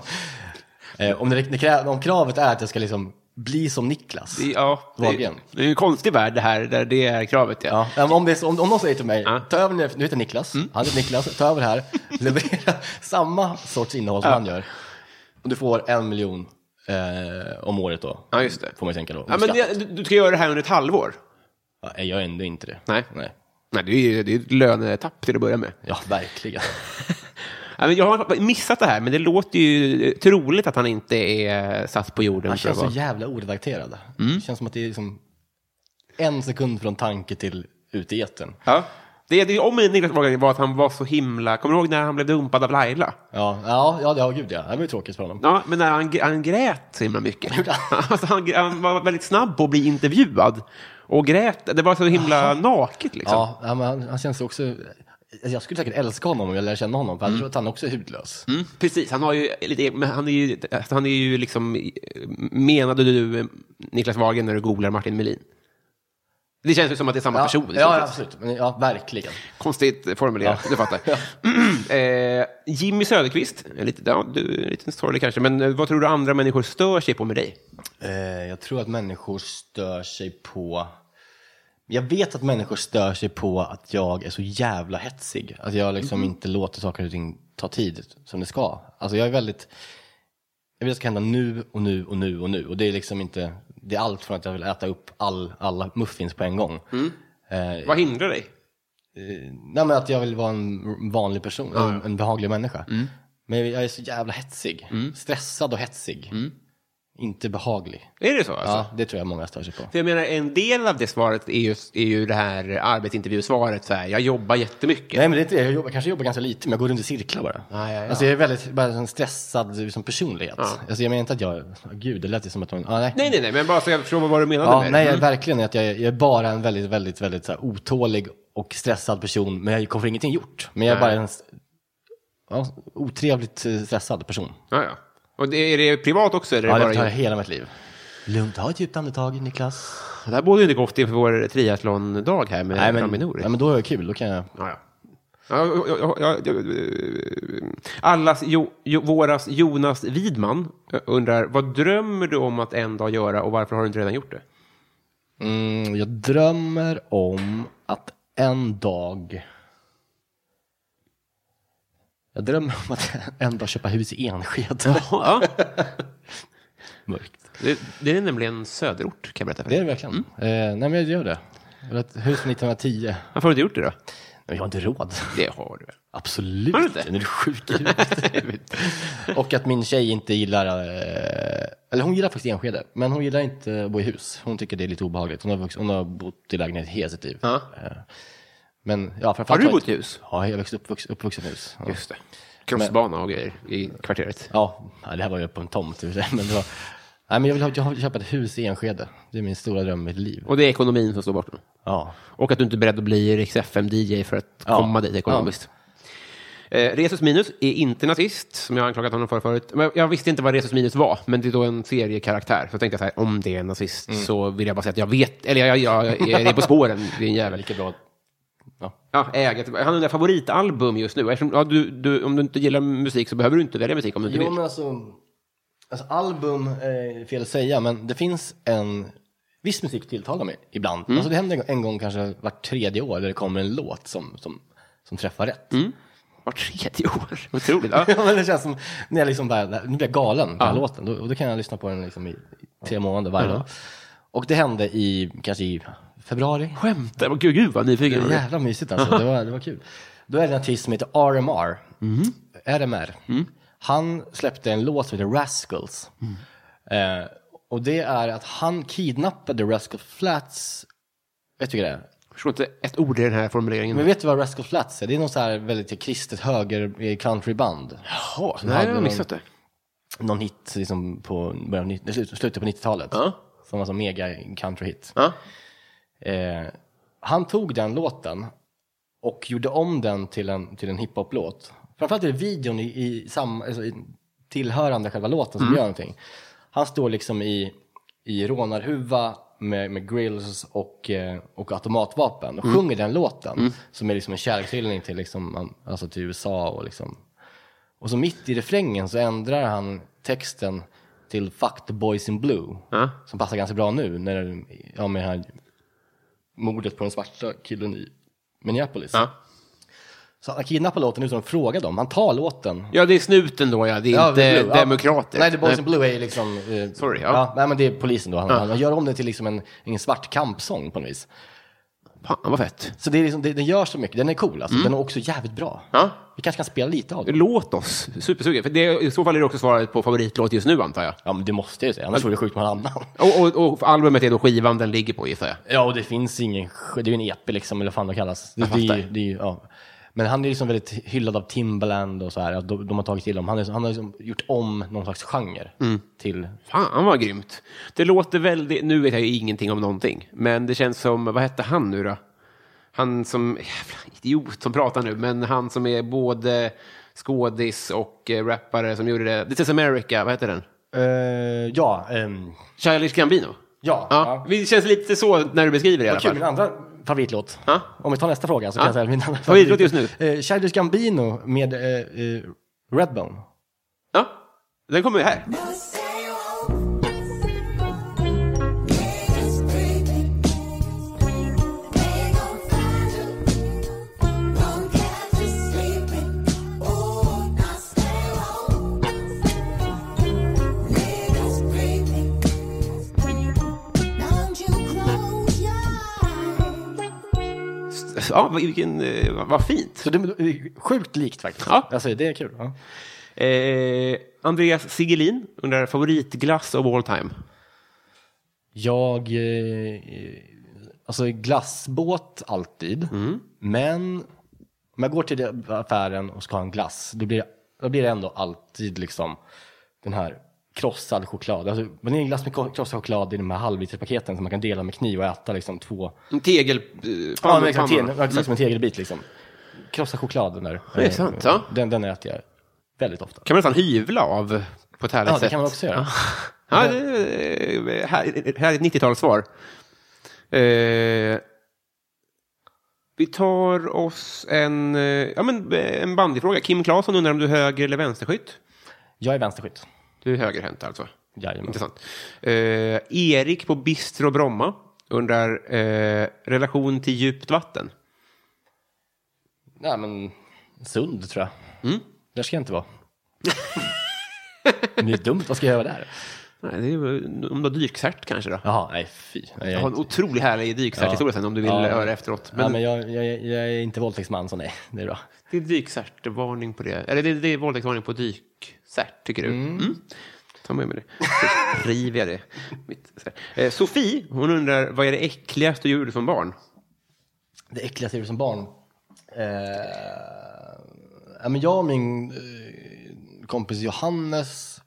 [SPEAKER 2] Eh, om, det, det krä- om kravet är att jag ska liksom bli som Niklas.
[SPEAKER 1] Det, ja, det,
[SPEAKER 2] Wahlgren.
[SPEAKER 1] det är en konstig värld det här, där det är kravet. Ja.
[SPEAKER 2] Ja, men om, det är så, om, om någon säger till mig,
[SPEAKER 1] Ja. Mm.
[SPEAKER 2] ta över nu, nu heter Niklas, han heter Niklas, ta över det här, leverera samma sorts innehåll som han gör. Och du får en miljon eh, om året då.
[SPEAKER 1] Ja, just det.
[SPEAKER 2] Får man ju tänka då.
[SPEAKER 1] Ja, men
[SPEAKER 2] Skatt.
[SPEAKER 1] det, du, du ska göra det här under ett halvår.
[SPEAKER 2] Ja, jag gör ändå inte det.
[SPEAKER 1] Nej.
[SPEAKER 2] Nej.
[SPEAKER 1] Nej, det är ju det är ett lönetapp till att börja med.
[SPEAKER 2] Ja, verkligen.
[SPEAKER 1] Ja, men jag har missat det här, men det låter ju troligt att han inte är satt på jorden.
[SPEAKER 2] Han
[SPEAKER 1] för att
[SPEAKER 2] känns så
[SPEAKER 1] vara-
[SPEAKER 2] jävla oredakterad. Det känns som att det är liksom en sekund från tanke till ut i etern.
[SPEAKER 1] Ja. Det, det om med Niklas Wahlgren var att han var så himla... Kommer du ihåg när han blev dumpad av Laila?
[SPEAKER 2] Ja, ja, ja, ja, gud ja. Det var ju tråkigt för honom.
[SPEAKER 1] Ja, men när han, gr- han grät så himla mycket. alltså, han, han var väldigt snabb på att bli intervjuad. Och grät. Det var så himla naket liksom.
[SPEAKER 2] Ja, ja men han, han känns också... Jag skulle säkert älska honom om jag lärde känna honom, för jag tror att han också är hudlös.
[SPEAKER 1] Mm, precis, han, har ju lite, men han, är ju, alltså, han är ju liksom... eh, Menade du eh, Niklas Wahlgren när du googlar Martin Melin? Det känns ju som att det är samma
[SPEAKER 2] Ja,
[SPEAKER 1] person. i stort
[SPEAKER 2] ja,
[SPEAKER 1] sett.
[SPEAKER 2] ja, absolut. Men, ja, verkligen.
[SPEAKER 1] Konstigt formulerat, du fattar. eh, Jimmy Söderqvist, en lite, ja, du, är lite sorglig kanske, men eh, vad tror du andra människor stör sig på med dig?
[SPEAKER 2] Eh, jag tror att människor stör sig på... Jag vet att människor stör sig på att jag är så jävla hetsig. Att jag liksom inte låter saker och ting ta tid som det ska. Alltså jag är väldigt... Jag vill att det ska hända nu och nu och nu och nu. Och det är liksom inte... Det är allt från att jag vill äta upp all, alla muffins på en gång. Eh,
[SPEAKER 1] Vad hindrar dig?
[SPEAKER 2] Nej men att jag vill vara en vanlig person, en, en behaglig människa. Men jag- jag är så jävla hetsig. Stressad och hetsig. Inte behaglig.
[SPEAKER 1] Är det så? Alltså?
[SPEAKER 2] Ja, det tror jag många stör sig på.
[SPEAKER 1] För jag menar, en del av det svaret är ju, är ju det här arbetsintervjusvaret, så här, jag jobbar jättemycket.
[SPEAKER 2] Nej men det är inte det, jag jobbar, kanske jobbar ganska lite men jag går runt i cirklar bara.
[SPEAKER 1] Ja, ja, ja.
[SPEAKER 2] Alltså jag är väldigt bara, en stressad liksom, personlighet. Alltså jag menar inte att jag, oh, gud det lät ju som att man, ah, nej.
[SPEAKER 1] Nej, nej, nej, men bara så jag förstår vad du menade
[SPEAKER 2] ja,
[SPEAKER 1] med
[SPEAKER 2] nej
[SPEAKER 1] det. Mm.
[SPEAKER 2] jag, verkligen att jag, är- jag är bara en väldigt, väldigt, väldigt så här, otålig och stressad person men jag kommer ingenting gjort. Men jag är bara en s- ja, otrevligt eh, stressad person.
[SPEAKER 1] Ja, ja. Och det, är det privat också? Eller
[SPEAKER 2] Ja,
[SPEAKER 1] är det
[SPEAKER 2] det
[SPEAKER 1] bara...
[SPEAKER 2] tar jag hela mitt liv. Lugnt, ta ett djupt andetag Niklas.
[SPEAKER 1] Det här borde ju inte gått inför vår triathlon-dag här med
[SPEAKER 2] Nej men,
[SPEAKER 1] Raminori.
[SPEAKER 2] nej, men då är det kul, då kan jag...
[SPEAKER 1] Ja, ja. Ja, ja, ja, ja, ja, eh, Allas, jo, jo, våras Jonas Widman eh, undrar, vad drömmer du om att en dag göra och varför har du inte redan gjort det?
[SPEAKER 2] Mm, jag drömmer om att en dag... Jag drömmer om att en dag köpa hus i Enskede.
[SPEAKER 1] Ja,
[SPEAKER 2] Mörkt.
[SPEAKER 1] det, det är nämligen söderort kan jag berätta för
[SPEAKER 2] Det är
[SPEAKER 1] dig.
[SPEAKER 2] det verkligen. Eh, nej men jag gör det. Eller ett hus från 1910. Nej,
[SPEAKER 1] Varför har du inte gjort det då?
[SPEAKER 2] men jag har inte råd.
[SPEAKER 1] Det har du väl?
[SPEAKER 2] Absolut
[SPEAKER 1] Har du
[SPEAKER 2] inte.
[SPEAKER 1] inte?
[SPEAKER 2] Är du sjuk i huvudet? Och att min tjej inte gillar, eh, eller hon gillar faktiskt Enskede, men hon gillar inte att bo i hus. Hon tycker det är lite obehagligt. Hon har, vux- hon har bott i lägenhet hela sitt liv.
[SPEAKER 1] Ja.
[SPEAKER 2] Eh, Men, ja, framförallt
[SPEAKER 1] Har du
[SPEAKER 2] jag
[SPEAKER 1] bott
[SPEAKER 2] inte-
[SPEAKER 1] i hus?
[SPEAKER 2] Ja, jag växte upp, vux, uppvuxen i hus. Ja.
[SPEAKER 1] Just det. Crossbana och grejer i kvarteret.
[SPEAKER 2] Ja, nej, det här var ju på en tomt i och för sig, men det var... Nej, men jag vill ha, jag vill köpa ett hus i Enskede. Det är min stora dröm i mitt liv.
[SPEAKER 1] Och det är ekonomin som står bakom.
[SPEAKER 2] Ja.
[SPEAKER 1] Och att du inte är beredd att bli Rix FM-DJ för att
[SPEAKER 2] Ja.
[SPEAKER 1] komma dit ekonomiskt. Eh, Resus Minus är inte nazist, som jag har anklagat honom för förut. Men jag visste inte vad Resus Minus var, men det är då en seriekaraktär. Så jag tänkte jag så här, om det är en nazist så vill jag bara säga att jag vet, eller jag, jag, jag, jag är på spåren, din jävel.
[SPEAKER 2] Lika bra.
[SPEAKER 1] Ja, äget. Han har dina favoritalbum just nu. Eftersom, ja, du, du, om du inte gillar musik så behöver du inte välja musik om du inte
[SPEAKER 2] Jo,
[SPEAKER 1] vill.
[SPEAKER 2] men alltså, alltså album eh, är fel att säga, men det finns en viss musik tilltalar mig ibland. Alltså det händer en gång- en gång kanske vart tredje år där det kommer en låt som, som, som träffar rätt.
[SPEAKER 1] Vart tredje år. Otroligt. Ja.
[SPEAKER 2] Ja, men det känns som när jag liksom bara, nu blir jag galen på den här låten. Då, och då kan jag lyssna på den liksom i i tre månader varje dag. Och det hände i, kanske i februari.
[SPEAKER 1] Skämtar du? Gud, gud vad nyfiken jag
[SPEAKER 2] Det var
[SPEAKER 1] blev.
[SPEAKER 2] jävla mysigt alltså, det var, det var kul. Då är det en artist som heter RMR.
[SPEAKER 1] Mhm.
[SPEAKER 2] RMR.
[SPEAKER 1] Mm.
[SPEAKER 2] Han släppte en låt som heter Rascals.
[SPEAKER 1] Mm.
[SPEAKER 2] Eh, och det är att han kidnappade Rascal Flats, vet du vad det är?
[SPEAKER 1] Jag förstår inte ett ord i den här formuleringen.
[SPEAKER 2] Men vet du vad Rascal Flats är? Det är någon så här väldigt kristet höger eh, countryband.
[SPEAKER 1] Jaha,
[SPEAKER 2] hade
[SPEAKER 1] nej, jag har
[SPEAKER 2] någon-
[SPEAKER 1] missat det.
[SPEAKER 2] Någon hit liksom på början, av nitt- slutet på 90-talet.
[SPEAKER 1] Ja.
[SPEAKER 2] som var så mega countryhit.
[SPEAKER 1] Ja.
[SPEAKER 2] Eh, han tog den låten och gjorde om den till en, till en hiphop-låt. Framförallt är det videon i, i, sam, alltså i tillhörande själva låten
[SPEAKER 1] Mm.
[SPEAKER 2] som gör någonting. Han står liksom i, i rånarhuva med, med grills och, eh, och automatvapen
[SPEAKER 1] Mm.
[SPEAKER 2] och sjunger den låten som är liksom en kärlekshyllning till, liksom, man- alltså till USA och liksom och så mitt i refrängen så ändrar han texten till Fuck the boys in blue. Som passar ganska bra nu när, ja, med det här mordet på den svarta killen i Minneapolis.
[SPEAKER 1] Ja.
[SPEAKER 2] Så han kidnappar låten utan att fråga dem. Han tar låten.
[SPEAKER 1] Ja, det är snuten då, ja. Det är
[SPEAKER 2] Ja,
[SPEAKER 1] inte
[SPEAKER 2] Blue, ja.
[SPEAKER 1] demokrater.
[SPEAKER 2] Nej, the boys in blue är ju liksom... eh,
[SPEAKER 1] Sorry, ja.
[SPEAKER 2] nej, men det är polisen då. Han, han gör om det till liksom en, en svart kampsång på något vis.
[SPEAKER 1] Fan, vad fett.
[SPEAKER 2] Så det är liksom, det, den gör så mycket. Den är cool alltså. Den är också jävligt bra.
[SPEAKER 1] Mm. Ja.
[SPEAKER 2] Vi kanske kan spela lite av den.
[SPEAKER 1] Låt oss. Supersugen. För det, I så fall är det också svaret på favoritlåt just nu, antar jag.
[SPEAKER 2] Ja, men det måste jag ju säga. Annars vore det sjukt med någon annan.
[SPEAKER 1] Och, och, och albumet är då skivan den ligger på, gissar jag.
[SPEAKER 2] Ja, och det finns ingen... sk- Det är ju en EP liksom, eller vad fan det kallas. Det, det, är ju-
[SPEAKER 1] fattar.
[SPEAKER 2] det, är ju- ja. Men han är liksom väldigt hyllad av Timbaland och så här. att De, de har tagit till honom. Han, är, han har liksom gjort om någon slags genre
[SPEAKER 1] Mm.
[SPEAKER 2] till...
[SPEAKER 1] Fan vad grymt. Det låter väldigt, nu vet jag ju ingenting om någonting, men det känns som, vad hette han nu då? Han som, jävla idiot som pratar nu, men han som är både skådis och eh, rappare som gjorde det. This is America, vad heter den?
[SPEAKER 2] Eh, ja, ehm,
[SPEAKER 1] Childish Gambino?
[SPEAKER 2] ja.
[SPEAKER 1] Ja, det känns lite så när du beskriver det i alla
[SPEAKER 2] Kul,
[SPEAKER 1] fall.
[SPEAKER 2] min andra favoritlåt.
[SPEAKER 1] Ja.
[SPEAKER 2] Om vi tar nästa fråga så kan
[SPEAKER 1] Ja.
[SPEAKER 2] jag säga min andra
[SPEAKER 1] Favoritlåt just nu?
[SPEAKER 2] Eh, Childish Gambino med eh, eh, Redbone.
[SPEAKER 1] Ja, den kommer ju här. Ja, vad- vilken, eh, vad- vad fint.
[SPEAKER 2] Så det är sjukt likt faktiskt.
[SPEAKER 1] Ja.
[SPEAKER 2] Alltså, det är kul. Ja.
[SPEAKER 1] Eh, Andreas Sigelin undrar favoritglass of all time.
[SPEAKER 2] Jag... Eh, eh, alltså glassbåt alltid.
[SPEAKER 1] Mm.
[SPEAKER 2] Men om jag går till det- affären och ska ha en glass, då blir det, då blir det ändå alltid liksom den här krossad choklad. Alltså, vaniljglass med ko- krossad choklad i de här halvliterspaketen som man kan dela med kniv och äta liksom två...
[SPEAKER 1] En tegel... eh,
[SPEAKER 2] Ja,
[SPEAKER 1] fan-
[SPEAKER 2] men exakt,
[SPEAKER 1] fan-
[SPEAKER 2] te- ja, exakt som en tegelbit liksom. Krossad choklad den där. eh,
[SPEAKER 1] det är sant, ja.
[SPEAKER 2] Den, den äter jag väldigt ofta.
[SPEAKER 1] kan man nästan hyvla av på ett härligt
[SPEAKER 2] Ja,
[SPEAKER 1] sätt.
[SPEAKER 2] det kan man också göra.
[SPEAKER 1] Ja, det är eh, här, här är ett 90-talssvar. Eh, vi tar oss en, eh, ja, men, eh, en bandyfråga. Kim Claesson undrar om du är höger eller vänsterskytt?
[SPEAKER 2] Jag är vänsterskytt.
[SPEAKER 1] Du är högerhänt alltså?
[SPEAKER 2] Jajamän.
[SPEAKER 1] Intressant. Eh, Erik på Bistro Bromma undrar eh, relation till djupt vatten.
[SPEAKER 2] Nej, men sund tror jag. Där ska jag inte vara. det är dumt, vad ska jag göra där?
[SPEAKER 1] Nej, det är, ju- om du har dykcert kanske då?
[SPEAKER 2] Jaha, nej fy. Nej,
[SPEAKER 1] Jag
[SPEAKER 2] jag
[SPEAKER 1] har
[SPEAKER 2] är
[SPEAKER 1] en
[SPEAKER 2] inte,
[SPEAKER 1] otroligt härlig dykcerthistoria sen om du vill
[SPEAKER 2] Ja.
[SPEAKER 1] höra efteråt.
[SPEAKER 2] ja,
[SPEAKER 1] Men,
[SPEAKER 2] men jag, jag, jag jag är inte våldtäktsman så nej, det är bra.
[SPEAKER 1] Det är dykcert-varning på det. Eller det, det är våldtäktsvarning på dykcert, tycker du? Mm. Ta med mig det. Så river jag det. Mitt, så här. eh, Sofie, hon undrar vad är det äckligaste du gjorde som barn?
[SPEAKER 2] Det äckligaste jag gjorde som barn? Eh, ja, men jag och min eh, kompis Johannes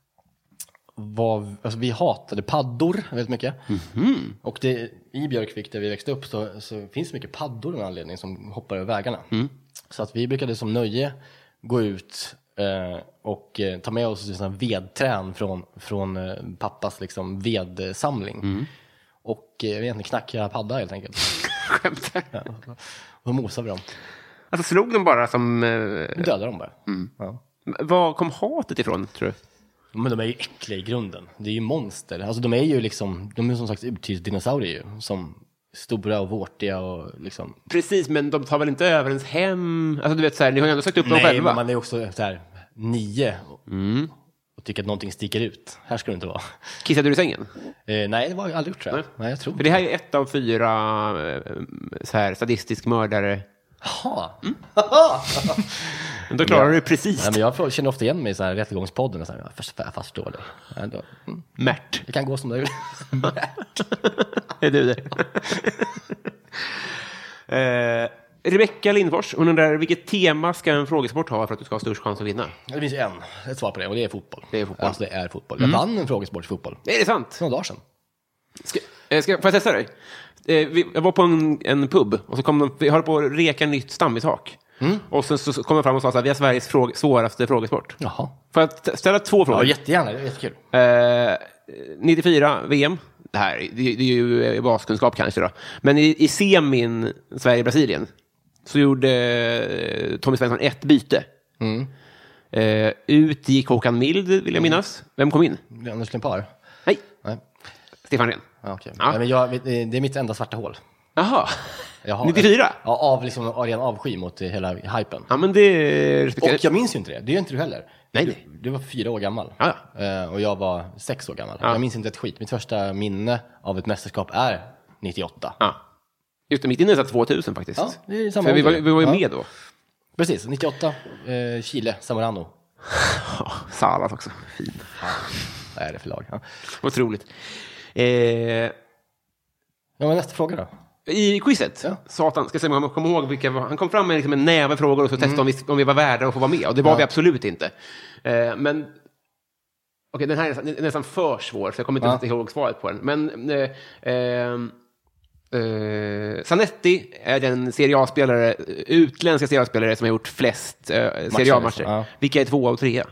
[SPEAKER 2] var, alltså vi hatade paddor väldigt mycket. Och det, i Björkvik där vi växte upp så, så finns det mycket paddor av en anledning som hoppar över vägarna. Så att vi brukade som nöje gå ut eh, och eh, ta med oss sådana vedträn från, från eh, pappas liksom, vedsamling. Och eh, jag vet inte, knacka padda helt enkelt.
[SPEAKER 1] Skämtar
[SPEAKER 2] Och då mosade vi dem.
[SPEAKER 1] Alltså slog de bara som... Eh,
[SPEAKER 2] Nu dödar de bara. Ja.
[SPEAKER 1] var kom hatet ifrån, tror du?
[SPEAKER 2] Men de är ju äckliga i grunden. Det är ju monster. Alltså de är ju liksom, de är som sagt urtidsdinosaurier ju. Som stora och vårtiga och liksom.
[SPEAKER 1] Precis, men de tar väl inte över ens hem? Alltså du vet, så här, ni har ju ändå sökt upp dem
[SPEAKER 2] Nej,
[SPEAKER 1] själva.
[SPEAKER 2] men man är ju också så här nio. Och, och tycker att någonting sticker ut. Här ska det inte vara.
[SPEAKER 1] Kissade du i sängen?
[SPEAKER 2] Eh, nej, det var jag aldrig gjort tror jag. Nej, jag tror
[SPEAKER 1] För
[SPEAKER 2] inte.
[SPEAKER 1] det här är ett av fyra eh, så här, sadistisk mördare.
[SPEAKER 2] Jaha.
[SPEAKER 1] Men då klarar du precis.
[SPEAKER 2] Nej, men jag får- känner ofta igen mig i så här rättegångspodden. Och så här, jag först- jag förstår det. Ja, då- Mm.
[SPEAKER 1] Märt.
[SPEAKER 2] Det kan gå som det vill.
[SPEAKER 1] Är du det? eh, Rebecka Lindfors, hon undrar vilket tema ska en frågesport ha för att du ska ha störst chans att vinna?
[SPEAKER 2] Det finns ju en, ett svar på det och det är fotboll.
[SPEAKER 1] Det är fotboll.
[SPEAKER 2] Alltså det är fotboll. Jag vann en frågesport i fotboll.
[SPEAKER 1] Är det sant?
[SPEAKER 2] För några dagar sedan.
[SPEAKER 1] Ska, eh, ska, får jag testa dig? Eh, vi, jag var på en, en pub och så kom de, vi höll på att reka nytt stammistak.
[SPEAKER 2] Mm.
[SPEAKER 1] Och sen så, så kom de fram och sa så här, vi har Sveriges fråg, svåraste frågesport.
[SPEAKER 2] Jaha.
[SPEAKER 1] Får jag t- ställa två
[SPEAKER 2] Ja,
[SPEAKER 1] frågor?
[SPEAKER 2] jättegärna. Det är jättekul.
[SPEAKER 1] Eh, 94 VM. Det här det, det är ju eh, baskunskap kanske. Då. Men i, i semin Sverige-Brasilien så gjorde eh, Tommy Svensson ett byte.
[SPEAKER 2] Mm.
[SPEAKER 1] Eh, ut gick Håkan Mild, vill jag minnas. Vem kom in?
[SPEAKER 2] Det är Anders Limpar?
[SPEAKER 1] Nej,
[SPEAKER 2] Mm. Nej.
[SPEAKER 1] Stefan Rehn.
[SPEAKER 2] Ja, okej.
[SPEAKER 1] Ja.
[SPEAKER 2] Nej, men jag, det är mitt enda svarta hål.
[SPEAKER 1] Jaha.
[SPEAKER 2] Jag har-
[SPEAKER 1] 94?
[SPEAKER 2] Ja, av liksom av ren avsky mot eh, hela hypen.
[SPEAKER 1] Ja, men det
[SPEAKER 2] Och
[SPEAKER 1] respekterar jag.
[SPEAKER 2] jag minns ju inte det. Det gör inte du heller.
[SPEAKER 1] Nej,
[SPEAKER 2] du,
[SPEAKER 1] nej.
[SPEAKER 2] du var fyra år gammal.
[SPEAKER 1] Ja,
[SPEAKER 2] Eh, Och jag var sex år gammal. Jag minns inte ett skit. Mitt första minne av ett mästerskap är 98.
[SPEAKER 1] Ja. Just det, mitt inne satt 2000 faktiskt.
[SPEAKER 2] Ja, det är samma
[SPEAKER 1] För vi, var,
[SPEAKER 2] ålder.
[SPEAKER 1] vi var ju
[SPEAKER 2] Ja.
[SPEAKER 1] med då.
[SPEAKER 2] Precis, 98. Eh, Chile, Zamorano.
[SPEAKER 1] Salas också. Fin.
[SPEAKER 2] Vad är det för lag? Ja.
[SPEAKER 1] Otroligt. Eh,
[SPEAKER 2] Ja, men nästa fråga då.
[SPEAKER 1] I quizet,
[SPEAKER 2] Ja.
[SPEAKER 1] Satan, ska jag säga om jag kommer ihåg vilka var, han kom fram med liksom en näve frågor och så testade om, vi, om vi var värda att få vara med. Och det var vi absolut inte. Eh, men, okej, den här är nästan, den är nästan för svår, så jag kommer inte
[SPEAKER 2] Ja.
[SPEAKER 1] riktigt ihåg svaret på den. Men eh, eh, eh, Zanetti är den Serie A-spelare, utländska Serie A-spelare som har gjort flest eh, Serie A-matcher.
[SPEAKER 2] liksom. Ja.
[SPEAKER 1] Vilka är tvåa och trea?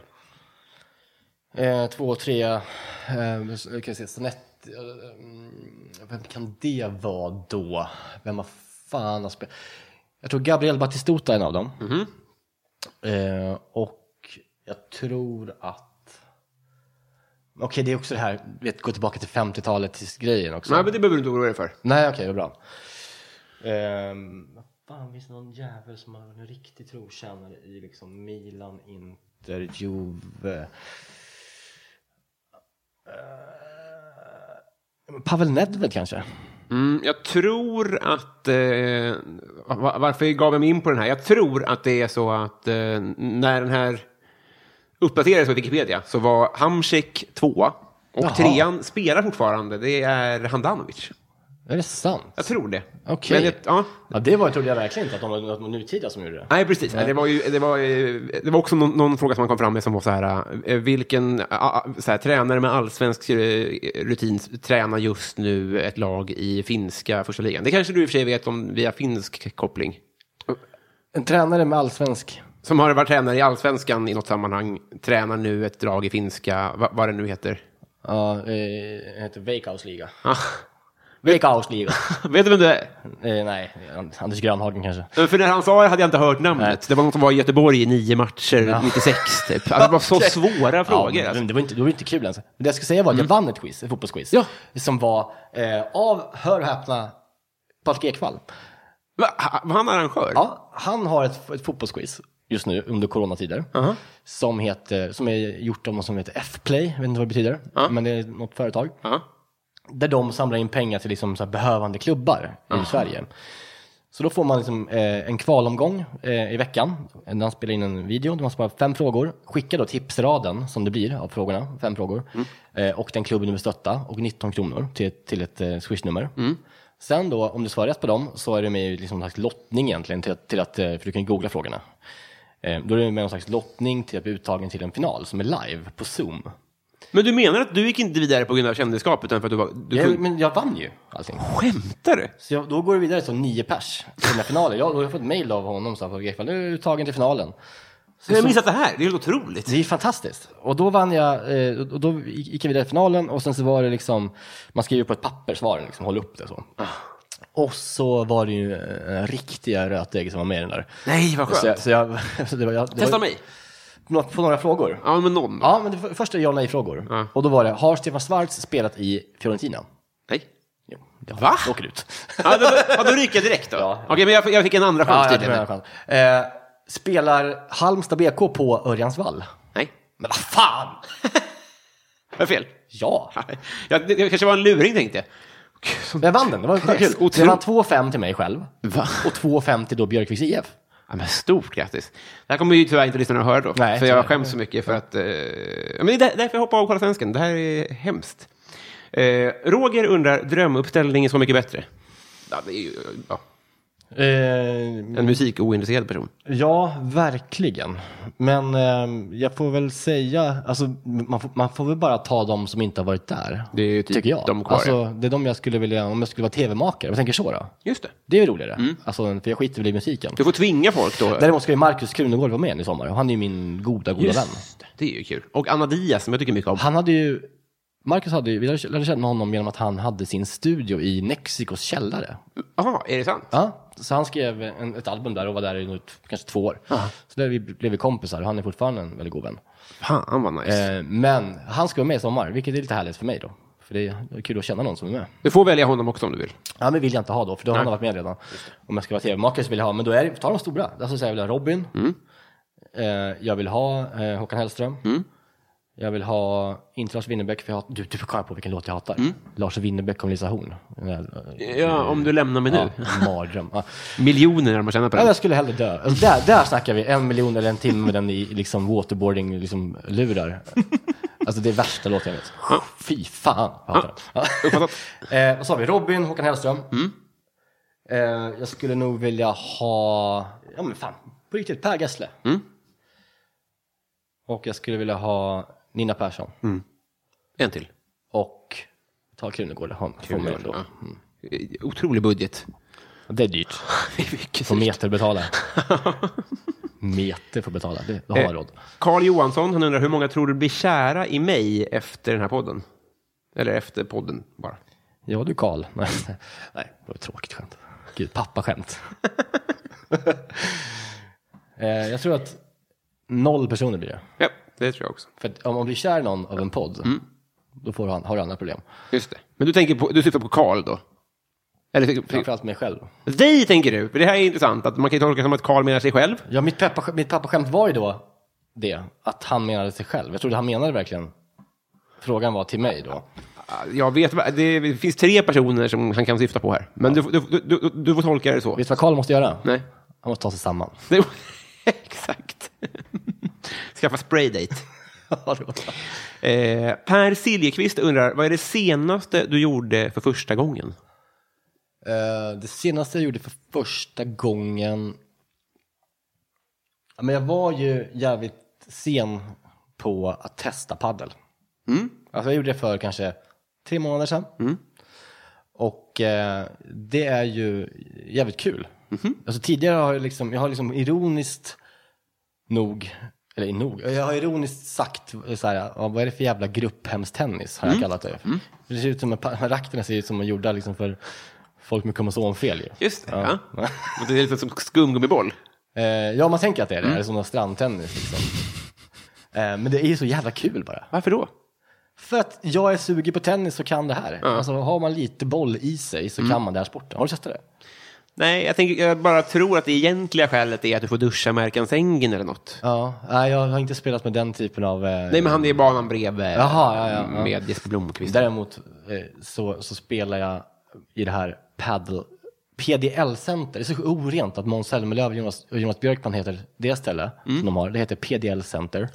[SPEAKER 2] Eh, två och tre. Eh, så- kan vi se, Sonett, eh, mm, vem kan det vara då? Vem har fan har spelat? Jag tror Gabriel Batistuta är en av dem. Eh, och jag tror att... Okej, det är också det här, du vet, gå tillbaka till 50-talet-grejen också.
[SPEAKER 1] Nej, men det behöver du inte oroa dig för.
[SPEAKER 2] Nej, okej, det är bra. Ehm, vad fan, finns det någon jävel som har en riktig trotjänare i liksom Milan, Inter, Juve? Eh, Pavel Nedved kanske?
[SPEAKER 1] Mm, jag tror att... Eh, va- varför gav jag mig in på den här? Jag tror att det är så att eh, när den här uppdaterades på Wikipedia så var Hamsik tvåa och
[SPEAKER 2] Jaha.
[SPEAKER 1] trean spelar fortfarande. Det är Handanovic.
[SPEAKER 2] Är det sant?
[SPEAKER 1] Jag tror det.
[SPEAKER 2] Okej.
[SPEAKER 1] Men jag- Ja.
[SPEAKER 2] Ja, det var, trodde jag verkligen inte att de var något nutida som gjorde det.
[SPEAKER 1] Nej, precis. Det var, ju, det, var, ju- det var också någon, någon fråga som man kom fram med som var så här, eh, vilken ah, ah, så här, tränare med allsvensk eh, rutin tränar just nu ett lag i finska första ligan? Det kanske du i och för sig vet om via finsk koppling?
[SPEAKER 2] En tränare med allsvensk...
[SPEAKER 1] Som har varit tränare i allsvenskan i något sammanhang, tränar nu ett drag i finska, va, vad det nu heter.
[SPEAKER 2] Ja, eh, heter Veikkausliga.
[SPEAKER 1] Ah,
[SPEAKER 2] Veikkausliga.
[SPEAKER 1] vet du vem det är?
[SPEAKER 2] eh, nej, Anders Grönhagen kanske.
[SPEAKER 1] Eh, För när han sa det hade jag inte hört namnet.
[SPEAKER 2] Nej.
[SPEAKER 1] Det var någon som var i Göteborg i nio matcher, 96 typ. Alltså, det var så svåra frågor.
[SPEAKER 2] Ja,
[SPEAKER 1] alltså. Mm.
[SPEAKER 2] men det, var inte, det var inte kul ens. Men det jag skulle säga var att jag vann ett quiz, ett fotbollsquiz.
[SPEAKER 1] Ja.
[SPEAKER 2] Som var eh, av, hör och häpna, Patrik Ekwall.
[SPEAKER 1] Va, ha- var han arrangör?
[SPEAKER 2] Ja, han har ett, ett fotbollsquiz just nu under coronatider. Som, heter, som är gjort av någon som heter F-play, jag vet inte vad det betyder. Men det är något företag.
[SPEAKER 1] Ja.
[SPEAKER 2] Där de samlar in pengar till liksom så här behövande klubbar i Sverige. Så då får man liksom, eh, en kvalomgång eh, i veckan. Där han spelar in en video där man svarar fem frågor. Skickar då tipsraden som det blir av frågorna, fem frågor. Eh, och den klubben du vill stötta och 19 kronor till, till ett eh, swishnummer. Sen då, om du svarar rätt på dem så är det med i liksom någon slags lottning egentligen. Till, att- till att, eh, för du kan ju googla frågorna. Eh, då är det med någon slags lottning till att bli uttagen till en final som är live på Zoom.
[SPEAKER 1] Men du menar att du gick inte vidare på grund av kändisskap, utan för att du var... Du
[SPEAKER 2] Jag,
[SPEAKER 1] tog...
[SPEAKER 2] men jag vann ju allting.
[SPEAKER 1] Skämtar du?
[SPEAKER 2] Så jag, då går det vidare till nio pers till den här finalen. Jag, då har jag fått mail av honom som på Ekvall, nu är du tagen till finalen.
[SPEAKER 1] Jag har missat det här, det är helt otroligt.
[SPEAKER 2] Det är fantastiskt. Och då vann jag, eh, och då gick jag vidare till finalen och sen så var det liksom, man skriver på ett papper svaren, liksom, håller upp det så. Och så var det ju eh, riktiga rötägg som var med i den där.
[SPEAKER 1] Nej, vad skönt.
[SPEAKER 2] Så jag, så jag, så det var, jag, det
[SPEAKER 1] Testa
[SPEAKER 2] var,
[SPEAKER 1] mig.
[SPEAKER 2] På, på några frågor.
[SPEAKER 1] Ja, men någon.
[SPEAKER 2] Ja, men det för- första är ja och nej-frågor. Och då var det, har Stefan Schwarz spelat i Fiorentina?
[SPEAKER 1] Nej.
[SPEAKER 2] Jo, det har
[SPEAKER 1] Va?
[SPEAKER 2] jag. Åker ut.
[SPEAKER 1] Ja, då, då, då ryker jag direkt då.
[SPEAKER 2] Ja.
[SPEAKER 1] Okej, men jag, fick- jag fick en andra chans
[SPEAKER 2] Ja, ja, det var
[SPEAKER 1] tydligen.
[SPEAKER 2] en chans. Eh, spelar Halmstad BK på Örjansvall?
[SPEAKER 1] Nej,
[SPEAKER 2] Men vad fan!
[SPEAKER 1] jag har fel.
[SPEAKER 2] Ja!
[SPEAKER 1] Ja, det, det kanske var en luring tänkte jag.
[SPEAKER 2] Men Jag vann den, det var kul.
[SPEAKER 1] Yes, otroligt.
[SPEAKER 2] Jag vann 2-5 till mig själv.
[SPEAKER 1] Va?
[SPEAKER 2] Och 2-5 till då Björkviks IF.
[SPEAKER 1] Ja, men stort grattis. Det här kommer ju tyvärr inte lyssnarna att höra då.
[SPEAKER 2] Nej,
[SPEAKER 1] för
[SPEAKER 2] tyvärr.
[SPEAKER 1] jag skäms så mycket för att... Eh, ja, men det är där- därför jag hoppar av och kollar svensken. Det här är hemskt. Eh, Roger undrar, drömuppställning är Så mycket bättre? Ja, det är ju... Ja.
[SPEAKER 2] Eh,
[SPEAKER 1] En musikointresserad person.
[SPEAKER 2] Ja, verkligen. Men eh, jag får väl säga, alltså, man, får, man får väl bara ta de som inte har varit där.
[SPEAKER 1] Det är ju typ
[SPEAKER 2] tycker jag.
[SPEAKER 1] de kvar,
[SPEAKER 2] alltså, det är de jag skulle vilja, om jag skulle vara tv-makare, jag tänker så då.
[SPEAKER 1] Just det.
[SPEAKER 2] Det är ju roligare.
[SPEAKER 1] Mm.
[SPEAKER 2] Alltså, för jag skiter väl i musiken.
[SPEAKER 1] Du får tvinga folk då.
[SPEAKER 2] Däremot ska ju Markus Krunegård vara med i sommar och han är ju min goda, goda vän.
[SPEAKER 1] Just det. Det är ju kul. Och Anna Diaz som jag tycker mycket om.
[SPEAKER 2] Han hade ju, Marcus hade ju, vi lärde lärde känna honom genom att han hade sin studio i Mexikos källare.
[SPEAKER 1] Jaha, är det sant?
[SPEAKER 2] Ja, så han skrev en, ett album där och var där i nog ett- kanske två år. Så där vi, blev vi kompisar och han är fortfarande en väldigt god vän.
[SPEAKER 1] Fan vad nice.
[SPEAKER 2] Eh, men han ska vara med i sommar, vilket är lite härligt för mig då. För det är, det är kul att känna någon som är med.
[SPEAKER 1] Du får välja honom också om du vill.
[SPEAKER 2] Ja, men vill jag inte ha då, för då har han varit med redan. Om jag ska vara tv-makare så vill jag ha, men då är det, ta de stora. Alltså, så jag vill ha Robin, eh, jag vill ha eh, Håkan Hellström, jag vill ha, inte Lars Winnerbäck, för jag hat, du, du får komma på vilken låt jag hatar. Lars Winnerbäck och Lisa Horn. Den där, eh,
[SPEAKER 1] Ja, om du lämnar mig
[SPEAKER 2] Ja,
[SPEAKER 1] nu.
[SPEAKER 2] mardröm. Ja.
[SPEAKER 1] Miljoner har man tjänat på
[SPEAKER 2] Ja,
[SPEAKER 1] den.
[SPEAKER 2] jag skulle hellre dö. Alltså, där, där snackar vi en miljon eller en timme med den i liksom waterboarding-lurar. Liksom, lurar. alltså det är värsta låten jag vet. Fy fan. jag hatar den. eh, vad sa vi? Robin, Håkan Hellström. Eh, jag skulle nog vilja ha, ja men fan, på riktigt, Per Gessle. Och jag skulle vilja ha Nina Persson.
[SPEAKER 1] En till.
[SPEAKER 2] Och ta Krunegård. Han, får mig ändå.
[SPEAKER 1] Ja. Eh, Otrolig budget.
[SPEAKER 2] Det är dyrt.
[SPEAKER 1] Mycket
[SPEAKER 2] Får meter betala. meter får betala, det, det har jag råd.
[SPEAKER 1] Eh, Carl Johansson, han undrar hur många tror du blir kära i mig efter den här podden? Eller efter podden bara.
[SPEAKER 2] Ja du Karl. Nej, nej det var ett tråkigt skämt. Gud, pappaskämt. eh, jag tror att noll personer blir det.
[SPEAKER 1] Ja, det tror jag också.
[SPEAKER 2] För att om man blir kär i någon av en podd, då får han, har du andra problem.
[SPEAKER 1] Just det. Men du, tänker på, du syftar på Carl då? Eller,
[SPEAKER 2] Framförallt mig själv.
[SPEAKER 1] dig tänker du, för det här är intressant. Att man kan ju tolka som att Carl menar sig själv.
[SPEAKER 2] Ja, mitt, peppa, mitt pappaskämt var ju då det, att han menade sig själv. Jag trodde han menade verkligen, frågan var till mig då.
[SPEAKER 1] Jag vet, vad- det finns tre personer som han kan syfta på här. Men du, du, du, du, du får tolka det så.
[SPEAKER 2] Vet du vad Karl måste göra?
[SPEAKER 1] Nej.
[SPEAKER 2] Han måste ta sig samman.
[SPEAKER 1] Det, exakt. Skaffa spraydate.
[SPEAKER 2] Ja, det var bra.
[SPEAKER 1] Eh, per Siljeqvist undrar, vad är det senaste du gjorde för första gången?
[SPEAKER 2] Eh, det senaste jag gjorde för första gången... Ja, Men jag var ju jävligt sen på att testa paddel.
[SPEAKER 1] Mm.
[SPEAKER 2] Alltså jag gjorde det för kanske tre månader sedan. Och eh, det är ju jävligt kul.
[SPEAKER 1] Mm-hmm.
[SPEAKER 2] Alltså tidigare har jag liksom, jag har liksom ironiskt nog, eller nog, jag har ironiskt sagt så här, ja, vad är det för jävla grupphemstennis har jag
[SPEAKER 1] Mm.
[SPEAKER 2] kallat det. Det ser ut som, en pa- rakterna ser ut som de är gjorda liksom för folk med kromosomfel ju.
[SPEAKER 1] Just det, ja. Och Det är lite som skumgummiboll.
[SPEAKER 2] Eh, ja, man tänker att det är det,
[SPEAKER 1] Mm.
[SPEAKER 2] eller som någon strandtennis liksom. Eh, men det är ju så jävla kul bara.
[SPEAKER 1] Varför då?
[SPEAKER 2] För att jag är sugen på tennis så kan det här. Alltså har man lite boll i sig så
[SPEAKER 1] Mm.
[SPEAKER 2] kan man den här sporten. Har du testat det?
[SPEAKER 1] Nej, jag, tänker, jag bara tror att det egentliga skälet är att du får duscha med Erkan Sängen eller något.
[SPEAKER 2] Ja, nej jag har inte spelat med den typen av... Eh,
[SPEAKER 1] Nej, men han är i banan bredvid
[SPEAKER 2] Jaha, ja, ja, ja.
[SPEAKER 1] med Jesper Blomqvist.
[SPEAKER 2] Däremot eh, så, så spelar jag i det här paddle, PDL-center. Det är så orent att Måns Zelmerlöw och Jonas, och Jonas Björkman heter det ställe
[SPEAKER 1] Mm.
[SPEAKER 2] som de har. Det heter PDL-center.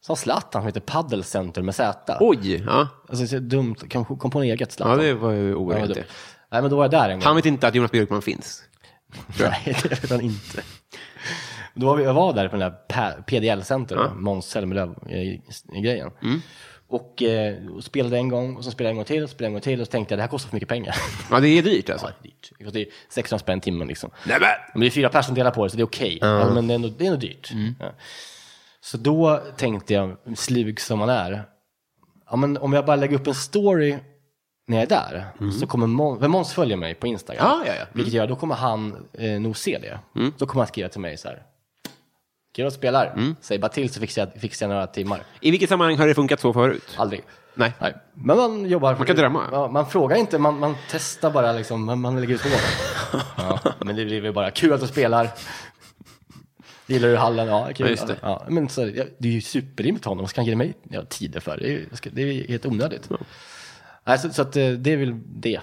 [SPEAKER 2] Så har Zlatan som heter Paddle Center med Z.
[SPEAKER 1] Oj! Ja.
[SPEAKER 2] Alltså, det är så dumt. Kan kom på en eget
[SPEAKER 1] ja,
[SPEAKER 2] Zlatan.
[SPEAKER 1] det var ju
[SPEAKER 2] Ja, vad
[SPEAKER 1] oerhört.
[SPEAKER 2] dumt. Nej, men då var jag där en gång.
[SPEAKER 1] han vet inte att Jonas Björkman finns.
[SPEAKER 2] Nej, det vet han inte. Då var vi, jag var där på den där pa- PDL-center, mm. Måns Zelmerlöw-grejen. Och, eh, och spelade en gång, och så spelade jag en gång till, och spelade en gång till, och så tänkte jag det här kostar för mycket pengar.
[SPEAKER 1] Ja, det är dyrt alltså.
[SPEAKER 2] Ja, det är dyrt. Det kostar ju 600 spänn timmen liksom.
[SPEAKER 1] Nej, men!
[SPEAKER 2] Men det är fyra personer som delar på det, så det är okej. Ja, men det är ändå, det är ändå dyrt. Ja. Så då tänkte jag, slug som man är, ja, men om jag bara lägger upp en story när jag är där, så kommer Måns, för Måns följer mig på Instagram,
[SPEAKER 1] Mm. Ja, ja, ja. Mm.
[SPEAKER 2] vilket gör att då kommer han eh, nog se det. Då kommer han skriva till mig så här, kul att du spelar,
[SPEAKER 1] Mm.
[SPEAKER 2] säg bara till så fixar jag, fixar jag några timmar.
[SPEAKER 1] I vilket sammanhang har det funkat så förut?
[SPEAKER 2] Aldrig.
[SPEAKER 1] Nej.
[SPEAKER 2] Nej. Men man jobbar. Man
[SPEAKER 1] kan drömma.
[SPEAKER 2] Ja, man frågar inte, man, man testar bara liksom, man, man lägger ut hålen. ja, men det blir väl bara kul att du spelar. Gillar du hallen? Ja, kul.
[SPEAKER 1] Ja, just det.
[SPEAKER 2] Ja, men så, ja, det är ju superrimligt att honom, vad ska han ge mig ja, tider för? Det är, ju- jag ska- det är ju helt onödigt. Nej, så, så att, eh, det är väl det.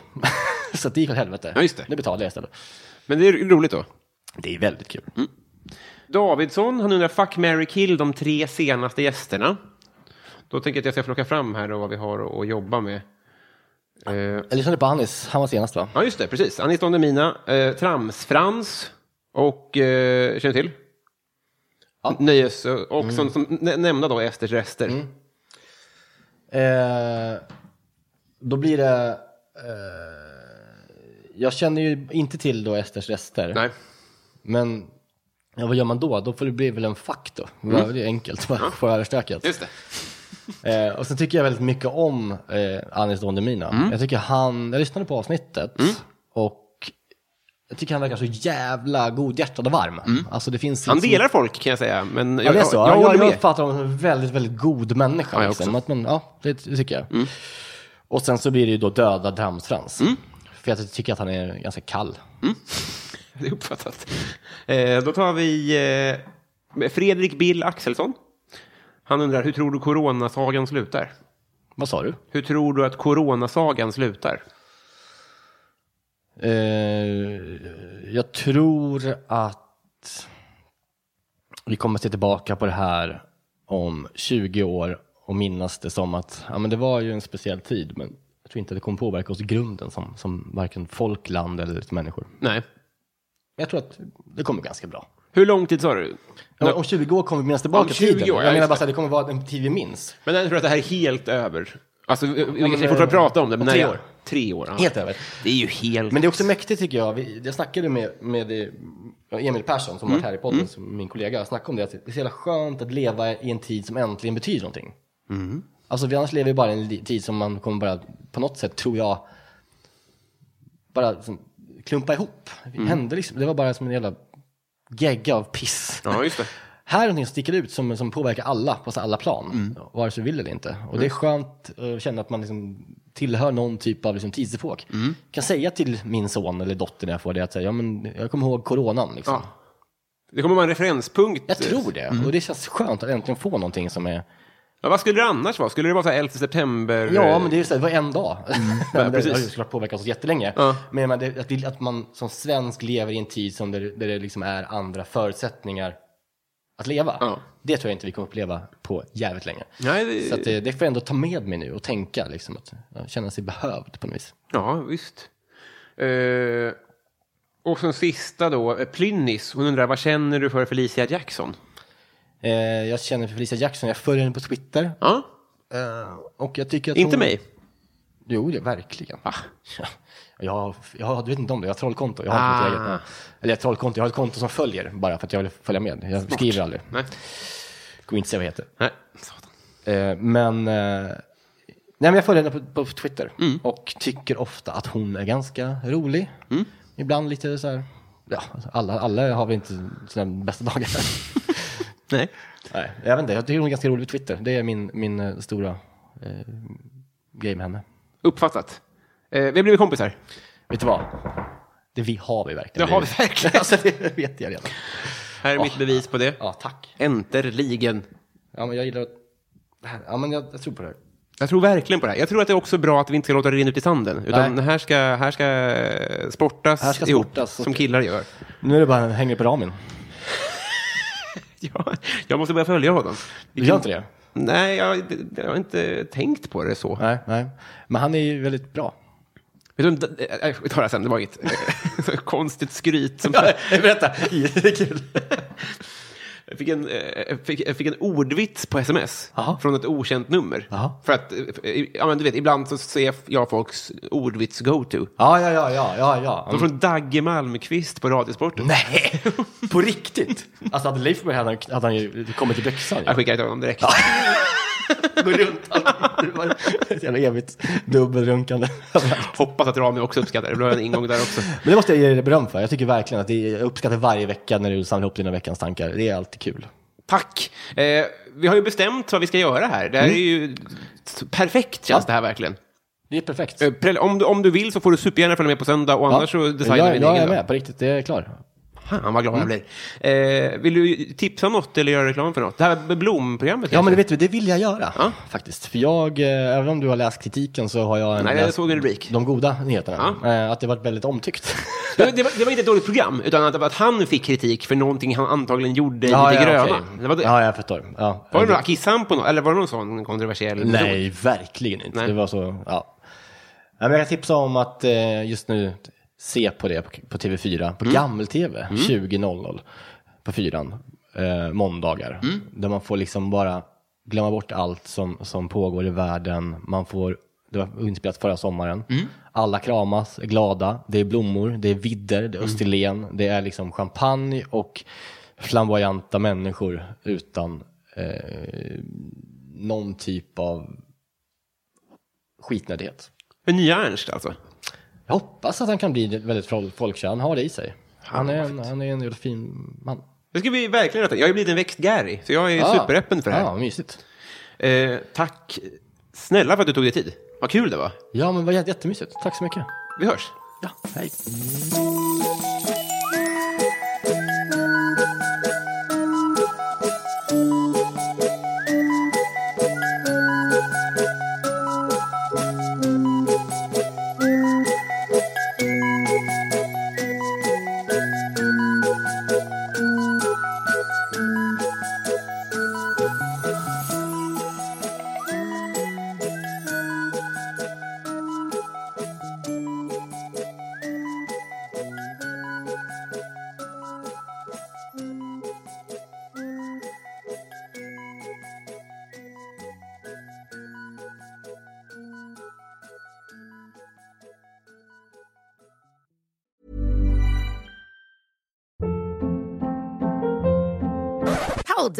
[SPEAKER 2] så att det gick åt helvete.
[SPEAKER 1] Ja, just det.
[SPEAKER 2] Nu betalar jag istället.
[SPEAKER 1] Men det är roligt då.
[SPEAKER 2] Det är väldigt kul.
[SPEAKER 1] Davidsson, han undrar fuck, Mary kill de tre senaste gästerna. Då tänker jag att jag ska plocka fram här då vad vi har att jobba med. Eh,
[SPEAKER 2] Jag lyssnade på Hannes, han var senast va?
[SPEAKER 1] ja, just det, precis. Anis Don Demina, eh, Tramsfrans och, eh, känner du till?
[SPEAKER 2] Ja. Mm.
[SPEAKER 1] Nöjes eh, och som, som nä- nämnda då Esters rester.
[SPEAKER 2] Eh, då blir det... Eh, jag känner ju inte till då Esters rester.
[SPEAKER 1] Nej.
[SPEAKER 2] Men ja, vad gör man då? Då får det bli väl en fack då. Det är enkelt, bara få
[SPEAKER 1] Mm.
[SPEAKER 2] överstökat.
[SPEAKER 1] Just det.
[SPEAKER 2] Eh, och sen tycker jag väldigt mycket om eh, Anis Don Demina.
[SPEAKER 1] Mm.
[SPEAKER 2] Jag tycker han, jag lyssnade på avsnittet och jag tycker han verkar så jävla godhjärtad och varm. Alltså det finns
[SPEAKER 1] Mm. Han
[SPEAKER 2] liksom-
[SPEAKER 1] delar folk kan jag säga, men jag,
[SPEAKER 2] Ja, det är
[SPEAKER 1] jag,
[SPEAKER 2] så.
[SPEAKER 1] jag,
[SPEAKER 2] Jag,
[SPEAKER 1] håller
[SPEAKER 2] jag,
[SPEAKER 1] med.
[SPEAKER 2] uppfattar honom som en väldigt, väldigt god människa.
[SPEAKER 1] Ja, jag
[SPEAKER 2] liksom. att man, ja Mm. det, det tycker jag. Och sen så blir det ju då döda Damsfrans. För jag tycker att han är ganska kall.
[SPEAKER 1] Det är uppfattat. Eh, då tar vi eh, Fredrik Bill Axelsson. Han undrar, hur tror du coronasagan slutar?
[SPEAKER 2] Vad sa du?
[SPEAKER 1] Hur tror du att coronasagan slutar?
[SPEAKER 2] Eh, jag tror att vi kommer att se tillbaka på det här om 20 år och minnas det som att ja, men det var ju en speciell tid, men jag tror inte att det kommer påverka oss i grunden som, som varken folk, land eller som människor.
[SPEAKER 1] Nej.
[SPEAKER 2] Jag tror att det kommer ganska bra.
[SPEAKER 1] Hur lång tid sa du?
[SPEAKER 2] Ja, men om 20 år kommer vi minnas tillbaka
[SPEAKER 1] Om 20
[SPEAKER 2] tiden.
[SPEAKER 1] år, ja,
[SPEAKER 2] jag menar
[SPEAKER 1] just
[SPEAKER 2] bara
[SPEAKER 1] det.
[SPEAKER 2] att det kommer vara en tid vi minns.
[SPEAKER 1] Men jag tror att det här är helt över. Alltså, vi vi kan
[SPEAKER 2] men,
[SPEAKER 1] fortfarande
[SPEAKER 2] eh,
[SPEAKER 1] prata om det. Men
[SPEAKER 2] om
[SPEAKER 1] när
[SPEAKER 2] tre
[SPEAKER 1] jag-
[SPEAKER 2] år.
[SPEAKER 1] Tre år, ja.
[SPEAKER 2] Helt över.
[SPEAKER 1] Det är ju helt...
[SPEAKER 2] Men det är också mäktigt tycker jag. Vi, jag snackade med, med eh, Emil Persson som
[SPEAKER 1] Mm.
[SPEAKER 2] varit här i podden, som min kollega. Jag snackade om det. Att det är så jävla skönt att leva i en tid som äntligen betyder någonting.
[SPEAKER 1] Mm.
[SPEAKER 2] Alltså vi annars lever vi bara i en li- tid som man kommer bara på något sätt, tror jag, bara liksom, klumpa ihop. Det
[SPEAKER 1] Mm.
[SPEAKER 2] hände liksom. Det var bara som en jävla gegga av piss.
[SPEAKER 1] Ja, just det.
[SPEAKER 2] Här är någonting som sticker ut som, som påverkar alla på så alla plan, vare sig vi vill eller inte. Och det är skönt eh, att känna att man liksom tillhör någon typ av liksom tidsepok. Jag kan säga till min son eller dotter när jag får det att säga, ja, men jag kommer ihåg coronan. Liksom.
[SPEAKER 1] Ja. Det kommer vara en referenspunkt.
[SPEAKER 2] Jag tror det, och det känns skönt att äntligen få någonting som är...
[SPEAKER 1] Ja, vad skulle det annars vara? Skulle det vara så här 11 september?
[SPEAKER 2] Ja, men det är ju så här, det var en dag. men det
[SPEAKER 1] precis.
[SPEAKER 2] har ju såklart påverkat oss jättelänge. Men jag menar, det, att, det, att man som svensk lever i en tid som där, där det liksom är andra förutsättningar att leva.
[SPEAKER 1] Ja.
[SPEAKER 2] Det tror jag inte vi kommer uppleva på jävligt länge.
[SPEAKER 1] Nej, det-
[SPEAKER 2] Så att eh, det, det får jag ändå ta med mig nu och tänka, liksom, att ja, känna sig behövd på något vis.
[SPEAKER 1] Ja, visst. Eh, och sen sista då, eh, Plynnis. Hon undrar, vad känner du för Felicia Jackson?
[SPEAKER 2] Eh, jag känner för Felicia Jackson, jag följer henne på Twitter.
[SPEAKER 1] Ja,
[SPEAKER 2] Eh, och jag tycker att
[SPEAKER 1] inte
[SPEAKER 2] hon...
[SPEAKER 1] mig.
[SPEAKER 2] Jo, det, verkligen.
[SPEAKER 1] Ah.
[SPEAKER 2] Ja, Jag, har- jag, har- du vet inte om det, jag har trollkonto. Jag har inte mitt
[SPEAKER 1] Ah.
[SPEAKER 2] eget. nej. Eller jag har trollkonto, jag har ett konto som följer bara för att jag vill följa med. Jag skriver aldrig.
[SPEAKER 1] Nej.
[SPEAKER 2] Går inte säga vad jag heter.
[SPEAKER 1] Nej, satan.
[SPEAKER 2] Eh, men, eh, nej, men jag följer henne på, på Twitter
[SPEAKER 1] Mm.
[SPEAKER 2] och tycker ofta att hon är ganska rolig.
[SPEAKER 1] Mm.
[SPEAKER 2] Ibland lite så här, ja, alla, alla har väl inte sina bästa dagar.
[SPEAKER 1] Nej.
[SPEAKER 2] nej, jag vet inte, jag tycker hon är ganska rolig på Twitter. Det är min, min eh, stora eh, grej med henne.
[SPEAKER 1] Uppfattat. Eh, vi har blivit kompisar.
[SPEAKER 2] Vet du vad? Det vi har vi verkligen.
[SPEAKER 1] Det har vi
[SPEAKER 2] blivit.
[SPEAKER 1] verkligen.
[SPEAKER 2] alltså, det vet jag redan.
[SPEAKER 1] Här är mitt bevis på det.
[SPEAKER 2] Ja, tack.
[SPEAKER 1] Äntligen.
[SPEAKER 2] Ja, men jag gillar att... det här- Ja, men jag, jag tror på det här.
[SPEAKER 1] Jag tror verkligen på det här. Jag tror att det är också bra att vi inte ska låta det rinna ut i sanden. Utan
[SPEAKER 2] Nej.
[SPEAKER 1] här ska, här ska eh, sportas
[SPEAKER 2] Här ska
[SPEAKER 1] ihop,
[SPEAKER 2] sportas.
[SPEAKER 1] som killar gör.
[SPEAKER 2] Nu är det bara hänger på ramen.
[SPEAKER 1] Ja, jag måste börja följa honom.
[SPEAKER 2] Du gör inte det?
[SPEAKER 1] Nej, jag, jag har inte tänkt på det så.
[SPEAKER 2] Nej, nej. Men han är ju väldigt bra.
[SPEAKER 1] Vet du, d- äh, vi tar det här sen, det var inget eh, så konstigt skryt. Som,
[SPEAKER 2] Berätta. det är kul.
[SPEAKER 1] jag, fick en, eh, jag, fick, jag fick en ordvits på sms
[SPEAKER 2] Jaha.
[SPEAKER 1] från ett okänt nummer.
[SPEAKER 2] Jaha.
[SPEAKER 1] För att, eh, eh, ja, men du vet, ibland så ser jag folks ordvits go-to.
[SPEAKER 2] Ja, ja, ja, ja, ja, ja.
[SPEAKER 1] De från Dagge Malmqvist på Radiosporten.
[SPEAKER 2] Nej, på riktigt? Alltså hade Leif varit här hade han- hade han ju kommit till Böksan.
[SPEAKER 1] Jag skickar till honom direkt.
[SPEAKER 2] Gå runt. Det var ett jävla evigt dubbelrunkande.
[SPEAKER 1] Hoppas att Rami också uppskattar det. Det blev en ingång där också.
[SPEAKER 2] Men det måste jag ge dig beröm för. Jag tycker verkligen att det, jag uppskattar varje vecka när du samlar ihop dina veckans tankar. Det är alltid kul.
[SPEAKER 1] Tack! Eh, vi har ju bestämt vad vi ska göra här. Det här
[SPEAKER 2] Mm.
[SPEAKER 1] är ju s- perfekt, känns det här verkligen.
[SPEAKER 2] Det är perfekt.
[SPEAKER 1] Eh, Prell, Om du, om du vill så får du supergärna följa med på söndag och annars så designar
[SPEAKER 2] jag,
[SPEAKER 1] vi en
[SPEAKER 2] Jag
[SPEAKER 1] egen
[SPEAKER 2] är
[SPEAKER 1] dag.
[SPEAKER 2] med, Mm. på riktigt. Det är klar.
[SPEAKER 1] Fan vad glad jag blir. Eh, vill du tipsa om något eller göra reklam för något? Det här med blomprogrammet
[SPEAKER 2] Ja,
[SPEAKER 1] kanske?
[SPEAKER 2] men vet du, det vill jag göra faktiskt. För jag, eh, även om du har läst kritiken så har jag en,
[SPEAKER 1] Nej, jag
[SPEAKER 2] läst
[SPEAKER 1] såg en rubrik.
[SPEAKER 2] de goda nyheterna. Eh, Att det varit väldigt omtyckt.
[SPEAKER 1] det, det, var, det var inte ett dåligt program, utan att, att han fick kritik för någonting han antagligen gjorde lite gröna.
[SPEAKER 2] okej.
[SPEAKER 1] Det var, det.
[SPEAKER 2] ja, jag förstår. Ja.
[SPEAKER 1] var det någon akissan på något, eller var det någon sån kontroversiell metod?
[SPEAKER 2] Nej, verkligen inte.
[SPEAKER 1] Nej.
[SPEAKER 2] Det var så, ja. Ja, men jag kan tipsa om att eh, just nu se på det på, på TV4, på gammel-TV, 20.00 på fyran, eh, måndagar. Där man får liksom bara glömma bort allt som, som pågår i världen. Man får, det var inspelat förra sommaren. Alla kramas, är glada. Det är blommor, det är vidder, det är Österlen, det är liksom champagne och flamboyanta människor utan eh, någon typ av skitnödighet.
[SPEAKER 1] En nya Ernst alltså?
[SPEAKER 2] Jag hoppas att han kan bli väldigt fol- folkkär. Han har det i sig. Han är en, han är en jävla fin man.
[SPEAKER 1] Det ska vi verkligen rätta. Jag har ju blivit en växt Gary, så jag
[SPEAKER 2] Ah.
[SPEAKER 1] är superöppen för det här.
[SPEAKER 2] Ja, mysigt.
[SPEAKER 1] Eh, tack snälla för att du tog dig tid. Vad kul det var.
[SPEAKER 2] Ja, men vad jätte- jättemysigt. Tack så mycket.
[SPEAKER 1] Vi hörs.
[SPEAKER 2] Hej.
[SPEAKER 5] Hold